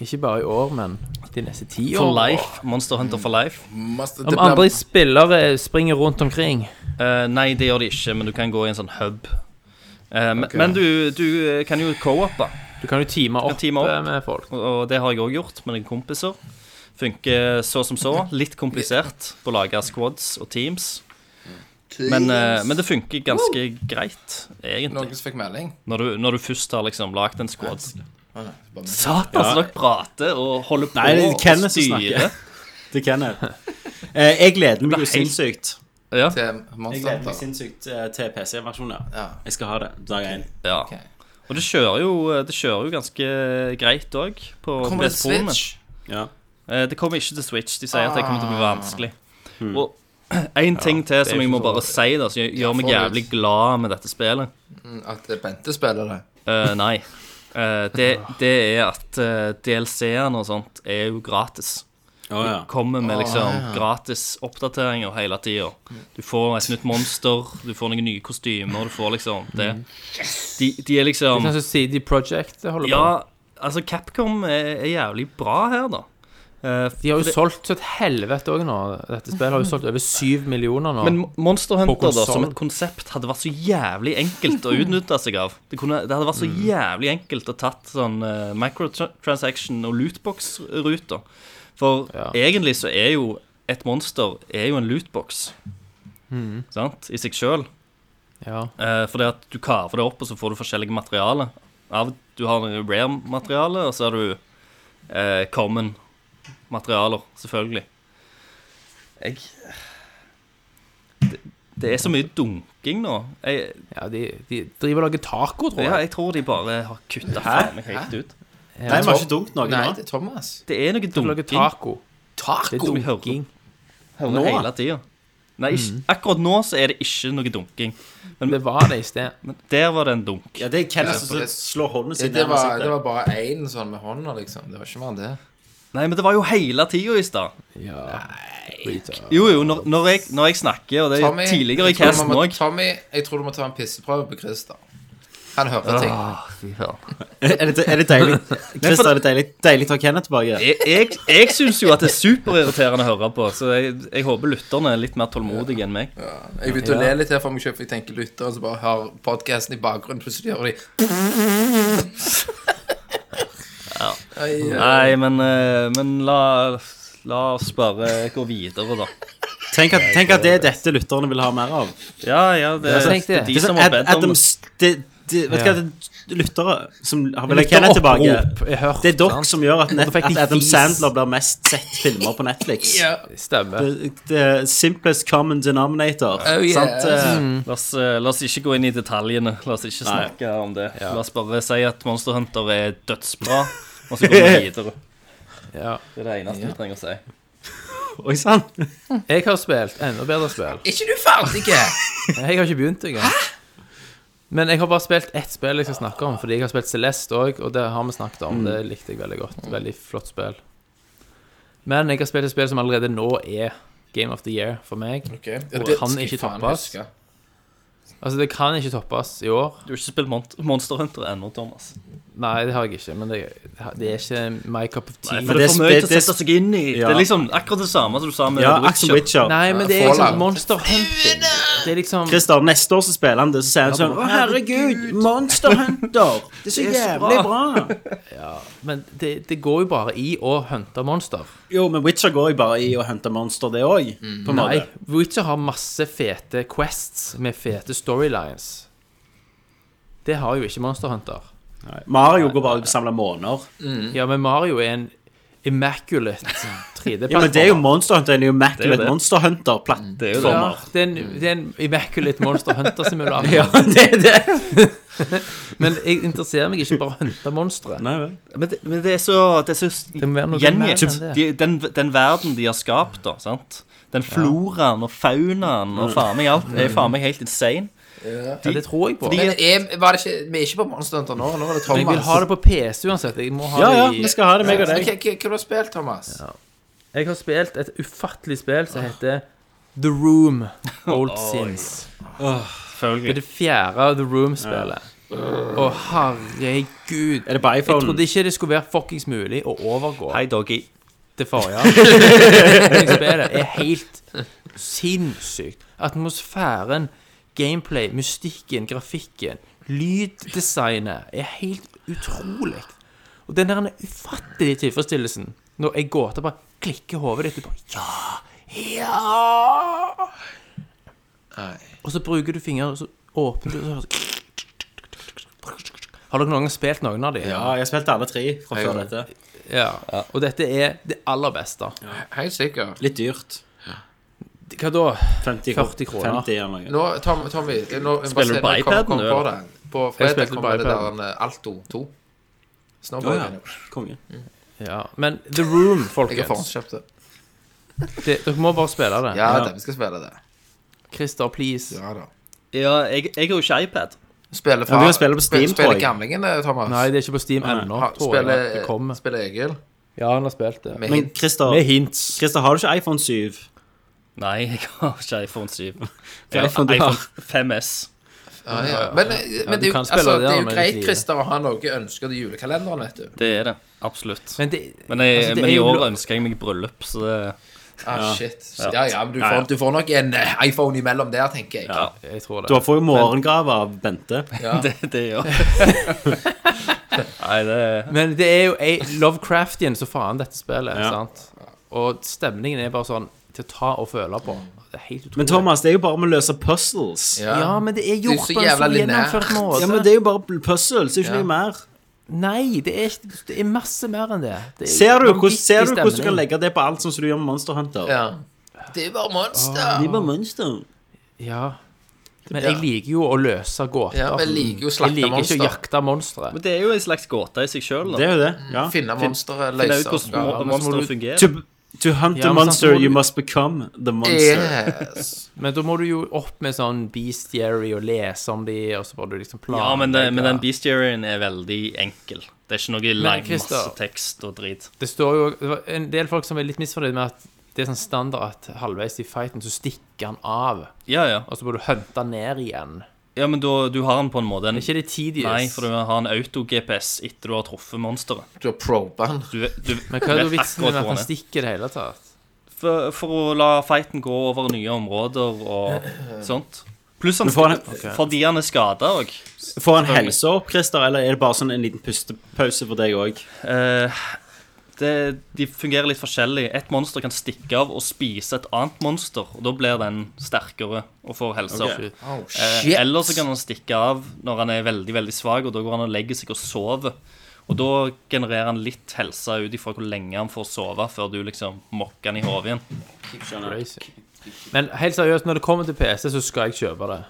Speaker 8: Ikke bare i år, men de neste ti år.
Speaker 9: For life. Monster Hunter for life.
Speaker 7: Master,
Speaker 8: Om
Speaker 7: det blir-
Speaker 8: andre spillere springer rundt omkring.
Speaker 9: Eh, nei, det gjør det ikke, men du kan gå i en sånn hub. Eh, men- Men du, du eh, kan jo co-oppe.
Speaker 8: Du kan jo time opp,
Speaker 9: time opp.
Speaker 8: eh, med folk.
Speaker 9: Og- Og det har jeg òg gjort med noen kompiser. Funker så som så. Litt komplisert på å lage squads og teams. Men, eh, men det funker ganske greit,
Speaker 7: Noen
Speaker 9: egentlig.
Speaker 7: som fikk melding.
Speaker 9: Når du, når du først har liksom lagd en squad.
Speaker 7: bare-
Speaker 9: Satan, så dere prater og holder på
Speaker 6: Nei, det er
Speaker 9: og
Speaker 6: Kenneth som
Speaker 9: styrer.
Speaker 6: Det kan jeg. Eh, jeg gleder meg
Speaker 9: Det
Speaker 6: jo
Speaker 9: ble helt-
Speaker 6: sinnssykt.
Speaker 9: Ja,
Speaker 7: Til
Speaker 6: Jeg
Speaker 7: Monster
Speaker 6: gleder meg
Speaker 7: Hunter.
Speaker 6: sinnssykt eh, til PC-versjonen.
Speaker 7: Ja.
Speaker 6: Jeg skal ha det dag én.
Speaker 9: ja.
Speaker 7: Ok.
Speaker 9: Og det kjører jo, det kjører jo ganske greit òg på
Speaker 7: Kommer det
Speaker 9: PS4-en min.
Speaker 7: Switch?
Speaker 6: Ja.
Speaker 9: Eh, Det kommer ikke til Switch. De sier at det kommer til å
Speaker 7: Ah.
Speaker 9: bli vanskelig.
Speaker 6: Hmm.
Speaker 9: Og én ting til som
Speaker 8: ikke
Speaker 9: jeg må
Speaker 8: så
Speaker 9: bare
Speaker 8: vanskelig.
Speaker 9: si, da, som gjør- gjør meg
Speaker 7: få det ut.
Speaker 9: jævlig glad med dette spillet.
Speaker 7: Mm, At det er Bente spiller det?
Speaker 9: Eh, nei. Eh, det, det er at uh, DLC-ene og sånt er jo gratis.
Speaker 6: Å, ja.
Speaker 9: Kommer med liksom gratis oppdateringer hele tida. Du får et nytt monster, du får noen nye kostymer, du får liksom det. De, de er
Speaker 8: Det
Speaker 9: liksom
Speaker 8: er sånn som CD Projekt holder på.
Speaker 9: Ja, altså Capcom er, er jævlig bra her, da. Eh,
Speaker 8: De har jo solgt så et helvete òg nå. Dette spillet har jo solgt over syv millioner nå.
Speaker 9: Men Monster Hunter da,
Speaker 8: konsol.
Speaker 9: som et konsept hadde vært så jævlig enkelt å utnytte seg av. Det, kunne, det hadde vært så
Speaker 8: Mm.
Speaker 9: jævlig enkelt å tatt sånn eh, microtransaction og lootbox-ruter. For
Speaker 8: Ja.
Speaker 9: egentlig så er jo et monster er jo en lootbox
Speaker 8: Mm.
Speaker 9: sant? i seg sjøl.
Speaker 8: ja.
Speaker 9: Eh, for det at du kaver det opp, og så får du forskjellige materialer. Av, du har rare-materiale, og så har du eh, common-materialer, selvfølgelig. Jeg det, det er så mye dunking nå. Jeg,
Speaker 8: ja de, de driver og lager taco, tror
Speaker 9: ja,
Speaker 8: jeg.
Speaker 9: jeg tror de bare har kutta faen meg helt ut.
Speaker 6: Nei, vi har ikke dumt noe
Speaker 7: Nei,
Speaker 6: nå.
Speaker 7: det er Thomas.
Speaker 9: Det er noe
Speaker 8: De lager
Speaker 9: dunking
Speaker 8: taco. Det er
Speaker 7: Taco!
Speaker 9: vi hører.
Speaker 8: dunking.
Speaker 9: hører hele tida. Nei, ikke,
Speaker 7: Mm.
Speaker 9: akkurat nå så er det ikke noe dunking.
Speaker 8: Det var det i sted.
Speaker 9: Men der var det en dunk.
Speaker 6: Ja, det er Kenneth som slår hånden
Speaker 7: Det,
Speaker 6: sin
Speaker 7: det,
Speaker 6: ned
Speaker 7: var, det
Speaker 6: ansiktet.
Speaker 7: var bare én sånn med hånda, liksom. Det var ikke mer enn det.
Speaker 9: Nei, men det var jo hele tida i stad.
Speaker 8: Ja.
Speaker 9: Jo, jo, når, når, jeg, når jeg snakker, og det er
Speaker 7: Tommy,
Speaker 9: tidligere i
Speaker 7: jeg tror du
Speaker 9: casten
Speaker 7: må-
Speaker 9: òg
Speaker 7: Tommy, jeg tror du må ta en pisseprøve på Christer. Han hører
Speaker 9: Ah,
Speaker 7: ting.
Speaker 6: Er det, er det deilig? Christer, er det deilig, deilig å ha Kenneth tilbake?
Speaker 9: Jeg, jeg, jeg syns jo at det er superirriterende å høre på, så jeg, jeg håper lytterne er litt mer tålmodige enn meg.
Speaker 7: Jeg begynte å le litt her for meg selv, for jeg tenker lytter, og så bare hører podcasten i bakgrunnen, plutselig hører de Ai, ja.
Speaker 9: Nei, men, eh, men la, la oss bare gå videre, da.
Speaker 6: Tenk at, tenk at det er dette lytterne vil ha mer av.
Speaker 9: Ja, ja, det,
Speaker 8: Ja, så
Speaker 9: det
Speaker 8: tenkte
Speaker 9: er
Speaker 8: jeg.
Speaker 9: de
Speaker 6: Det er
Speaker 9: som
Speaker 6: sånn
Speaker 9: har
Speaker 6: Ad,
Speaker 9: bedt om det.
Speaker 6: Adams det, det, Vet du hva,
Speaker 8: Ja.
Speaker 6: det er lyttere som har- vil ha Kenneth tilbake.
Speaker 8: Opprop er hørt,
Speaker 6: Det er dere
Speaker 8: sant?
Speaker 6: som gjør at,
Speaker 8: Da
Speaker 6: net,
Speaker 8: fikk de
Speaker 6: at Adam
Speaker 8: fis.
Speaker 6: Sandler blir mest sett filmer på Netflix.
Speaker 7: Ja.
Speaker 8: Stemmer.
Speaker 6: The, the simplest common denominator.
Speaker 7: Oh, yeah.
Speaker 6: sant? Eh,
Speaker 9: La oss, eh, la oss ikke gå inn i detaljene. La oss ikke snakke om det. La oss bare si at Monster Hunter er dødsbra, og så går vi videre.
Speaker 8: Ja.
Speaker 9: Det er det eneste vi trenger å si.
Speaker 6: Oi sann.
Speaker 8: Jeg har spilt enda bedre spill.
Speaker 7: Er ikke du ferdig?
Speaker 8: Jeg har ikke begynt engang. Men jeg har bare spilt ett spill jeg skal snakke om, fordi jeg har spilt Celeste òg, og det har vi snakket om. Det likte jeg veldig godt. Veldig flott spill. Men jeg har spilt et spill som allerede nå er Game of the Year for meg.
Speaker 7: Okay.
Speaker 8: Og han er ikke toppast. Altså, det kan ikke toppes i år.
Speaker 9: Du har ikke spilt Mon Monster Hunter ennå, Thomas.
Speaker 8: Nei, det har jeg ikke, men det, det er ikke my cup of tea.
Speaker 9: Nei,
Speaker 6: Men
Speaker 9: for det er
Speaker 6: det
Speaker 9: for mye
Speaker 6: spe-
Speaker 9: til å
Speaker 6: det-
Speaker 9: sette seg inn i.
Speaker 6: Ja.
Speaker 9: Det er liksom akkurat det samme som du sa med
Speaker 6: Ja,
Speaker 9: The
Speaker 6: Axel
Speaker 9: Witcher.
Speaker 6: Witcher.
Speaker 8: Nei, men det er liksom
Speaker 7: Fallout.
Speaker 8: monster hunting. Det er liksom
Speaker 6: Christer, neste år så spiller han det, så sier han sånn Å, herregud, Monster Hunter! Det er så jævlig bra!
Speaker 8: Men det, det går jo bare i å hunte monster.
Speaker 6: Jo, men Witcher går jo bare i å hente monster, det òg, på en
Speaker 8: Nei,
Speaker 6: måte.
Speaker 8: Witcher har masse fete quests med fete storylines. Det har jo ikke Monster Hunter.
Speaker 6: Mario går bare ut og samler måner.
Speaker 8: Ja, men Mario er en immaculate 3D-plattform.
Speaker 6: Mm. Ja, men det er jo Monster Hunter, det er jo
Speaker 9: Det er jo
Speaker 6: Immaculate
Speaker 9: det.
Speaker 6: Monster
Speaker 9: Det er jo det.
Speaker 6: Hunter-plattformer.
Speaker 8: det er en, det er en immaculate Monster Hunter-simulator.
Speaker 6: Mm. Ja, det er det.
Speaker 8: Men jeg interesserer meg ikke bare å hunte monstre.
Speaker 6: Nei vel.
Speaker 9: Men, det, men det er så, det er så
Speaker 8: Det må være noe mer
Speaker 9: gjengjeldt.
Speaker 8: enn det.
Speaker 9: De- Den, den verden de har skapt, da. sant? Den floraen og faunaen og faen meg alt er faen meg helt insane.
Speaker 8: Ja, det tror jeg på.
Speaker 9: Fordi-
Speaker 7: Men er, var det ikke, vi er ikke på Monster Hunter nå. Nå er det
Speaker 8: Men jeg
Speaker 7: Thomas.
Speaker 8: vil ha det på PC uansett. Jeg må ha
Speaker 6: Ja, ja,
Speaker 8: det i
Speaker 6: vi skal ha det, meg og
Speaker 7: Men
Speaker 6: deg.
Speaker 7: Hva hva- hva har du spilt, Thomas?
Speaker 8: Jeg har spilt et ufattelig spill som heter The Room Old Sins. Det er
Speaker 9: Selvfølgelig.
Speaker 8: det fjerde The Room-spillet. Å, herregud.
Speaker 6: Er det på
Speaker 8: Jeg trodde
Speaker 6: iPhone?
Speaker 8: ikke det skulle være fuckings mulig å overgå
Speaker 9: Hei, doggy.
Speaker 8: det forrige. Det spillet er helt sinnssykt. Atmosfæren, gameplay, mystikken, grafikken, lyddesignet er helt utrolig. Og den der ufattelige tilfredsstillelsen når jeg går til og bare klikker hodet ditt og bare Ja! Ja! Og så bruker du fingeren, og så åpner du og så hører du- Har dere noen gang spilt noen av de?
Speaker 6: Ja, jeg har spilt alle tre fra før dette.
Speaker 8: ja. Og dette er det aller beste.
Speaker 7: Helt sikkert.
Speaker 6: Litt dyrt.
Speaker 8: Hva da?
Speaker 6: 50
Speaker 8: 40 kroner.
Speaker 6: 50 eller noe.
Speaker 7: Nå, Tom, Tommy nå, jeg bare
Speaker 9: Spiller du
Speaker 7: ser-
Speaker 9: på
Speaker 7: kom-
Speaker 9: iPaden,
Speaker 7: kom
Speaker 9: du,
Speaker 7: på
Speaker 9: eller?
Speaker 7: det. På
Speaker 8: Jeg
Speaker 7: fredag
Speaker 8: spilte
Speaker 7: kommer
Speaker 8: på
Speaker 7: det der eh, Alto 2. Snowboard.
Speaker 6: Å, ja. Konge.
Speaker 8: Ja, men The Room,
Speaker 7: Jeg har
Speaker 8: folkens.
Speaker 7: forhåndskjøpt det.
Speaker 8: Det, dere må bare spille det.
Speaker 7: Ja, det, vi skal spille det.
Speaker 8: Christer, please.
Speaker 7: Ja da.
Speaker 9: Ja, jeg, jeg har jo ikke iPad.
Speaker 7: Spiller fra
Speaker 6: Ja, vi kan spille på Steam,
Speaker 7: spiller,
Speaker 6: tror jeg.
Speaker 7: gamlingene, eh, Thomas?
Speaker 8: Nei, det er ikke på Steam ennå.
Speaker 7: Ha-
Speaker 8: tror jeg at det
Speaker 7: spiller,
Speaker 8: kommer.
Speaker 7: spiller Egil?
Speaker 8: Ja, han har spilt det.
Speaker 7: Med
Speaker 6: Men
Speaker 7: hint.
Speaker 6: Christer,
Speaker 8: Med hints.
Speaker 6: Christer, har du ikke iPhone 7?
Speaker 9: Nei, jeg har ikke iPhone 7.
Speaker 6: Hva
Speaker 9: Jeg
Speaker 6: iPhone
Speaker 9: har
Speaker 6: du har?
Speaker 9: iPhone 5S.
Speaker 7: Ja, ja. Men, eh, men
Speaker 8: du
Speaker 7: det, er jo-
Speaker 8: kan spille
Speaker 7: altså,
Speaker 8: det,
Speaker 7: det er
Speaker 8: da,
Speaker 7: jo
Speaker 8: men
Speaker 7: greit,
Speaker 8: litt
Speaker 7: Christer, å ha noe ønsker til julekalenderen, vet du.
Speaker 9: Det er det. Absolutt.
Speaker 8: Men det,
Speaker 9: Men, jeg,
Speaker 8: altså, det
Speaker 9: men
Speaker 8: er
Speaker 9: i
Speaker 8: jo
Speaker 9: år
Speaker 8: lo-
Speaker 9: ønsker jeg meg bryllup, så det
Speaker 7: Ah, shit. Ja, ja, men du
Speaker 6: Ja, ja.
Speaker 7: får, du får nok en eh, iPhone imellom der, tenker jeg.
Speaker 9: Ja.
Speaker 8: Jeg tror
Speaker 6: Du
Speaker 8: det.
Speaker 6: får jo morgengave av Bente.
Speaker 7: Ja.
Speaker 9: Det, det gjør Nei, det
Speaker 8: Men det er jo ei Lovecraftian så faen dette spillet,
Speaker 6: Ja.
Speaker 8: sant? Og stemningen er bare sånn til å ta og føle på. Det er helt utrolig.
Speaker 6: Men Thomas, det er jo bare med å løse puzzles.
Speaker 7: Ja.
Speaker 8: Ja, men det er
Speaker 7: er
Speaker 8: gjort
Speaker 7: så
Speaker 8: på en
Speaker 7: jævla
Speaker 8: så gjennomført
Speaker 7: lineært.
Speaker 8: måte.
Speaker 6: Ja, men det er jo bare puzzles, det er jo ikke
Speaker 7: Ja.
Speaker 6: noe mer.
Speaker 8: Nei, det er, ikke- det er masse mer enn det. det er
Speaker 6: Ser du, hvordan,
Speaker 8: vanvittig
Speaker 6: ser du hvordan du kan
Speaker 8: stemning.
Speaker 6: legge det på alt sånn som du gjør med Monster Hunter?
Speaker 7: Ja. Det er bare monster.
Speaker 9: Ah,
Speaker 6: Det er bare monster.
Speaker 8: Ja. Men
Speaker 7: Ja.
Speaker 8: jeg liker jo å løse gåter.
Speaker 7: Ja, men jeg liker jo å slakte
Speaker 8: Jeg liker ikke
Speaker 7: monster.
Speaker 8: å jakte monstre.
Speaker 9: Men det er jo en slags gåte i seg sjøl,
Speaker 6: Det
Speaker 9: da.
Speaker 6: er jo det.
Speaker 8: Mm.
Speaker 6: ja.
Speaker 7: Finne eh, monstre,
Speaker 9: Finne
Speaker 7: løse
Speaker 9: ut
Speaker 7: oppgaver.
Speaker 9: hvordan
Speaker 8: men så må
Speaker 9: monstre
Speaker 8: du-
Speaker 9: fungerer.
Speaker 6: To, to hunt
Speaker 8: Ja,
Speaker 6: the
Speaker 8: men sånn
Speaker 6: monster,
Speaker 8: sant, så må
Speaker 6: you
Speaker 8: du-
Speaker 6: must become the monster.
Speaker 7: Yes.
Speaker 8: Men da må du jo opp med sånn bestiary og lese om de, og så må du liksom planlegge
Speaker 9: Ja, men, det, men den bestiarien er veldig enkel. Det er ikke noe lang
Speaker 8: Christer-
Speaker 9: masse tekst og drit.
Speaker 8: Det står jo det var en del folk som er litt misfornøyd med at det er sånn standard at halvveis i fighten så stikker han av,
Speaker 9: Ja, ja.
Speaker 8: og så må du hunte han ned igjen.
Speaker 9: Ja, men da, du har den på en måte en
Speaker 8: Er ikke det tedious?
Speaker 9: Nei, for du har en auto-GPS etter du har truffet monsteret.
Speaker 7: Du har proban.
Speaker 9: Du, du,
Speaker 8: Men hva er
Speaker 9: du
Speaker 8: da
Speaker 9: vet
Speaker 8: vitsen med
Speaker 9: akkurat
Speaker 8: at
Speaker 9: hvor
Speaker 8: han
Speaker 9: den er.
Speaker 8: stikker i det hele tatt?
Speaker 9: For, for å la fighten gå over nye områder og sånt. Pluss han,
Speaker 6: Men får han-
Speaker 9: Ok. fordi han er skada òg.
Speaker 6: Får han helsa opp, Christer, eller er det bare sånn en liten pustepause for deg òg?
Speaker 9: De fungerer litt forskjellig. Et monster kan stikke av og spise et annet monster. Og Da blir den sterkere og får helse
Speaker 6: Ok.
Speaker 9: opp.
Speaker 7: Oh,
Speaker 9: Eh,
Speaker 7: shit.
Speaker 9: Eller så kan han stikke av når han er veldig veldig svak, og da går han og legger seg og sover. Og da genererer han litt helse ut ifra hvor lenge han får sove før du liksom mokker han i hodet igjen.
Speaker 8: Crazy. Men helt seriøst, når det kommer til PC, så skal jeg kjøpe det.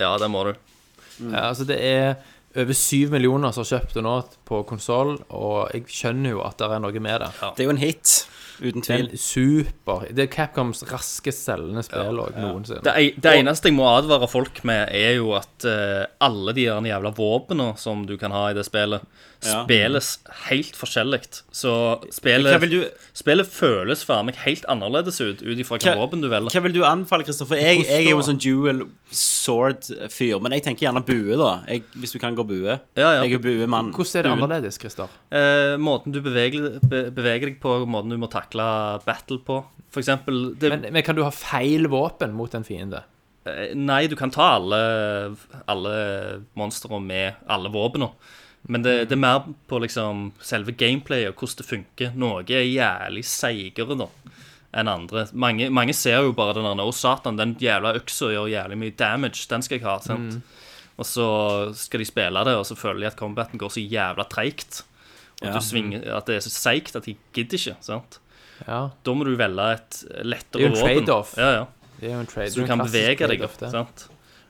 Speaker 9: Ja, det må du.
Speaker 8: Ja, altså det er over syv millioner som har kjøpt det nå på konsoll, og jeg skjønner jo at det er noe med det.
Speaker 6: Det er jo en hit, uten
Speaker 8: Det er
Speaker 6: tvil.
Speaker 8: en super Det er Capcoms raskest selgende spill òg, noensinne.
Speaker 9: Det, ei- det eneste jeg må advare folk med, er jo at eh, alle de der jævla våpnene som du kan ha i det spillet,
Speaker 6: Ja.
Speaker 9: spilles helt forskjellig. Så
Speaker 6: Hva
Speaker 9: spillet,
Speaker 6: vil du-
Speaker 9: spillet føles faen meg helt annerledes ut ut ifra hvilket
Speaker 6: Hva-
Speaker 9: våpen du velger.
Speaker 6: Hva vil du anbefale, Kristoffer? Jeg, jeg er jo en sånn dual sword-fyr, men jeg tenker gjerne bue, da. Jeg, hvis du kan gå bue.
Speaker 9: Ja, ja.
Speaker 6: Jeg er buemann.
Speaker 8: Hvordan er det annerledes, Christer?
Speaker 9: Eh, måten du beveger, be, beveger deg på, måten du må takle battle på, for eksempel. Det,
Speaker 8: Men, men kan du ha feil våpen mot en fiende?
Speaker 9: Eh, Nei, du kan ta alle, alle monstre med alle våpnene. Men det, det er mer på liksom selve gameplayet og hvordan det funker. Noe er jævlig seigere da enn andre. Mange, mange ser jo bare den der 'Å, satan, den jævla øksa gjør jævlig mye damage. Den skal jeg ha.' sant?
Speaker 8: Mm.
Speaker 9: Og så skal de spille det, og så føler de at combaten går så jævla treigt. Og at
Speaker 6: Ja.
Speaker 9: du svinger, at det er så seigt at de gidder ikke. sant?
Speaker 8: Ja,
Speaker 9: Da må du velge et
Speaker 8: Det er
Speaker 9: lettere
Speaker 8: jo en
Speaker 9: våpen.
Speaker 8: trade-off.
Speaker 9: Ja, ja.
Speaker 8: det er jo en trade.
Speaker 9: Så du kan bevege deg. sant?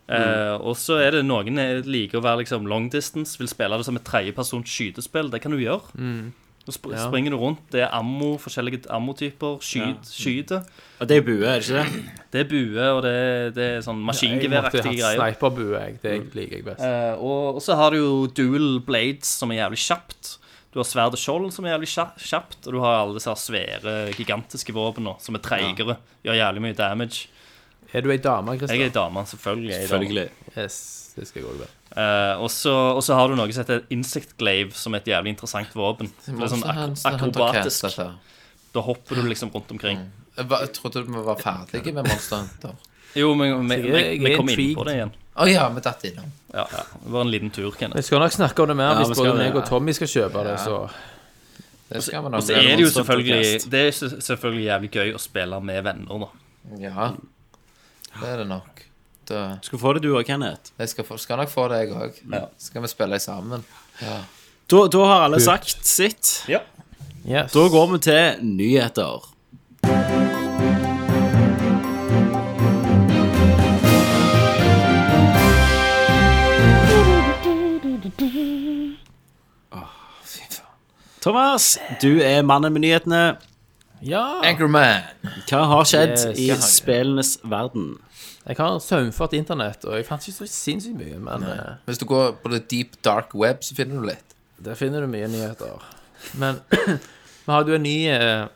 Speaker 9: Eh, og så er det noen eh, liker å være liksom long distance, vil spille det som et tredjepersons skytespill. Det kan du gjøre. Og sp
Speaker 8: Ja.
Speaker 9: springer du rundt. Det er ammo, forskjellige ammotyper. Skyt, Skyter.
Speaker 6: Og det er bue, er det ikke det?
Speaker 9: Det er bue, og det, det er sånn maskingeværaktige greier.
Speaker 8: Sniperbue, jeg. Det liker jeg best.
Speaker 9: Eh, og, og så har du jo dual blades, som er jævlig kjapt. Du har sverd og skjold, som er jævlig kja- kjapt. Og du har alle disse her svære, gigantiske våpnene, som er treigere. Gjør jævlig mye damage.
Speaker 8: Er du ei dame, Christer?
Speaker 9: Jeg er dame, selvfølgelig. er jeg dame.
Speaker 6: Selvfølgelig.
Speaker 8: Yes, det skal jeg også være.
Speaker 9: Eh, og så og så har du noe som heter insect glaive, som er et jævlig interessant våpen. Det er sånn ak akrobatisk. Da hopper du liksom rundt
Speaker 8: Mm.
Speaker 9: omkring.
Speaker 7: Jeg Eh, trodde vi var ferdige med Monster Hunter.
Speaker 9: Jo, men vi-
Speaker 8: Så jeg-
Speaker 9: vi
Speaker 8: jeg
Speaker 9: vi
Speaker 8: er
Speaker 9: kommer inn på
Speaker 8: intrigued.
Speaker 9: det igjen.
Speaker 7: Å ja, vi datt innom.
Speaker 9: Ja, Det var en liten tur, Kenneth.
Speaker 8: Vi skal nok snakke om det mer
Speaker 6: Ja, vi
Speaker 8: hvis
Speaker 6: skal
Speaker 8: både
Speaker 6: det.
Speaker 8: meg og Tommy skal kjøpe det, så
Speaker 7: Det skal vi
Speaker 9: Og
Speaker 7: nok.
Speaker 9: så er det jo
Speaker 6: Monster Hunter-cast.
Speaker 9: selvfølgelig Det er s- selvfølgelig jævlig gøy å spille med venner, da.
Speaker 7: Ja, det er det nok. Da,
Speaker 6: Du skal få det, du òg, Kenneth.
Speaker 7: jeg skal, få, skal nok få det, jeg òg. Skal vi spille sammen?
Speaker 6: Da, da har alle sagt sitt.
Speaker 8: yes.
Speaker 6: Da går vi til nyheter. Thomas, du er mannen med nyhetene.
Speaker 8: Ja!
Speaker 7: Anchorman.
Speaker 6: Hva har skjedd
Speaker 8: Yes.
Speaker 6: i
Speaker 8: Hva har
Speaker 7: skjedd?
Speaker 6: spillenes verden?
Speaker 8: Jeg har saumfart internett, og jeg fant ikke så sinnssykt mye, men eh,
Speaker 7: Hvis du går på the deep dark web, så finner du litt.
Speaker 8: der finner du mye nyheter. Men vi hadde jo en ny eh,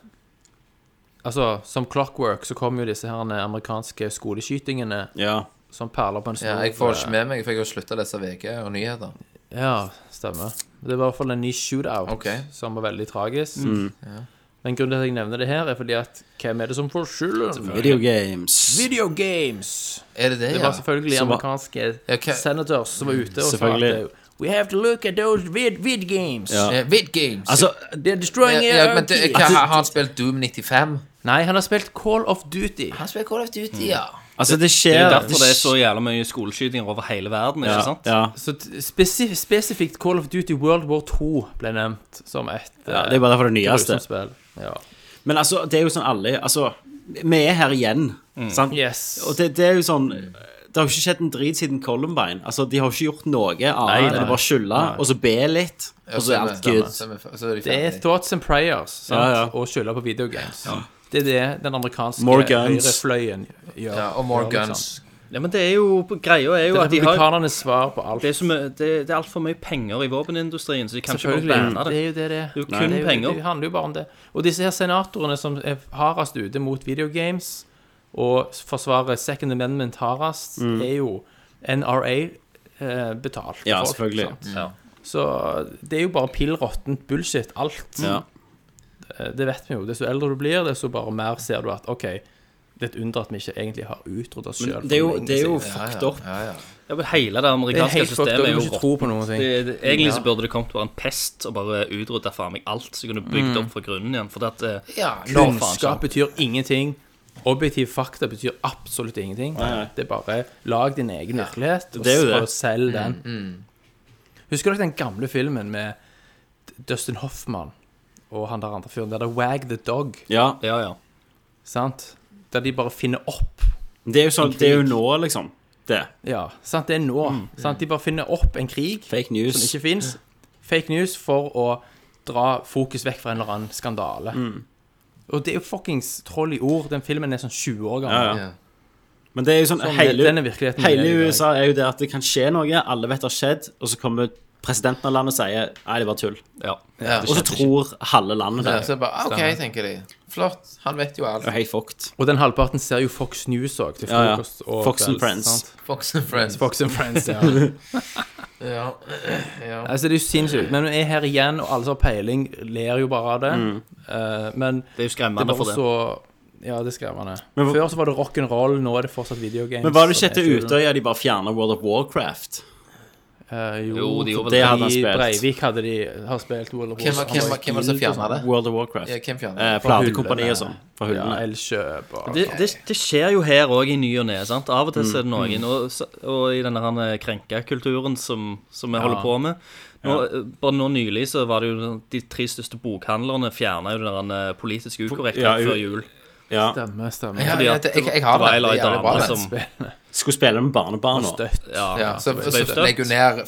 Speaker 8: Altså, som Clockwork så kom jo disse her amerikanske skoleskytingene
Speaker 6: Ja.
Speaker 8: som perler på en snor.
Speaker 7: Ja, jeg får ikke med meg, for jeg har slutta å lese VG og nyheter.
Speaker 8: Ja, stemmer. Det var i hvert fall en ny shootout
Speaker 7: Ok.
Speaker 8: som var veldig tragisk. Men grunnen til at jeg nevner det her, er fordi at hvem er det som får skylden?
Speaker 6: Video games.
Speaker 8: Video games!
Speaker 7: Er det det,
Speaker 8: Det
Speaker 7: ja?
Speaker 8: var selvfølgelig
Speaker 6: Som var-
Speaker 8: amerikanske
Speaker 7: Ja, hva-
Speaker 8: senators som var ute og sa at
Speaker 6: Selvfølgelig.
Speaker 8: eh, We have to look at those vid, vid games.
Speaker 6: Ja.
Speaker 7: Eh, Vid Games.
Speaker 6: Altså,
Speaker 8: They're destroying
Speaker 7: ja,
Speaker 8: our
Speaker 7: men det,
Speaker 8: kids.
Speaker 7: hva, har han spilt Doom 95?
Speaker 8: Nei, han har spilt Call of Duty.
Speaker 7: Han spiller Call of Duty, ja.
Speaker 6: altså det
Speaker 9: Det
Speaker 6: skjer
Speaker 9: er derfor det er så jævla mye skoleskytinger over hele verden. ikke sant?
Speaker 6: ja, ja.
Speaker 8: Så t- spesif spesifikt Call of Duty World War 2 ble nevnt som et
Speaker 6: Ja, det er bare derfor det nyeste.
Speaker 8: grusomt spill. Ja.
Speaker 6: Men altså, det er jo sånn alle Altså, vi er her igjen, sant?
Speaker 8: Yes.
Speaker 6: Og det, det er jo sånn Det har jo ikke skjedd en drit siden Columbine. Altså, De har jo ikke gjort noe annet enn å bare skylde og så be litt, og så er alt good.
Speaker 7: Så er vi- så er de
Speaker 8: Det er
Speaker 7: ferdig.
Speaker 8: thoughts and prayers sant?
Speaker 6: Ja, ja.
Speaker 8: og skylda på videogames. Det er det den amerikanske
Speaker 6: More guns.
Speaker 8: høyrefløyen gjør.
Speaker 7: Ja, og More
Speaker 8: gjør, liksom.
Speaker 7: Guns.
Speaker 9: Ja, men det er jo, Greia er
Speaker 8: Det
Speaker 9: jo
Speaker 8: er
Speaker 9: at de har
Speaker 8: republikanernes svar på alt.
Speaker 9: Det er, så mye- det, det er altfor mye penger i våpenindustrien, så de kan ikke bare banne
Speaker 8: Det
Speaker 9: det.
Speaker 8: er jo det det er.
Speaker 9: Det er jo
Speaker 8: Nei,
Speaker 9: kun
Speaker 8: det er.
Speaker 9: penger.
Speaker 8: Det handler jo bare om det. Og disse her senatorene som er hardest ute mot videogames, og forsvarer Second Amendment hardest, er jo NRA eh, betalt.
Speaker 6: Ja,
Speaker 8: folk,
Speaker 6: selvfølgelig.
Speaker 8: sant?
Speaker 9: Mm. Ja.
Speaker 8: Så det er jo bare pill råttent bullshit, alt.
Speaker 6: Ja.
Speaker 8: Eh, Det vet vi jo. Desto eldre du blir, desto bare mer ser du at OK, det er et under at vi ikke egentlig har utryddet oss sjøl.
Speaker 6: Men det er jo, det er jo fucked up.
Speaker 7: Ja, ja.
Speaker 9: Ja, men hele det
Speaker 8: det er
Speaker 9: amerikanske
Speaker 8: helt fucked up.
Speaker 9: systemet
Speaker 8: Du
Speaker 9: er
Speaker 8: må
Speaker 9: jo
Speaker 8: ikke
Speaker 9: rått.
Speaker 8: tro på noen ting.
Speaker 9: Det- det- Egentlig så burde det kommet bare en pest og bare utrydda faen meg alt, så jeg kunne bygd opp fra grunnen igjen. For at, eh,
Speaker 7: Ja,
Speaker 9: nå faen
Speaker 8: Kunnskap
Speaker 9: sånn.
Speaker 8: betyr ingenting. Objektiv fakta betyr absolutt ingenting. Det er bare lag din egen virkelighet, og
Speaker 6: Det Mm, er jo det.
Speaker 8: prøv å selge den. Husker dere den gamle filmen med Dustin Hoffman og han der andre fyren? Der det er Wag the Dog,
Speaker 6: Ja.
Speaker 9: Ja, ja.
Speaker 8: sant? Der de bare finner opp.
Speaker 6: Det er jo sånn Det er jo nå, liksom. Det.
Speaker 8: Ja, sant? Det er
Speaker 6: Mm,
Speaker 8: nå. Sant? De bare finner opp en krig
Speaker 6: Fake
Speaker 8: som
Speaker 6: news.
Speaker 8: ikke fins. Fake news for å dra fokus vekk fra en eller annen skandale.
Speaker 6: Mm.
Speaker 8: Og det er jo fuckings troll i ord. Den filmen er sånn 20 år gammel.
Speaker 6: Ja, ja. Men det er jo sånn
Speaker 8: Sånn, den er
Speaker 6: hele,
Speaker 8: virkeligheten vi er
Speaker 6: hele
Speaker 8: i dag.
Speaker 6: USA er jo det at det kan skje noe, alle vet det har skjedd, og så kommer presidenten av landet og sier Nei, det var tull.
Speaker 9: ja.
Speaker 7: Ja.
Speaker 6: Og så tror halve landet det.
Speaker 7: Ja, så er det bare, OK, tenker de. Flott. Han vet jo alt.
Speaker 6: Det er helt fucked.
Speaker 8: Og den halvparten ser jo Fox News òg, til
Speaker 6: Ja, ja.
Speaker 8: frokost og
Speaker 6: Fox and
Speaker 8: kvelds,
Speaker 6: Friends.
Speaker 8: sant?
Speaker 7: Fox and Friends.
Speaker 8: Fox and Friends, ja.
Speaker 7: Ja. ja.
Speaker 8: altså, det er jo sinnssykt. Men vi er her igjen, og alle som har peiling, ler jo bare av det. Eh, men
Speaker 9: Det er jo
Speaker 8: det er
Speaker 9: skremmende for
Speaker 8: bare
Speaker 9: det.
Speaker 8: så Ja, det skrev han. det.
Speaker 6: Men hva-
Speaker 8: Før så var det rock'n'roll, nå er det fortsatt videogames.
Speaker 6: Men var det ikke
Speaker 8: og
Speaker 6: etter
Speaker 8: det-
Speaker 6: Utøya de bare fjerna World of Warcraft?
Speaker 8: Eh, jo,
Speaker 9: Jo, de gjorde
Speaker 6: det
Speaker 9: vel
Speaker 6: hadde
Speaker 8: I
Speaker 6: han spilt.
Speaker 8: Breivik hadde de har spilt World of
Speaker 7: Hvem var hvem var- hvem var det som fjerna det?
Speaker 6: World of Warcraft.
Speaker 7: Ja, hvem fjernet det?
Speaker 6: eh,
Speaker 8: Fra
Speaker 6: Platekompani
Speaker 8: hyllene.
Speaker 6: og sånn. Fra
Speaker 8: Ja,
Speaker 6: hyllene.
Speaker 8: Elkjøp og
Speaker 9: Det, det, det skjer jo her òg i ny og ne. sant? Av og til så er det noen, og, så- og i denne her eh, krenkekulturen som, som vi holder på med. Nå, eh, Bare nå nylig så var det jo de tre største bokhandlerne fjerna jo den der eh, politisk ukorrekte
Speaker 6: Ja,
Speaker 9: før
Speaker 6: u-
Speaker 9: jul.
Speaker 6: Ja.
Speaker 8: Stemmer, stemmer.
Speaker 7: Ja,
Speaker 9: fordi
Speaker 7: ja,
Speaker 9: at
Speaker 7: det- jeg, jeg har
Speaker 9: det var
Speaker 7: det.
Speaker 9: ei
Speaker 7: Det er
Speaker 9: dame
Speaker 7: jævlig bra, det.
Speaker 9: som-
Speaker 6: Skulle spille med barnebarna.
Speaker 8: Støtt.
Speaker 9: Ja.
Speaker 7: Ja, så,
Speaker 9: ble
Speaker 7: så
Speaker 9: støtt.
Speaker 7: legger hun ned
Speaker 8: Mm.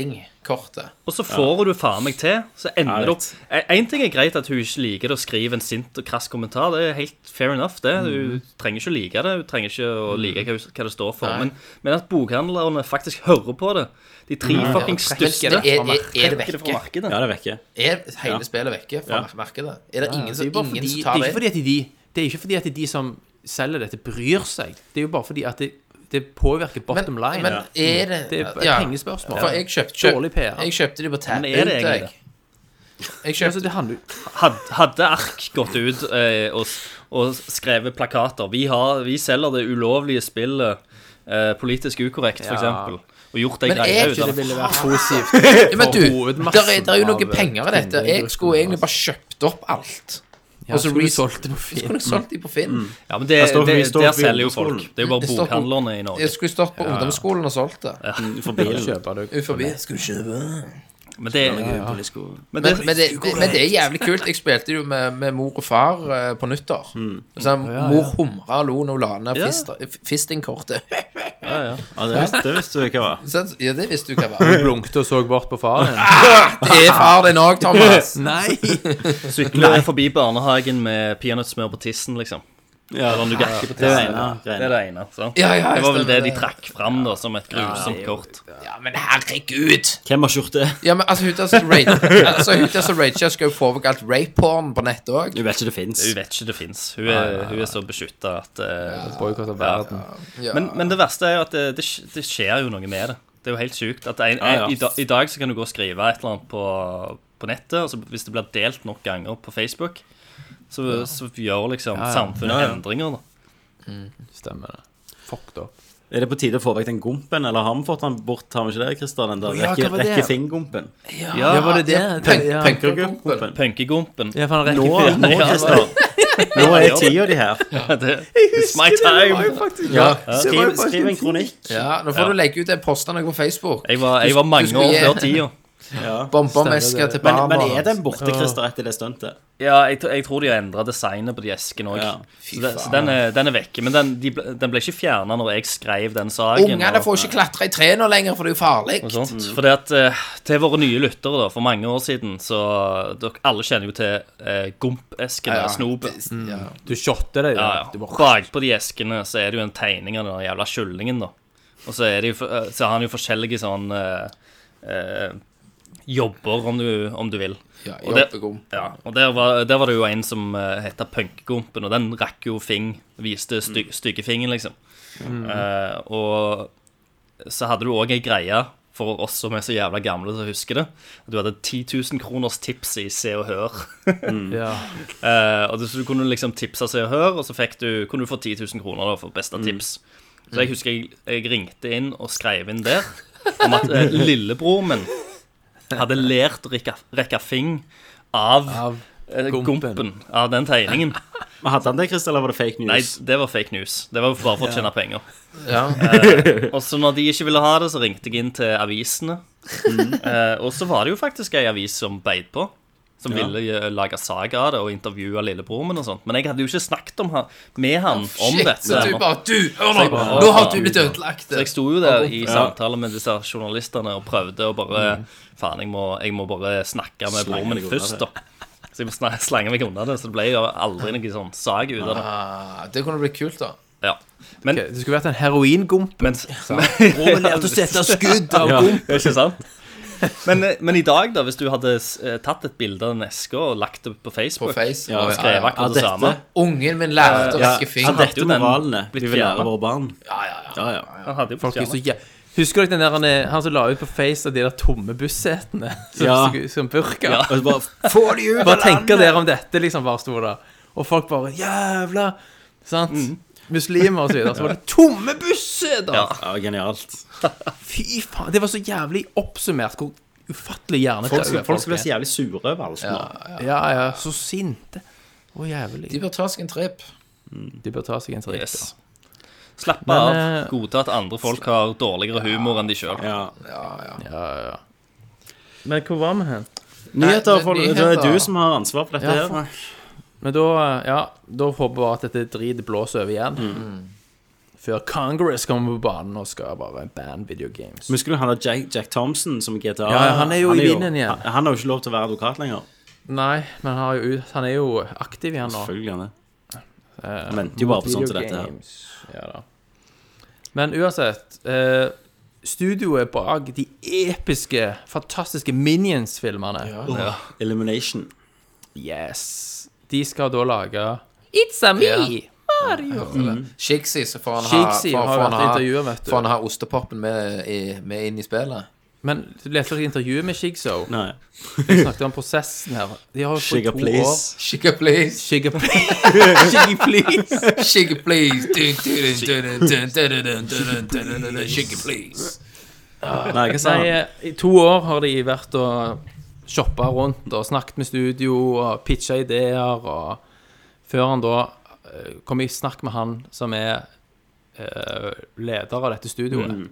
Speaker 7: fisting-kortet.
Speaker 9: Og så får du faen meg til. Så
Speaker 6: Ja,
Speaker 9: ender det
Speaker 6: jeg
Speaker 9: opp En ting er greit at hun ikke liker det å skrive en sint og krass kommentar. Det er helt fair enough, det. Hun trenger ikke å like det. Hun trenger ikke å like hva, hun- hva det står for. Men, men at bokhandlerne faktisk hører på det. De tre fuckings
Speaker 7: Er,
Speaker 9: største
Speaker 7: er, er, er det
Speaker 9: Trekker det fra
Speaker 7: vekke?
Speaker 9: markedet.
Speaker 6: Ja, det er vekke.
Speaker 7: Er hele
Speaker 6: Ja.
Speaker 7: spillet vekke fra
Speaker 6: Ja.
Speaker 7: markedet? Er det ingen,
Speaker 8: Det
Speaker 7: som,
Speaker 8: er jo bare
Speaker 7: ingen
Speaker 8: fordi-
Speaker 7: som
Speaker 8: det er
Speaker 7: tar
Speaker 8: ikke
Speaker 7: det?
Speaker 8: fordi at de Det er ikke fordi at de som selger dette, bryr seg. Det er jo bare fordi at det, det påvirker bottom
Speaker 7: Men,
Speaker 8: line.
Speaker 7: men er det
Speaker 8: Det er et
Speaker 7: ja.
Speaker 8: pengespørsmål.
Speaker 7: For jeg kjøpte, kjøp,
Speaker 8: Dårlig PR.
Speaker 7: jeg kjøpte de på
Speaker 9: Men
Speaker 7: Tappet.
Speaker 9: er det egentlig
Speaker 7: Jeg,
Speaker 9: det?
Speaker 7: jeg
Speaker 8: Altså,
Speaker 7: kjøpte
Speaker 8: det handler jo
Speaker 9: Had, hadde Ark gått ut eh, og, s- og skrevet plakater vi, har, 'Vi selger det ulovlige spillet eh, politisk ukorrekt', for
Speaker 8: Ja.
Speaker 9: f.eks. Og gjort det
Speaker 7: Men er
Speaker 9: greia ut
Speaker 7: ikke
Speaker 9: av
Speaker 8: Det
Speaker 9: det.
Speaker 8: ville vært positivt. for
Speaker 7: Ja, men du, der er,
Speaker 8: hovedmassen
Speaker 7: der er jo noen
Speaker 8: av eh,
Speaker 7: penger i dette. Jeg
Speaker 8: kundegruppen
Speaker 7: skulle egentlig
Speaker 8: vår.
Speaker 7: bare kjøpt opp alt.
Speaker 8: Ja,
Speaker 7: og så
Speaker 8: skulle du
Speaker 7: res-
Speaker 8: solgt det på
Speaker 7: Så kunne
Speaker 8: film.
Speaker 7: jeg solgt de på Finn.
Speaker 8: Mm.
Speaker 9: Ja, men det,
Speaker 6: Det står-
Speaker 9: det,
Speaker 6: vi står
Speaker 9: der
Speaker 6: på
Speaker 9: selger jo
Speaker 6: ungdomsskolen.
Speaker 9: folk. Det er jo bare
Speaker 7: Det står på-
Speaker 9: bokhandlerne i Norge.
Speaker 7: Jeg skulle stått på ungdomsskolen og solgt det.
Speaker 6: For bilen.
Speaker 8: Kjøper du.
Speaker 7: Ut forbi. Skal du kjøpe?
Speaker 9: Men det, men det,
Speaker 7: Men, men, det, det, men det er jævlig kult. Jeg spilte jo med, med mor og far eh, på nyttår. Så mor humra og lo når hun la ned
Speaker 9: Mm. Ja.
Speaker 7: fist- f- fistingkortet.
Speaker 6: Ja, det visste, det visste du ikke hva var.
Speaker 7: Så- ja, det visste du hva var.
Speaker 8: Du Blunket og så bort på faren din.
Speaker 7: Det er far din òg, Thomas.
Speaker 8: Nei!
Speaker 9: Sykler forbi barnehagen med peanøttsmør på tissen, liksom.
Speaker 6: Ja,
Speaker 9: Eller nougat på
Speaker 6: det er det
Speaker 9: tissen.
Speaker 6: ene.
Speaker 9: Det er det ene. sant?
Speaker 7: Ja, ja,
Speaker 9: det var vel
Speaker 7: stemmer
Speaker 9: det de
Speaker 7: det.
Speaker 9: trakk fram da, som et grusomt kort.
Speaker 7: Ja, men herregud.
Speaker 6: Hvem har ikke gjort det?
Speaker 7: Ja, men altså, hun der som rage- altså, hun der som rager, skal jo få vekk alt rape-porn på nettet òg.
Speaker 6: Du vet ikke det fins.
Speaker 9: Hun vet ikke det fins. Hun, er- hun er så beskytta at eh,
Speaker 8: Boikott av verden.
Speaker 7: Ja.
Speaker 9: men, men det verste er jo at det, det, sk- det skjer jo noe med det. Det er jo helt sjukt. At en,
Speaker 6: Ja, ja.
Speaker 9: I, da, I dag så kan du gå og skrive et eller annet på, på nettet, og så hvis det blir delt nok ganger på Facebook, så, så gjør liksom samfunnet endringer, da.
Speaker 8: Stemmer det. Fuck da.
Speaker 6: Er det på tide å få vekk den gompen, eller har vi fått den bort? Har vi ikke det, Christian? Den der
Speaker 8: ja,
Speaker 6: rekke,
Speaker 8: hva var det?
Speaker 6: rekkefing-gompen?
Speaker 9: Ja,
Speaker 8: Ja, var det det?
Speaker 7: Punk-
Speaker 8: Ja.
Speaker 7: Punkergumpen.
Speaker 9: Punkegompen.
Speaker 8: Ja, for han
Speaker 6: Nå,
Speaker 8: rekker
Speaker 6: nå, Christian. Nå er tida di her.
Speaker 9: Det, it's my time.
Speaker 7: Ja.
Speaker 6: Skriv, skriv en kronikk.
Speaker 7: ja, nå får du legge ut den posten på Facebook.
Speaker 9: Jeg var, jeg var
Speaker 7: Du
Speaker 9: mange
Speaker 7: skulle
Speaker 9: år
Speaker 7: gi-
Speaker 9: før tida.
Speaker 7: Bombermesker til
Speaker 6: Men,
Speaker 7: Barma.
Speaker 6: men er den borte, Christer, etter det stuntet?
Speaker 9: Ja, jeg, tr- jeg tror de har endra designet på de eskene òg.
Speaker 6: Ja.
Speaker 9: Så, den- så den er, den er vekke. Men den, de, ble- den ble ikke fjerna når jeg skrev den saken.
Speaker 7: Ungene
Speaker 9: og-
Speaker 7: får ikke klatre i trærne lenger, for det er jo farlig.
Speaker 9: og sånt. Fordi at eh, til våre nye lyttere da, for mange år siden, så dere alle kjenner jo til eh, gompeskene, ja, snopet.
Speaker 7: Ja.
Speaker 8: Du shotter deg.
Speaker 9: Ja,
Speaker 8: Ja,
Speaker 9: ja.
Speaker 8: Du bare-
Speaker 9: Bakpå de eskene så er det jo en tegning av den jævla kyllingen, da. Og så, er det jo, for- eh, så har han jo forskjellige sånn eh, eh, jobber, om du, om du vil.
Speaker 7: Ja,
Speaker 9: Og det-
Speaker 7: jobbegom.
Speaker 9: Ja, og der var, der var det jo en som uh, het Punkegompen, og den rakk jo fing. Viste sty styggefingen, liksom. Eh, og så hadde du òg ei greie for oss som er så jævla gamle som husker det. at Du hadde 10 000 kroners tips i Se og Hør.
Speaker 8: Ja.
Speaker 9: Eh, og det- så du kunne liksom tipse Se og Hør, og så fikk du, kunne du få 10 000 kroner da, for beste tips. Så jeg husker jeg, jeg ringte inn og skrev inn der om at eh, lillebror min hadde lært å rekke, rekke fing av,
Speaker 8: Av
Speaker 9: eh,
Speaker 8: gumpen.
Speaker 9: gumpen av den tegningen.
Speaker 6: Men Hadde han det, Christer, eller var det fake
Speaker 9: Nei,
Speaker 6: news?
Speaker 9: det var fake news. Det var jo bare for å tjene penger. Eh,
Speaker 7: Ja.
Speaker 9: Og så når de ikke ville ha det, så ringte jeg inn til avisene.
Speaker 6: Mm.
Speaker 9: Eh, og så var det jo faktisk ei avis som beit på. Som ville eh, lage saga av det og intervjue lillebror min og sånt. Men jeg hadde jo ikke snakket om han, med han om
Speaker 7: Shit,
Speaker 9: dette.
Speaker 7: så du
Speaker 9: ennå.
Speaker 7: bare Du, hør nå!
Speaker 9: bare-
Speaker 7: Nå har du blitt ødelagt.
Speaker 9: Så jeg sto jo der i samtale med disse journalistene og prøvde å bare Faen, jeg, må- jeg må bare snakke med broren min
Speaker 6: deg Mm. unna
Speaker 9: først, da. Så jeg må sna- slange meg unna det. Så det ble jo aldri noe sånn sag ut av det.
Speaker 7: Ah, det kunne blitt kult, da.
Speaker 9: Ja. Men,
Speaker 8: Ok, Det skulle vært en heroingump.
Speaker 9: men,
Speaker 8: Broren lærte å sette skudd av gump.
Speaker 9: Det er ikke sant? Men, eh, men i dag, da, hvis du hadde s- eh, tatt et bilde av den eska og lagt det på
Speaker 7: På
Speaker 9: Facebook
Speaker 7: Face.
Speaker 9: og skrevet
Speaker 7: ja.
Speaker 6: Ja,
Speaker 9: akkurat det
Speaker 6: dette-
Speaker 9: samme
Speaker 7: Ungen min lærte å
Speaker 6: Ja, hadde
Speaker 7: rekke fingeren.
Speaker 9: det-
Speaker 6: dette moralene
Speaker 9: blitt
Speaker 6: vi vil lære
Speaker 9: fjernet.
Speaker 6: våre barn?
Speaker 7: Ja, ja, ja.
Speaker 6: Ja, ja.
Speaker 9: Han hadde jo
Speaker 8: Folk er så
Speaker 9: fjernet.
Speaker 8: jæ... Husker dere den der, han, er- han som la ut på Face av de der tomme bussetene? Som,
Speaker 6: Ja.
Speaker 8: som burka?
Speaker 9: Ja.
Speaker 6: Og så bare, Få de ut!
Speaker 8: Hva tenker dere om dette, liksom, bare sto det. og folk bare Jævla! Sant?
Speaker 6: Mm.
Speaker 8: Muslimer og så videre. Så var det tomme busser! da
Speaker 6: Ja, genialt.
Speaker 8: Fy faen! Det var så jævlig oppsummert hvor ufattelig hjernedøde
Speaker 6: Folk, skal- folk skal bli så jævlig sure over alt nå.
Speaker 8: er. Ja, ja. Så sinte. Å, jævlig.
Speaker 7: De bør ta seg en tripp.
Speaker 8: De bør ta seg en sånn
Speaker 9: Yes. Slapp
Speaker 8: Men,
Speaker 9: av.
Speaker 8: eh,
Speaker 9: Godta at andre folk har dårligere humor enn de sjøl.
Speaker 6: Ja.
Speaker 8: Men hvor var vi hen?
Speaker 6: Nyheter,
Speaker 7: Nei,
Speaker 6: folk, det
Speaker 7: nyheter.
Speaker 6: er du som har ansvar for dette
Speaker 8: Ja,
Speaker 6: her.
Speaker 8: Men da, ja, da håper vi at dette dritet blåser over igjen.
Speaker 6: Mm.
Speaker 8: Før Congress kommer på banen og skal bare ban video games.
Speaker 6: Husker du han der Jack, Jack Thompson som i GTA?
Speaker 8: Ja, ja, han er jo i vinden igjen.
Speaker 6: Han, han har jo ikke lov til å være advokat lenger.
Speaker 8: Nei, men han, har jo, ut- han er jo aktiv igjen nå. Eh,
Speaker 6: Selvfølgelig han er. Han venter jo bare på sånt til dette her.
Speaker 8: Ja da. Men uansett eh, Studioet bak de episke, fantastiske Minions-filmene
Speaker 6: Elimination.
Speaker 8: Yes De skal da lage It's a me! Mario!
Speaker 7: Shixi, så får han
Speaker 8: Shixi
Speaker 7: ha,
Speaker 8: har
Speaker 7: får, får han
Speaker 8: vært i intervjuet, vet du.
Speaker 7: Får han ha ostepopen med, i, med inn i spillet.
Speaker 8: Men du leste ikke intervjuet med Shigso?
Speaker 6: Nei.
Speaker 8: Vi snakket om prosessen her. De har jo
Speaker 6: Sugar,
Speaker 8: fått to år
Speaker 6: please.
Speaker 7: Shigga please.
Speaker 8: Shigga please. Shigga please.
Speaker 7: Shigga please. Dun, dun, dun, dun, dun, dun, dun, dun, dun, dun, dun, dun, dun. Shigga please.
Speaker 6: Nei, hva
Speaker 8: Nei,
Speaker 6: sa han?
Speaker 8: eh, i to år har de vært og shoppa rundt og snakket med studio og pitcha ideer og Før han da eh, kom i snakk med han som er eh, leder av dette studioet.
Speaker 9: Mm.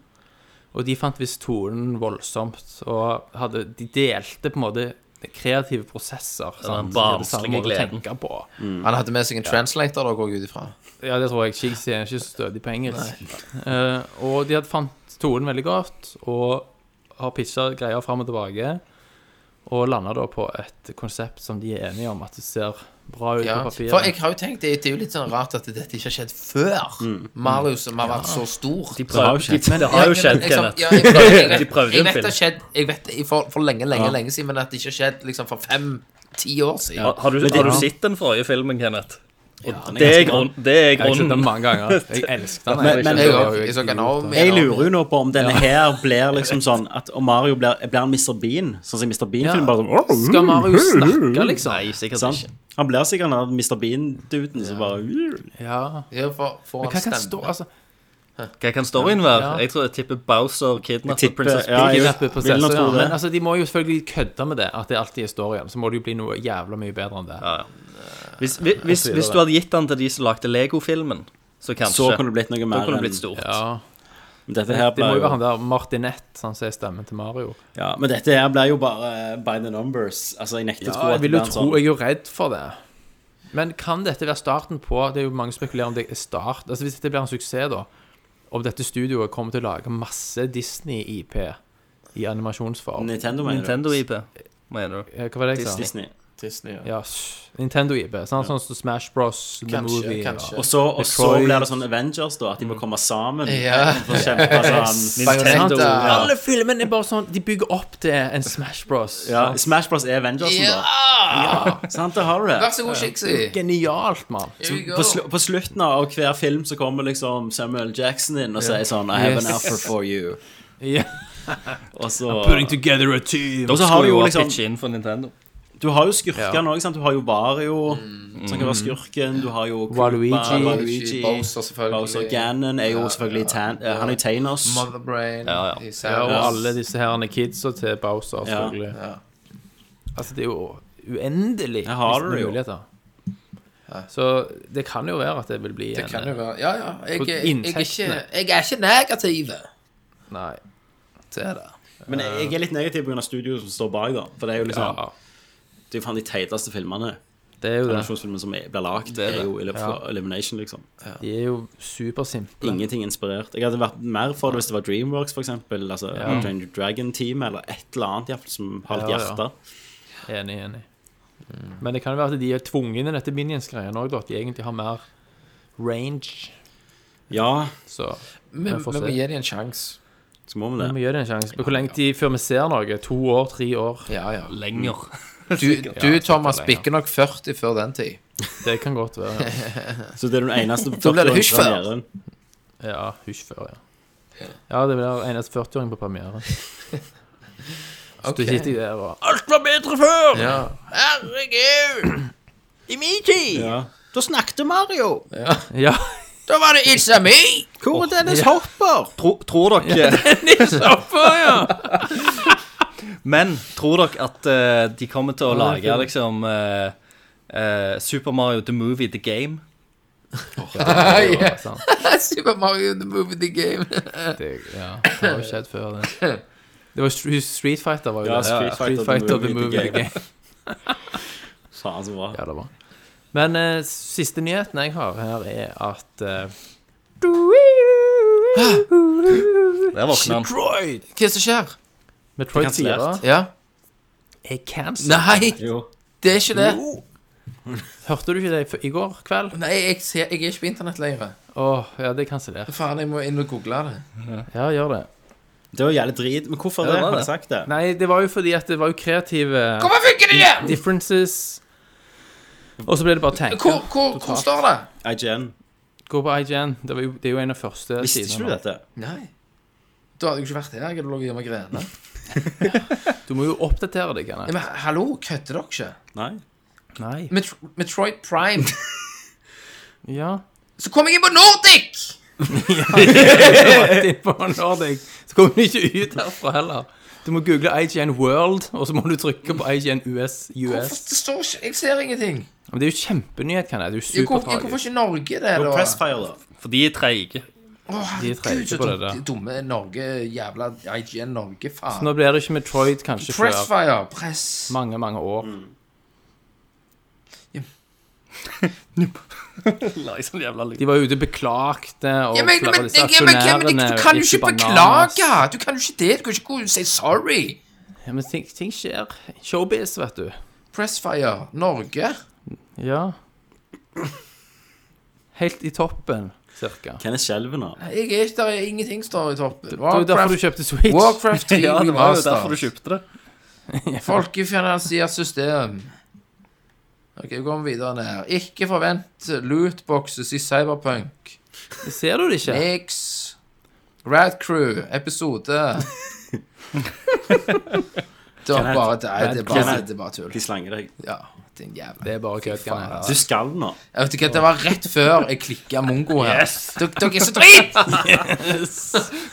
Speaker 8: Og de fant visst tonen voldsomt og hadde De delte på en måte kreative prosesser. sant?
Speaker 9: den
Speaker 8: Det er
Speaker 9: barnslige
Speaker 8: det samme å
Speaker 9: gleden.
Speaker 8: tenke på.
Speaker 7: Han hadde med seg en translator, da, går jeg ut ifra.
Speaker 8: Ja, det tror jeg. Chigsi er ikke så stødig på engelsk. Eh, og de hadde fant tonen veldig godt, og har pitcha greier fram og tilbake. Og landa da på et konsept som de er enige om at det ser bra ut
Speaker 7: Ja.
Speaker 8: på papiret.
Speaker 7: For jeg har jo tenkt, det det er jo litt sånn rart at dette ikke har skjedd før.
Speaker 8: Mm.
Speaker 7: Mario som har vært så stor.
Speaker 9: Det har jo skjedd,
Speaker 7: Men- ja, men
Speaker 9: skjedd,
Speaker 7: liksom-
Speaker 9: Kenneth.
Speaker 7: ja, jeg prøvde- jeg-
Speaker 9: De prøvde
Speaker 7: Jeg
Speaker 9: en
Speaker 7: vet det
Speaker 9: film.
Speaker 7: har skjedd jeg vet, det for, for lenge, lenge lenge siden, men at det ikke har skjedd liksom, for fem-ti år siden.
Speaker 9: Har, har, du, har du sett den forrige filmen, Kenneth? Det er, grunn, det er
Speaker 8: Jeg har sett den
Speaker 9: grunnen.
Speaker 8: mange ganger. Jeg elsket den.
Speaker 6: Men- men-
Speaker 7: Jeg,
Speaker 8: var
Speaker 7: jeg,
Speaker 8: jo
Speaker 7: jeg, så
Speaker 8: idiot.
Speaker 7: Naomi,
Speaker 6: Jeg
Speaker 7: Naomi.
Speaker 6: lurer jo nå på om denne her blir liksom sånn at om Mario blir, blir han Mr. Bean, sånn som i Mr. Bean-film. bare sånn
Speaker 8: Skal Mario snakke, liksom?
Speaker 9: Nei, sikkert
Speaker 6: sant?
Speaker 9: ikke.
Speaker 6: Han blir sikkert den der Mr. Bean-duden som bare
Speaker 8: Ja.
Speaker 7: Ja, for, for
Speaker 8: Men
Speaker 7: en
Speaker 8: hva kan
Speaker 7: stemme.
Speaker 8: stå altså,
Speaker 9: Hva kan storyen være?
Speaker 8: Ja.
Speaker 9: Jeg tror jeg tipper Bowser kidnapper
Speaker 6: tipper-
Speaker 9: Princess
Speaker 6: ja,
Speaker 9: Peach.
Speaker 6: jeg-
Speaker 8: kidnappet på
Speaker 6: vil nå
Speaker 8: Cæsar,
Speaker 6: tro
Speaker 8: ja.
Speaker 6: det.
Speaker 8: Men altså, de må jo selvfølgelig kødde med det, at det alltid er storyen. Så må det jo bli noe jævla mye bedre enn det.
Speaker 9: Hvis, hvis, hvis,
Speaker 8: tviler
Speaker 9: hvis
Speaker 8: det.
Speaker 9: du hadde gitt den til de som lagde Lego-filmen, så kanskje.
Speaker 6: Så kunne det blitt noe
Speaker 9: Da
Speaker 6: mer
Speaker 9: kunne det
Speaker 6: enn
Speaker 9: blitt stort.
Speaker 8: Ja.
Speaker 6: Dette her
Speaker 8: Det må jo være
Speaker 6: blir jo
Speaker 8: han der Martinette som sier stemmen til Mario.
Speaker 6: ja, Men dette her blir jo bare eh, by the numbers. Altså, jeg nekter å tro
Speaker 8: Ja,
Speaker 6: at
Speaker 8: jeg vil jo
Speaker 6: blir en sånn-
Speaker 8: tro, jeg er jo redd for det. Men kan dette være starten på Det er jo mange spekulerer om det er start Altså Hvis dette blir en suksess, da, om dette studioet kommer til å lage masse Disney-IP i animasjonsform
Speaker 6: Nintendo, mener du?
Speaker 9: Nintendo-IP, mener du?
Speaker 8: Eh, Hva var det jeg sa?
Speaker 6: Disney.
Speaker 7: Disney, ja.
Speaker 8: Ja, s- Nintendo-IP. Sånn, sånn som Smash Bros, The
Speaker 7: Kanskje,
Speaker 8: Movie
Speaker 7: kanskje.
Speaker 6: Og så, og så
Speaker 8: Detroit.
Speaker 6: blir det sånn Avengers, da. At de må komme sammen.
Speaker 7: Ja.
Speaker 6: For å kjempe sånn
Speaker 7: Bayonetta.
Speaker 9: Nintendo,
Speaker 8: Og
Speaker 9: ja.
Speaker 8: Alle filmene er bare sånn De bygger opp til en Smash Bros.
Speaker 6: ja,
Speaker 8: sant?
Speaker 6: Smash Bros er Avengersen, da.
Speaker 7: Ja!
Speaker 6: Sant, det har du
Speaker 7: Vær
Speaker 6: det.
Speaker 7: så god, Shixi.
Speaker 8: Genialt, mann.
Speaker 6: På, slu, på slutten av hver film så kommer liksom Samuel Jackson inn og sier sånn I have an
Speaker 8: Yes.
Speaker 6: offer for you.
Speaker 8: Ja.
Speaker 6: Og så
Speaker 8: Putting together a team.
Speaker 6: Og så har du jo liksom
Speaker 9: pitche inn for Nintendo.
Speaker 6: Du har jo skurkene òg, sant. Du har jo Vario, som kan være skurken. Du har jo Koopa,
Speaker 8: Waluigi.
Speaker 6: Waluigi
Speaker 7: Bowser, selvfølgelig.
Speaker 6: Bowser Ganon er jo selvfølgelig Tan... eh, Han er jo Tainos.
Speaker 7: Motherbrain.
Speaker 9: Ja, ja.
Speaker 7: i Samus.
Speaker 8: Ja, og alle disse herne kidsa til Bowser,
Speaker 6: Ja.
Speaker 8: selvfølgelig. Altså, det er jo uendelig
Speaker 6: Jeg har det
Speaker 8: med
Speaker 6: jo.
Speaker 8: muligheter. Så det kan jo være at det vil bli
Speaker 7: Det
Speaker 8: en
Speaker 7: kan jo være Ja, ja. Jeg,
Speaker 8: For
Speaker 7: er- jeg, er ikke,
Speaker 8: inntektene.
Speaker 7: jeg er ikke negativ
Speaker 8: Nei.
Speaker 7: til det.
Speaker 6: Men jeg jeg er litt negativ pga. studioet som står bak, da. For det er jo liksom
Speaker 8: Ja,
Speaker 6: Det er jo faen de teiteste filmene.
Speaker 8: det er jo det.
Speaker 6: Animasjonsfilmen som er- blir lagd,
Speaker 9: Det er
Speaker 6: er,
Speaker 9: det.
Speaker 6: jo Elif- Elimination, liksom.
Speaker 8: De er jo supersimple.
Speaker 6: Ingenting inspirert. Jeg hadde vært mer for det hvis det var Dreamworks, for eksempel. Altså Dragon- Dragon Team, eller et eller annet i hvert fall som har
Speaker 8: Ja,
Speaker 6: et
Speaker 8: ja.
Speaker 6: hjerte.
Speaker 8: Enig, enig. Men det kan jo være at de er tvunget inn i dette minions-greien òg, at de egentlig har mer range.
Speaker 6: Ja,
Speaker 8: Så
Speaker 7: Vi
Speaker 8: vi får
Speaker 7: vi må
Speaker 8: se.
Speaker 7: gi dem en sjanse.
Speaker 6: så må vi
Speaker 8: Vi
Speaker 6: det.
Speaker 8: må gi det en sjanse. Hvor lenge tid før vi ser noe? To år? Tre år?
Speaker 7: Ja, ja.
Speaker 9: Lenger.
Speaker 7: Du, du Thomas,
Speaker 8: lenger.
Speaker 7: bikker nok 40 før den tid.
Speaker 8: Det kan godt være. ja.
Speaker 6: Så det er den eneste
Speaker 7: Da blir
Speaker 6: 40-åringen
Speaker 7: det
Speaker 6: som
Speaker 7: hysj
Speaker 6: gjør den.
Speaker 8: Ja, husk før, ja. Ja, det blir eneste 40-åring på premiere. Så
Speaker 7: Ok.
Speaker 8: du sitter der og
Speaker 7: Ja. Herregud!
Speaker 6: Dimitri! Ja. Da snakket Mario!
Speaker 8: Ja.
Speaker 7: Da var det It's a me!
Speaker 6: Hvor er Dennis Hopper?
Speaker 9: Tro, tror dere Men tror dere at eh, de kommer til å lage liksom eh, eh, Super Mario The Movie The Game?
Speaker 7: Ah,
Speaker 8: ja. sant.
Speaker 7: Super Mario the movie the game.
Speaker 8: Det, ja, det har jo skjedd før, det. Det var Stre- Street Fighter, var jo
Speaker 6: Ja,
Speaker 8: det.
Speaker 6: Street Fighter,
Speaker 8: Street Fighter The Movie The Game.
Speaker 6: Faen, så bra.
Speaker 8: Ja, det var. Men eh, siste nyheten jeg har her, er at eh,
Speaker 9: Der våkner han.
Speaker 7: Droid! Hva er det som skjer?
Speaker 8: Metroid
Speaker 6: Det
Speaker 8: 4
Speaker 6: er kansellert.
Speaker 7: Ja.
Speaker 8: er cancelled.
Speaker 7: Nei,
Speaker 6: Jo.
Speaker 7: det er ikke det.
Speaker 8: Hørte du ikke det i- i går kveld?
Speaker 7: Nei, jeg, ser, jeg er ikke på internett lenger.
Speaker 8: Åh, ja, det er kansellert.
Speaker 7: Faen, jeg må inn og google det.
Speaker 8: Ja, gjør det.
Speaker 6: Det var jævlig drit. Men hvorfor
Speaker 9: Ja, det
Speaker 6: det? Har
Speaker 9: var det.
Speaker 6: jeg sagt det?
Speaker 8: Nei, det var jo fordi at det var jo kreative
Speaker 7: Hvorfor funker det ikke?
Speaker 8: differences. Og så ble det bare tank.
Speaker 7: Hvor, hvor, hvor står det?
Speaker 6: IGN.
Speaker 8: Gå på IGN. Det, var jo, det er jo en av første
Speaker 6: Visste ikke du
Speaker 8: nå.
Speaker 6: dette?
Speaker 7: Nei. Da hadde jeg jo ikke vært her. Jeg hadde ligget hjemme og grenet.
Speaker 8: Du må jo oppdatere deg. Anne.
Speaker 7: Ja, Men hallo, kødder dere ikke?
Speaker 6: Nei.
Speaker 8: Nei.
Speaker 7: Met Metroid Prime.
Speaker 8: Ja.
Speaker 7: Så kom jeg inn på Nordic!
Speaker 8: Inn på Nordic, så kommer du ikke ut herfra heller. Du må google IGN World, og så må du trykke på IGN US.
Speaker 7: Hvorfor
Speaker 8: US.
Speaker 7: det står ikke Jeg ser ingenting.
Speaker 8: Men det er jo kjempenyhet, kan jeg. Det er jo
Speaker 7: Jeg, hvor, jeg, hvorfor
Speaker 8: supertragisk.
Speaker 7: ikke Norge det,
Speaker 6: Jo,
Speaker 7: da?
Speaker 6: Pressfire, da.
Speaker 9: For de er treige.
Speaker 7: Å,
Speaker 8: De er treige
Speaker 7: herregud, så
Speaker 8: på det der.
Speaker 7: dumt- dumme Norge. Jævla IGN Norge, faen.
Speaker 8: Nå blir det ikke Metroid kanskje før
Speaker 7: Pressfire. Press.
Speaker 8: mange, mange år.
Speaker 9: Lager sånn jævla lyd.
Speaker 8: De var ute og beklagte, og
Speaker 7: liksom Ja, men, men,
Speaker 8: disse
Speaker 7: ja, men, ja, men,
Speaker 8: aksjonærene
Speaker 7: du kan jo
Speaker 8: gikk i
Speaker 7: ikke
Speaker 8: bananas.
Speaker 7: beklage! Du kan jo ikke det. Du kan ikke gå og si sorry.
Speaker 8: Ja, men ting, ting skjer. Showbiz, vet du.
Speaker 7: Pressfire Norge.
Speaker 8: Ja. Helt i toppen, cirka.
Speaker 6: Hvem er skjelven, da?
Speaker 7: Jeg er ikke der. er Ingenting står i toppen.
Speaker 8: Det var jo derfor du kjøpte Switch.
Speaker 7: Warcraft 3
Speaker 9: Ja, det var jo derfor du
Speaker 7: Remastered.
Speaker 9: kjøpte det.
Speaker 7: Folkefinansiert system. Ok, vi går videre ned. Ikke forvent lootboxes i Cyberpunk.
Speaker 8: Ser du det ikke?
Speaker 7: Niks. Rad Crew, episode. Det er bare, det er, det er bare, det er bare tull.
Speaker 6: De slanger deg.
Speaker 7: Ja, din jævla
Speaker 8: Det er bare kødd. kan jeg.
Speaker 6: Du skal nå.
Speaker 7: Jeg vet ikke, Det var rett før jeg klikka mongo her. Dere dere er så drit!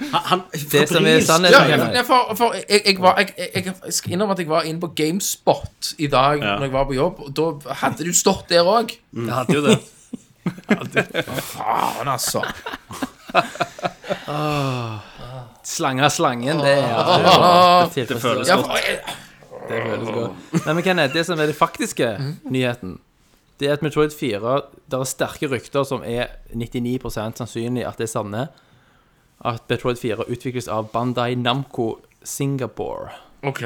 Speaker 6: Han, han
Speaker 8: Det som er
Speaker 6: febrilsk.
Speaker 8: sannheten,
Speaker 7: Ja,
Speaker 8: Kenneth.
Speaker 7: nei, for, for jeg, jeg, var, jeg, jeg, jeg skal innrømme at jeg var inne på GameSpot i dag
Speaker 6: Ja.
Speaker 7: Når jeg var på jobb. Og da hadde du stått der òg.
Speaker 9: Jeg hadde jo det.
Speaker 7: Faen, altså.
Speaker 8: Slanger slangen, det er Ah. Det, det
Speaker 9: føles
Speaker 7: Ja, for, jeg,
Speaker 8: Det føles godt. Mhm. Nei, men Kenneth, det som er det faktiske nyheten, det er at Metroid 4 Det er sterke rykter som er 99 sannsynlig at det er sanne, at Metroid 4 utvikles av Bandai Namco Singapore.
Speaker 7: OK.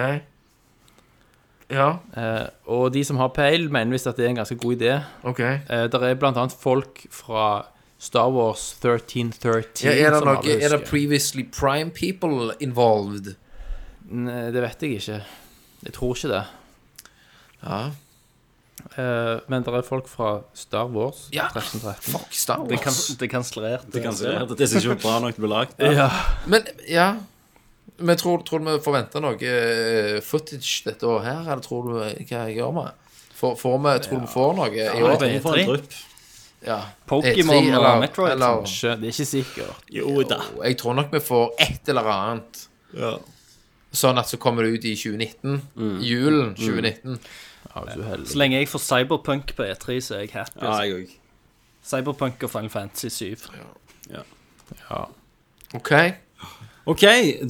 Speaker 7: Ja,
Speaker 8: Eh, og de som har peil, mener visst at det er en ganske god idé.
Speaker 7: OK.
Speaker 8: Eh, der er blant annet folk fra Star Wars 1313
Speaker 7: Ja, er, det
Speaker 8: som
Speaker 7: noe,
Speaker 8: alle
Speaker 7: er det
Speaker 8: husker.
Speaker 7: previously prime people involved?
Speaker 8: Nei, eh, Det vet jeg ikke. Jeg tror ikke det.
Speaker 7: Ja.
Speaker 8: Eh, men det er folk fra Star Wars
Speaker 7: Ja.
Speaker 8: 1313.
Speaker 7: Fuck Star
Speaker 9: Det kan-
Speaker 7: Wars.
Speaker 9: Det er kansellert.
Speaker 6: Det kan se. Dette er ikke bra nok til å bli lagd.
Speaker 8: Ja.
Speaker 7: Men ja Men tror, tror du vi forventer noe eh, footage dette året her, eller tror du eh, hva jeg gjør med? Får, får vi, tror du vi får noe i år?
Speaker 6: Vi får en drypp.
Speaker 7: Ja.
Speaker 9: Pokémon
Speaker 7: E3
Speaker 9: og
Speaker 7: eller-
Speaker 9: Metroid.
Speaker 7: eller-
Speaker 8: Ikke- Det er ikke sikkert.
Speaker 6: Jo da.
Speaker 7: Jeg tror nok vi får et eller annet. Sånn at så kommer det ut i 2019. Julen 2019.
Speaker 8: Ja, hvis du er heldig.
Speaker 9: Så lenge jeg får Cyberpunk på E3, så er jeg happy.
Speaker 6: Ja,
Speaker 9: altså.
Speaker 6: jeg òg.
Speaker 9: Cyberpunk og Final Fantasy 7.
Speaker 7: OK?
Speaker 6: OK,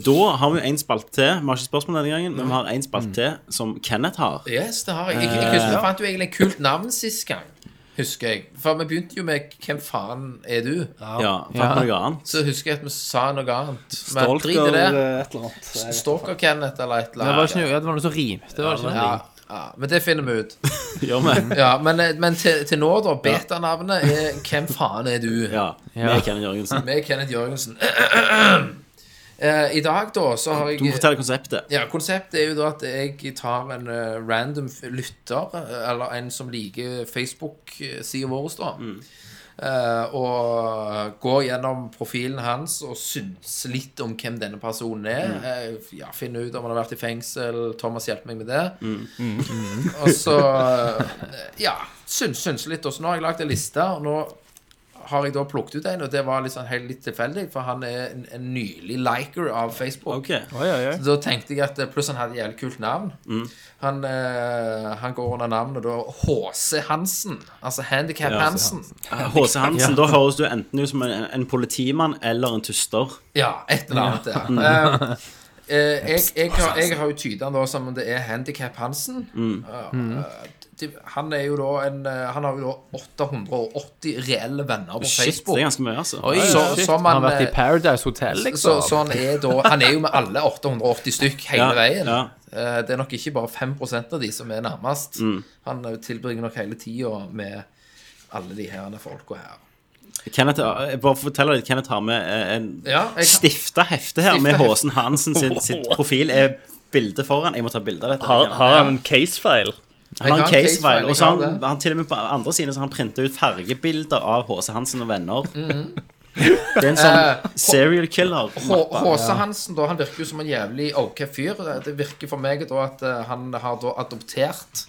Speaker 6: da har vi en spalte til. Vi har ikke spørsmål denne gangen, men vi har en spalte til som Kenneth har.
Speaker 7: Yes, det har jeg. Jeg, jeg husker, jeg fant jo egentlig et kult navn sist gang, husker jeg. For vi begynte jo med 'Hvem faen er du?'
Speaker 6: Ja, fant noe annet.
Speaker 7: Så husker jeg at vi sa noe annet. Men
Speaker 9: Stalker
Speaker 7: drit i
Speaker 9: eh,
Speaker 7: det.
Speaker 9: et eller annet.
Speaker 7: Stalker Kenneth eller et eller
Speaker 8: Det var, ikke,
Speaker 7: annet.
Speaker 8: noe- ja, det var noe som rimte, var det ikke
Speaker 7: Ja,
Speaker 8: det?
Speaker 7: ja, men det finner vi ut.
Speaker 6: Gjør vi?
Speaker 7: Ja, Men, eh, men til, til nå, da. Betanavnet er 'Hvem faen er du?'
Speaker 6: Ja. Med Kenneth Jørgensen.
Speaker 7: Med Kenneth Jørgensen. Eh, I dag, da, så har jeg
Speaker 6: Du må fortelle konseptet.
Speaker 7: Ja, konseptet er jo da at jeg tar en eh, random f- lytter, eh, eller en som liker Facebook-sida vår, da. Eh, og eh, går gjennom profilen hans og syns litt om hvem denne personen er. Eh, ja, Finne ut om han har vært i fengsel. Thomas hjelper meg med det. og så eh, Ja, syns, syns litt. Og så nå har jeg lagd en liste, og nå har jeg da plukket ut en, og det var litt sånn helt litt tilfeldig, for han er en, en nylig liker av Facebook.
Speaker 6: OK.
Speaker 8: Oi, oi, oi.
Speaker 7: Så Da tenkte jeg at eh, Pluss han hadde et jævlig kult navn.
Speaker 6: Mm.
Speaker 7: Han, eh, han går under navnet da HC Hansen. Altså Handicap Hansen.
Speaker 6: H.C. Hansen, da høres du enten ut som en, en politimann eller en tuster.
Speaker 7: Ja, et eller annet der. Eh, eh, jeg, jeg, har, jeg har jo tyda han da som om det er Handicap Hansen.
Speaker 6: Mm.
Speaker 7: Ja, eh, de- han er jo da en eh, Han har jo da 880 reelle venner på
Speaker 6: Shit,
Speaker 7: Facebook.
Speaker 6: det er ganske mye, altså.
Speaker 7: så,
Speaker 8: Shit, han
Speaker 7: som
Speaker 8: har
Speaker 7: han,
Speaker 8: vært i
Speaker 7: eh,
Speaker 8: Paradise Hotel,
Speaker 7: så,
Speaker 8: liksom.
Speaker 7: så han er da Han er jo med alle 880 stykk hele
Speaker 6: Ja,
Speaker 7: veien.
Speaker 6: ja.
Speaker 7: Eh, Det er nok ikke bare 5 av de som er nærmest.
Speaker 6: Mm.
Speaker 7: Han eh, tilbringer nok hele tida med alle de her folka her.
Speaker 6: Kenneth, eh, bare fortell litt, Kenneth har med eh, en
Speaker 7: Ja, jeg kan-
Speaker 6: stifta hefte her med
Speaker 7: Stifta
Speaker 6: H.C. Hansen sitt, sitt profil. Er bildet foran. Jeg må ta bilde av dette.
Speaker 9: Har, har han en casefile?
Speaker 6: Han har en
Speaker 7: Jeg har en casefile,
Speaker 6: casefile, og så har
Speaker 7: jeg
Speaker 6: han,
Speaker 7: har det.
Speaker 6: han til og med på andre siden så har han printet ut fargebilder av H.C. Hansen og venner. Det er en
Speaker 7: Mhm. Eh,
Speaker 6: sånn serial killer.
Speaker 7: H- H.C. Hansen da, han virker jo som en jævlig ok fyr. Eh, Det virker for meg da at eh, han har da adoptert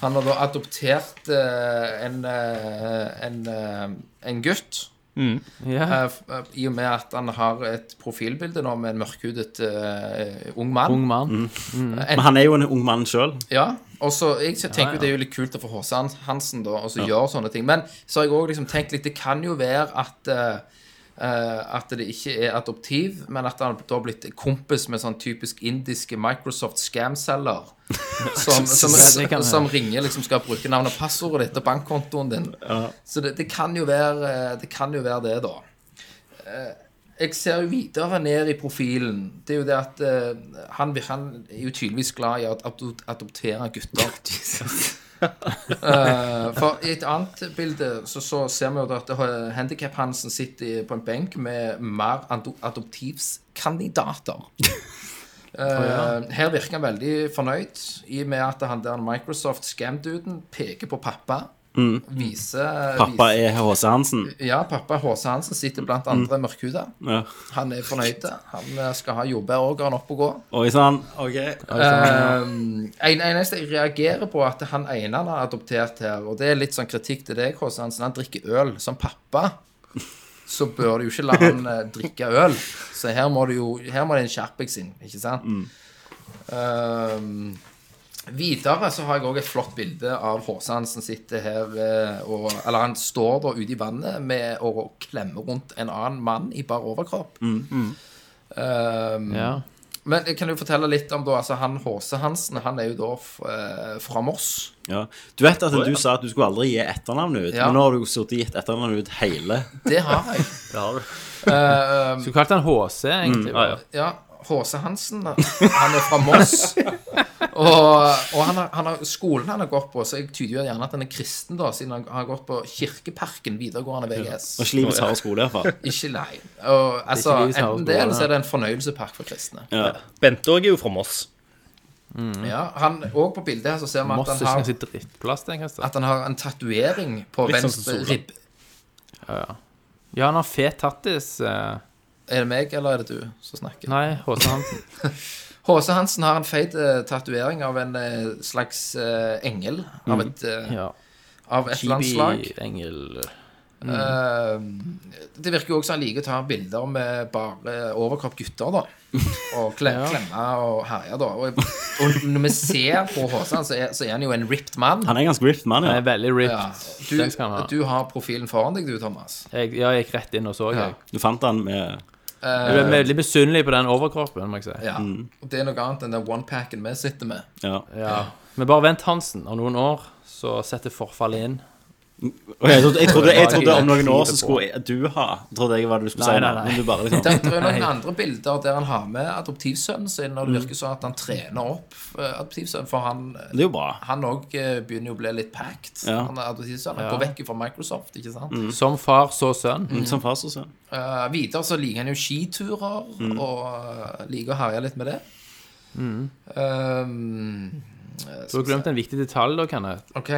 Speaker 7: Han har da adoptert eh, en, eh, en, eh, en gutt.
Speaker 8: Ja.
Speaker 7: Eh, f- eh, I og med at han har et profilbilde nå med en mørkhudet eh, ung mann.
Speaker 8: Ung mann.
Speaker 6: Men han er jo en ung mann sjøl.
Speaker 7: Ja, og så Jeg tenker jo det er jo litt kult å få H.C. Hansen da, og så gjøre sånne ting. Men så har jeg òg liksom tenkt litt Det kan jo være at eh, eh, at det ikke er adoptiv, men at han da har blitt kompis med sånn typisk indiske Microsoft scam-selger. Som, som,
Speaker 8: det kan
Speaker 7: som,
Speaker 8: være.
Speaker 7: ringer liksom skal bruke navnet og passordet ditt og bankkontoen din. Så det, det kan jo være eh, Det kan jo være det, da. Eh, Jeg ser jo videre ned i profilen. Det er jo det at eh, han, vir- han er jo tydeligvis glad i å adop- adoptere gutter. Eh, for i et annet bilde så, så ser vi jo da at eh, Handicap Hansen sitter på en benk med mer ado- adoptivskandidater. Eh, her virker han veldig fornøyd i og med at han der Microsoft Scam-duden peker på pappa. Viser,
Speaker 6: Pappa
Speaker 7: viser-
Speaker 6: er H.C. Hansen.
Speaker 7: Ja, pappa HC Hansen sitter blant andre mørkhuda.
Speaker 6: Ja.
Speaker 7: Han er fornøyd. Han eh, skal ha jordbærorgan opp og gå.
Speaker 6: Oi sann. Okay.
Speaker 7: Eh, Um, en, eneste jeg reagerer på, er at han ene han har adoptert her, og det er litt sånn kritikk til deg, Håse Hansen, han drikker øl som pappa. Så bør du jo ikke la han eh, drikke øl. Så her må du jo Her må det en skjerpings inn, ikke sant? Um, videre så har jeg òg et flott bilde av Håse Hansen sitter her eh, og Eller han står da ute i vannet med å klemme rundt en annen mann i bar overkropp. Um,
Speaker 8: Ja.
Speaker 7: men jeg kan jo fortelle litt om da, altså han H.C. Hansen, han er jo da f- eh, fra Moss.
Speaker 6: Ja. Du vet at du sa at du skulle aldri gi etternavnet ut,
Speaker 7: Ja.
Speaker 6: men nå har du sittet og gitt etternavnet ut hele.
Speaker 7: Det har jeg.
Speaker 9: Det har du.
Speaker 7: Eh,
Speaker 8: Skulle kalt han HC, egentlig.
Speaker 9: Mm, ah, Ja, ja.
Speaker 7: ja, H.C. Hansen, han er fra Moss. Og, og han har, han har, skolen han har gått på, så jeg tyder jo gjerne at han er kristen, da, siden han har gått på Kirkeparken videregående VGS.
Speaker 6: Og ikke livets harde skole, iallfall.
Speaker 7: Ikke nei. Og, altså,
Speaker 8: livets harde
Speaker 7: enten det,
Speaker 8: skole,
Speaker 7: eller så er det en fornøyelsespark for kristne.
Speaker 6: Ja.
Speaker 9: Bente òg er jo fra Moss.
Speaker 7: Ja, han, og på bildet her så ser vi
Speaker 8: Moss er
Speaker 7: at han
Speaker 8: ikke
Speaker 7: har,
Speaker 8: ganske drittplass, tenker jeg.
Speaker 7: at han har en tatovering på
Speaker 9: Litt sånn som
Speaker 7: venstre
Speaker 9: Sola.
Speaker 7: ribbe.
Speaker 8: Ja, han har fet tattis. eh,
Speaker 7: Er det meg, eller er det du som snakker?
Speaker 8: Nei, HC Hansen.
Speaker 7: H.C. Hansen har en feit uh, tatovering av en eh, slags eh, engel av
Speaker 8: Mhm.
Speaker 7: et, eh,
Speaker 8: Ja.
Speaker 7: av et landslag.
Speaker 8: Engel mhm.
Speaker 7: Eh, det virker jo også han liker å ta bilder med bare eh, overkropp gutter, da. Og kle- klemme og herje, da. Og, og når vi ser på H.C., så, er- så er han jo en ripped mann.
Speaker 6: Han er en ganske ripped mann,
Speaker 8: Han
Speaker 6: ja.
Speaker 8: er veldig
Speaker 7: Ja.
Speaker 8: ripped.
Speaker 7: Du,
Speaker 8: Den skal han ha.
Speaker 7: du har profilen foran deg, du, Thomas.
Speaker 8: Jeg, ja, jeg gikk rett inn og så, jeg.
Speaker 6: Du fant han med
Speaker 8: Jeg ble veldig misunnelig på den overkroppen, må jeg si.
Speaker 7: Ja. Og det er noe annet enn den one-packen vi sitter med.
Speaker 6: Ja.
Speaker 8: Mhm. Ja. Men bare vent, Hansen. Om noen år så setter forfallet inn.
Speaker 6: Ok, jeg, trodde, jeg, trodde, jeg trodde om noen år
Speaker 8: Tviler på.
Speaker 6: så skulle jeg- du ha Trodde jeg var det du skulle
Speaker 8: Nei,
Speaker 6: si
Speaker 8: nei,
Speaker 6: nå,
Speaker 8: nei.
Speaker 6: men du bare liksom
Speaker 7: Det er noen andre bilder der han har med adoptivsønnen sin, og det virker sånn at han trener opp eh, adoptivsønnen, for han
Speaker 6: Det er jo bra.
Speaker 7: han òg begynner jo å bli litt packed.
Speaker 6: Ja.
Speaker 7: Han er adoptivsønn. Han går vekk fra Microsoft, ikke sant?
Speaker 8: Som far, så sønn.
Speaker 6: Som far så sønn.
Speaker 7: Eh, videre så liker han jo skiturer, og eh, liker å herje litt med det. Um, eh,
Speaker 8: Du har glemt en viktig detalj, da, Kenneth.
Speaker 7: OK.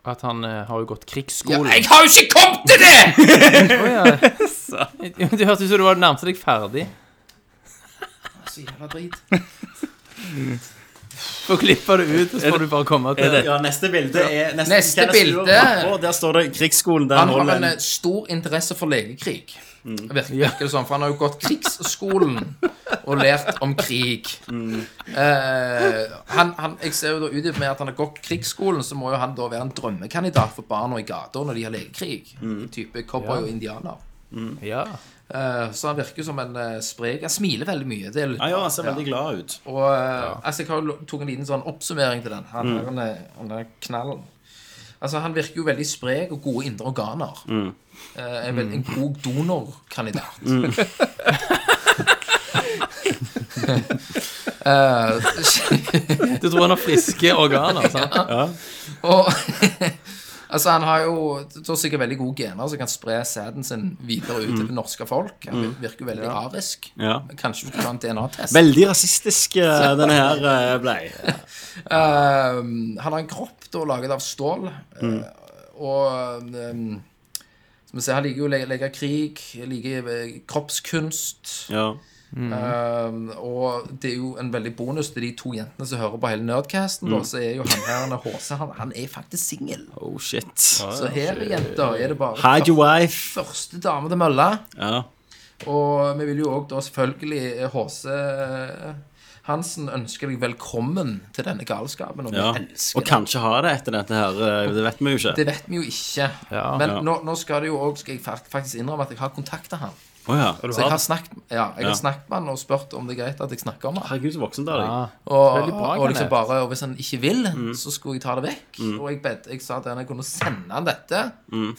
Speaker 8: At han eh, har jo gått krigsskolen.
Speaker 7: Jeg har jo ikke kommet til det!
Speaker 8: Det hørtes ut som du var nærmest deg ferdig.
Speaker 7: Så jævla drit.
Speaker 8: Få klippe det ut, og så får du bare komme til
Speaker 9: det-
Speaker 6: Ja, neste bilde er Neste,
Speaker 7: Neste
Speaker 6: Kenneth Stewart.
Speaker 7: bilde.
Speaker 6: Å, der står det 'Krigsskolen'. Der
Speaker 7: Han har
Speaker 6: holder
Speaker 7: en
Speaker 6: en
Speaker 7: eh, stor interesse for legekrig. Virker, virker det sånn, for han har jo gått krigsskolen og lært om krig. Mm. Eh, han, han, jeg ser jo da ut med at han har gått krigsskolen, så må jo han da være en drømmekandidat for barna i gata når de har legekrig. Type cowboy og indianer.
Speaker 8: Ja.
Speaker 7: Eh, så han virker som en eh, sprek Han smiler veldig mye. Det er litt
Speaker 6: Ja, ja, han ser veldig glad ut.
Speaker 7: Og eh, altså, jeg har jo tok en liten sånn oppsummering til den.
Speaker 6: Mm.
Speaker 7: Han, er- han, er, han er knallen. Altså, han virker jo veldig sprek og gode indre organer.
Speaker 6: Mm.
Speaker 7: Eh, en, veld, en god donorkandidat. Eh,
Speaker 8: Du tror han har friske organer, sant?
Speaker 7: og Altså, han har jo det er sikkert veldig gode gener som kan spre sæden sin videre ut til det norske folk. Han virker jo veldig arisk.
Speaker 6: Mm. Ja.
Speaker 7: Kanskje du kan ta en DNA-test.
Speaker 6: Veldig rasistisk eh, denne her eh, blei.
Speaker 7: Ehm, han har en kropp da, laget av stål. eh,
Speaker 6: Mm.
Speaker 7: og ehm, som jeg ser, Han liker jo å le- leke krig, liker eh, kroppskunst.
Speaker 6: Ja.
Speaker 7: ehm, og det er jo en veldig bonus til de to jentene som hører på hele Nerdcasten.
Speaker 6: Mm.
Speaker 7: Da, så er jo han her en HC, han, han er faktisk singel.
Speaker 6: Oh, shit.
Speaker 7: Så her, jenter, er det bare
Speaker 6: Hide your wife.
Speaker 7: første dame til mølla.
Speaker 6: Ja.
Speaker 7: Og vi vil jo òg da selvfølgelig eh, HC eh, Hansen ønsker deg velkommen til denne galskapen. Og
Speaker 6: ja.
Speaker 7: vi elsker
Speaker 6: Og
Speaker 7: det.
Speaker 6: kanskje ha det etter dette her. eh, Det vet vi jo ikke.
Speaker 7: Det vet vi jo ikke.
Speaker 8: Ja.
Speaker 7: Men
Speaker 6: Ja.
Speaker 7: Nå, nå skal det jo også, skal jeg fak- faktisk innrømme at jeg har kontakta han.
Speaker 6: Å ja.
Speaker 7: Så jeg har snakket, ja, jeg
Speaker 6: Ja.
Speaker 7: har snakket med han og spurt om det er greit at jeg snakker om han.
Speaker 6: Herregud, så voksen du er.
Speaker 8: Ja.
Speaker 6: deg.
Speaker 7: Og,
Speaker 8: veldig bra,
Speaker 7: og liksom
Speaker 8: Kenneth.
Speaker 7: bare, og hvis han ikke vil,
Speaker 6: Mm.
Speaker 7: så skulle jeg ta det vekk. Og jeg, bed, jeg sa til han jeg kunne sende han dette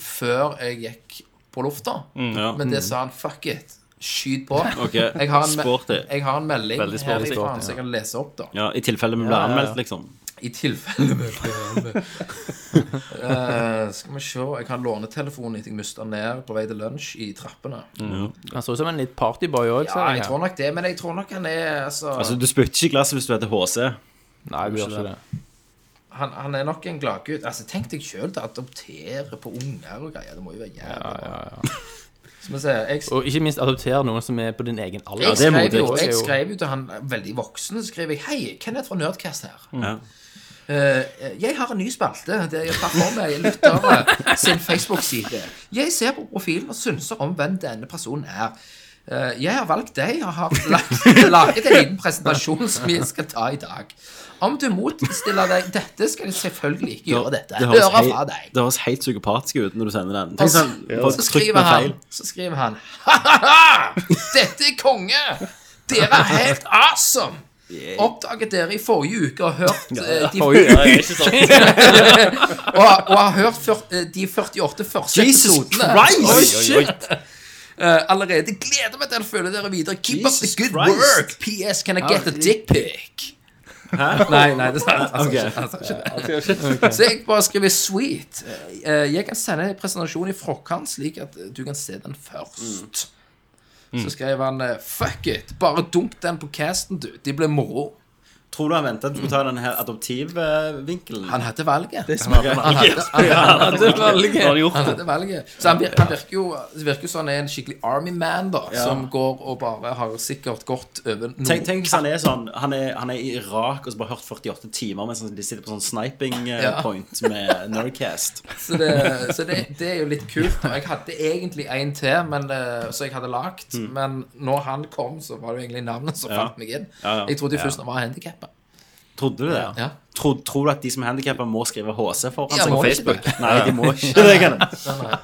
Speaker 7: før jeg gikk på lufta.
Speaker 6: Mm. ja.
Speaker 7: Men
Speaker 8: Mm.
Speaker 7: det sa han fuck it. Skyt på.
Speaker 6: Ok,
Speaker 7: Jeg har en, me-
Speaker 6: sporty.
Speaker 7: jeg har en melding
Speaker 9: Veldig sporty.
Speaker 7: herifra som jeg kan lese opp, da.
Speaker 6: Ja, I tilfelle vi blir anmeldt, liksom.
Speaker 7: I tilfelle vi prøver. Eh, Skal vi se Jeg har lånetelefonen etter jeg mista den ned på vei til lunsj i trappene.
Speaker 8: Han så ut som en litt partyboy òg,
Speaker 7: Ja, jeg tror nok det, men jeg tror nok han er altså,
Speaker 6: Altså, Du spytter ikke i glasset hvis du heter HC.
Speaker 8: Nei, du gjør ikke det.
Speaker 7: han, han er nok en gladgutt. Altså, tenk deg sjøl å adoptere på unger og greier. Det må jo være jævlig bra. Som jeg sier, jeg,
Speaker 8: Og ikke minst adoptere noen som er på din egen alder.
Speaker 7: jeg,
Speaker 6: det er
Speaker 7: skrev jo,
Speaker 6: modig.
Speaker 7: jeg skrev jo til han eh, veldig voksen så skrev jeg, Hei, Kenneth fra Nerdcast her.
Speaker 6: Ja.
Speaker 7: Eh, jeg har en ny spalte der jeg tar for meg lyttere sin Facebook-side. Jeg ser på profilen og synser om hvem denne personen er. Eh, jeg har valgt deg og har lagt, laget en liten presentasjon som vi skal ta i dag. Om du motstiller deg dette, skal jeg selvfølgelig ikke gjøre dette.
Speaker 6: høres
Speaker 7: Høre
Speaker 6: hei-
Speaker 7: fra deg.
Speaker 6: det høres helt psykopatisk ut når du sender den.
Speaker 7: Og
Speaker 6: Tenk sånn,
Speaker 7: så,
Speaker 6: folk
Speaker 7: så,
Speaker 6: trykker
Speaker 7: skriver
Speaker 6: med
Speaker 7: han,
Speaker 6: feil.
Speaker 7: så skriver han «Hahaha! Dette er konge! Dere er helt awesome! Oppdaget dere i forrige uke og hørt eh, de
Speaker 9: Det er ikke sånn.
Speaker 7: og, og har hørt fyr- eh, de 48 første
Speaker 6: Jesus
Speaker 7: episodene.
Speaker 6: Christ!
Speaker 7: Oi,
Speaker 6: Oi,
Speaker 7: shit! Eh, allerede gleder meg til å følge dere videre. Keep up the
Speaker 6: Jesus
Speaker 7: good
Speaker 6: Christ. Ah,
Speaker 7: work. PS, can I get a dick pic? Nei, nei, det sa han altså,
Speaker 6: Ok.
Speaker 7: ikke. han sa ikke det. Så jeg bare skriver sweet. Eh, jeg kan sende en presentasjon i forkant, slik at eh, du kan se den først. Så skrev han eh, fuck it, bare dump den på casten, du. De ble moro.
Speaker 6: Tror du han ventet at du skulle ta den her adoptivvinkelen?
Speaker 7: Han hadde valget.
Speaker 6: Han hadde
Speaker 9: Nå har de gjort
Speaker 7: Han
Speaker 9: det.
Speaker 7: hadde valget. Så han, vir han virker jo Det virker jo som han er en skikkelig army man, da. Som går og bare har sikkert gått over noe
Speaker 6: Tenk, tenk hvis han er sånn Han er, han er i Irak og så bare hørt 48 timer mens han- de sitter på sånn sniping eh,
Speaker 7: Ja.
Speaker 6: point med Nerdcast.
Speaker 7: Så, det, så det, det er jo litt kult. Og jeg hadde egentlig en til men, eh, som jeg hadde lagt, men når han kom, så var det jo egentlig navnet som
Speaker 6: Mm. Ja.
Speaker 7: fant meg inn.
Speaker 6: Ja, ja.
Speaker 7: Jeg trodde jo først han var handikappa.
Speaker 6: Trodde du det?
Speaker 7: Ja.
Speaker 6: Tror, tror du at de som er handikappa, må skrive HC foran
Speaker 7: Ja,
Speaker 6: seg?
Speaker 7: må
Speaker 6: på
Speaker 7: ikke
Speaker 6: Facebook?
Speaker 7: det.
Speaker 6: Nei, de må ikke det. Kan jeg.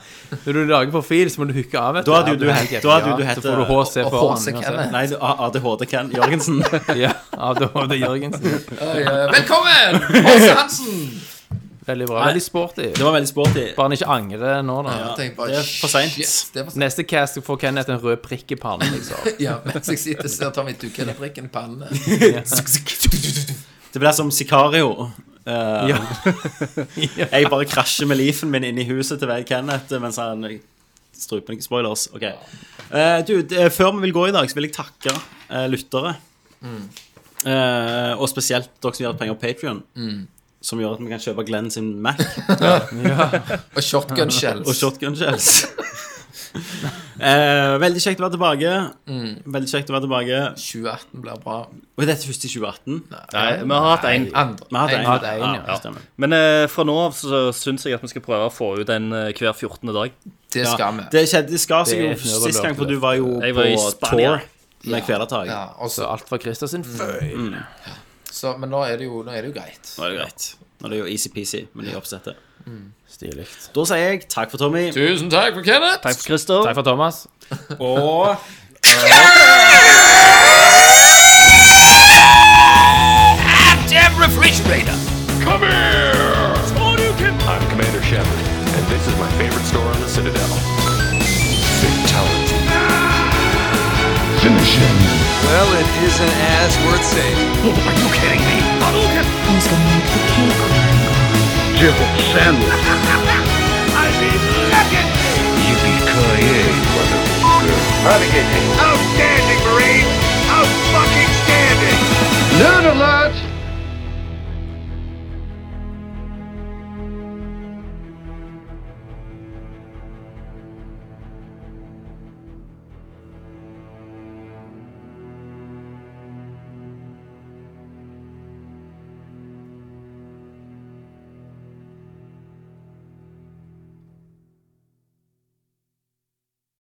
Speaker 8: Når du lager profil, så må du hooke av. vet
Speaker 6: Da hadde jo
Speaker 8: Ja,
Speaker 6: du
Speaker 8: er
Speaker 6: hett-
Speaker 8: helt-
Speaker 6: da hadde jo du
Speaker 8: ja,
Speaker 6: hett-
Speaker 8: Så får du HC
Speaker 7: Og
Speaker 8: foran.
Speaker 7: HC
Speaker 8: uansett.
Speaker 7: Kenneth.
Speaker 6: Nei, du- ADHD Ken Jørgensen.
Speaker 8: Ja, ADHD Jørgensen.
Speaker 7: Oi, eh, Velkommen! Åse Hansen!
Speaker 8: Veldig bra. Veldig sporty.
Speaker 6: Det var veldig sporty.
Speaker 8: Bare han ikke angrer nå, da.
Speaker 7: Jeg tenkte bare,
Speaker 6: det er for sent.
Speaker 7: shit, det er for sent.
Speaker 8: Neste cast får Kenneth en rød prikk i pannen, liksom.
Speaker 7: Ja, mens jeg sitter og ser Tommy Tukke den prikken i pannen.
Speaker 6: Det blir som Sicario. Eh,
Speaker 8: Ja.
Speaker 6: Jeg bare krasjer med leafen min inn i huset til Veid Kenneth mens han struper noen spoilers. Ok. Eh, du, det- før vi vil gå i dag, så vil jeg takke eh, lyttere. Eh, og spesielt dere som gjør penger på Patrion. som gjør at vi kan kjøpe Glenn sin Mac
Speaker 7: Og shotgun shells.
Speaker 6: og shotgun shells. eh, veldig kjekt å være tilbake. Veldig kjekt å være tilbake.
Speaker 7: 2018 blir bra.
Speaker 6: Og dette er først i 2018.
Speaker 9: Nei, vi har hatt en
Speaker 7: Andre.
Speaker 6: Vi har hatt en.
Speaker 7: Andre, en,
Speaker 6: ja,
Speaker 7: ja.
Speaker 6: ja. stemmer.
Speaker 9: Men eh, fra nå av så syns jeg at vi skal prøve å få ut en eh, hver 14. dag.
Speaker 7: Det
Speaker 6: Ja,
Speaker 7: skal vi.
Speaker 6: det skjedde, det skar seg
Speaker 8: Det
Speaker 6: jo
Speaker 8: er ikke noe
Speaker 6: sist gang,
Speaker 8: overlagt
Speaker 6: for du var jo
Speaker 9: Jeg
Speaker 6: på
Speaker 9: var i Spania.
Speaker 6: tour med Kvelertak.
Speaker 7: Ja, og så-
Speaker 8: Så alt fra Christer sin føy.
Speaker 7: så, men nå er det jo, nå er det jo greit.
Speaker 6: Nå er det greit. Mm. Nå er det jo easy-peasy med nye oppsettet.
Speaker 8: Stilig.
Speaker 6: Da sier jeg takk for Tommy.
Speaker 7: Tusen takk for Kenneth!
Speaker 9: Takk for Christer.
Speaker 8: Takk for Thomas.
Speaker 6: Og
Speaker 4: Come here! I'm Commander Shepard, and this is my favorite store on the Citadel. Fatality.
Speaker 2: Finish him.
Speaker 3: Well, it isn't as worth saying.
Speaker 4: Are you kidding me?
Speaker 1: Who's gonna make the cake?
Speaker 2: Jibble Sandler.
Speaker 4: I mean, look at me!
Speaker 2: Yippee-ki-yay, motherfucker.
Speaker 4: Out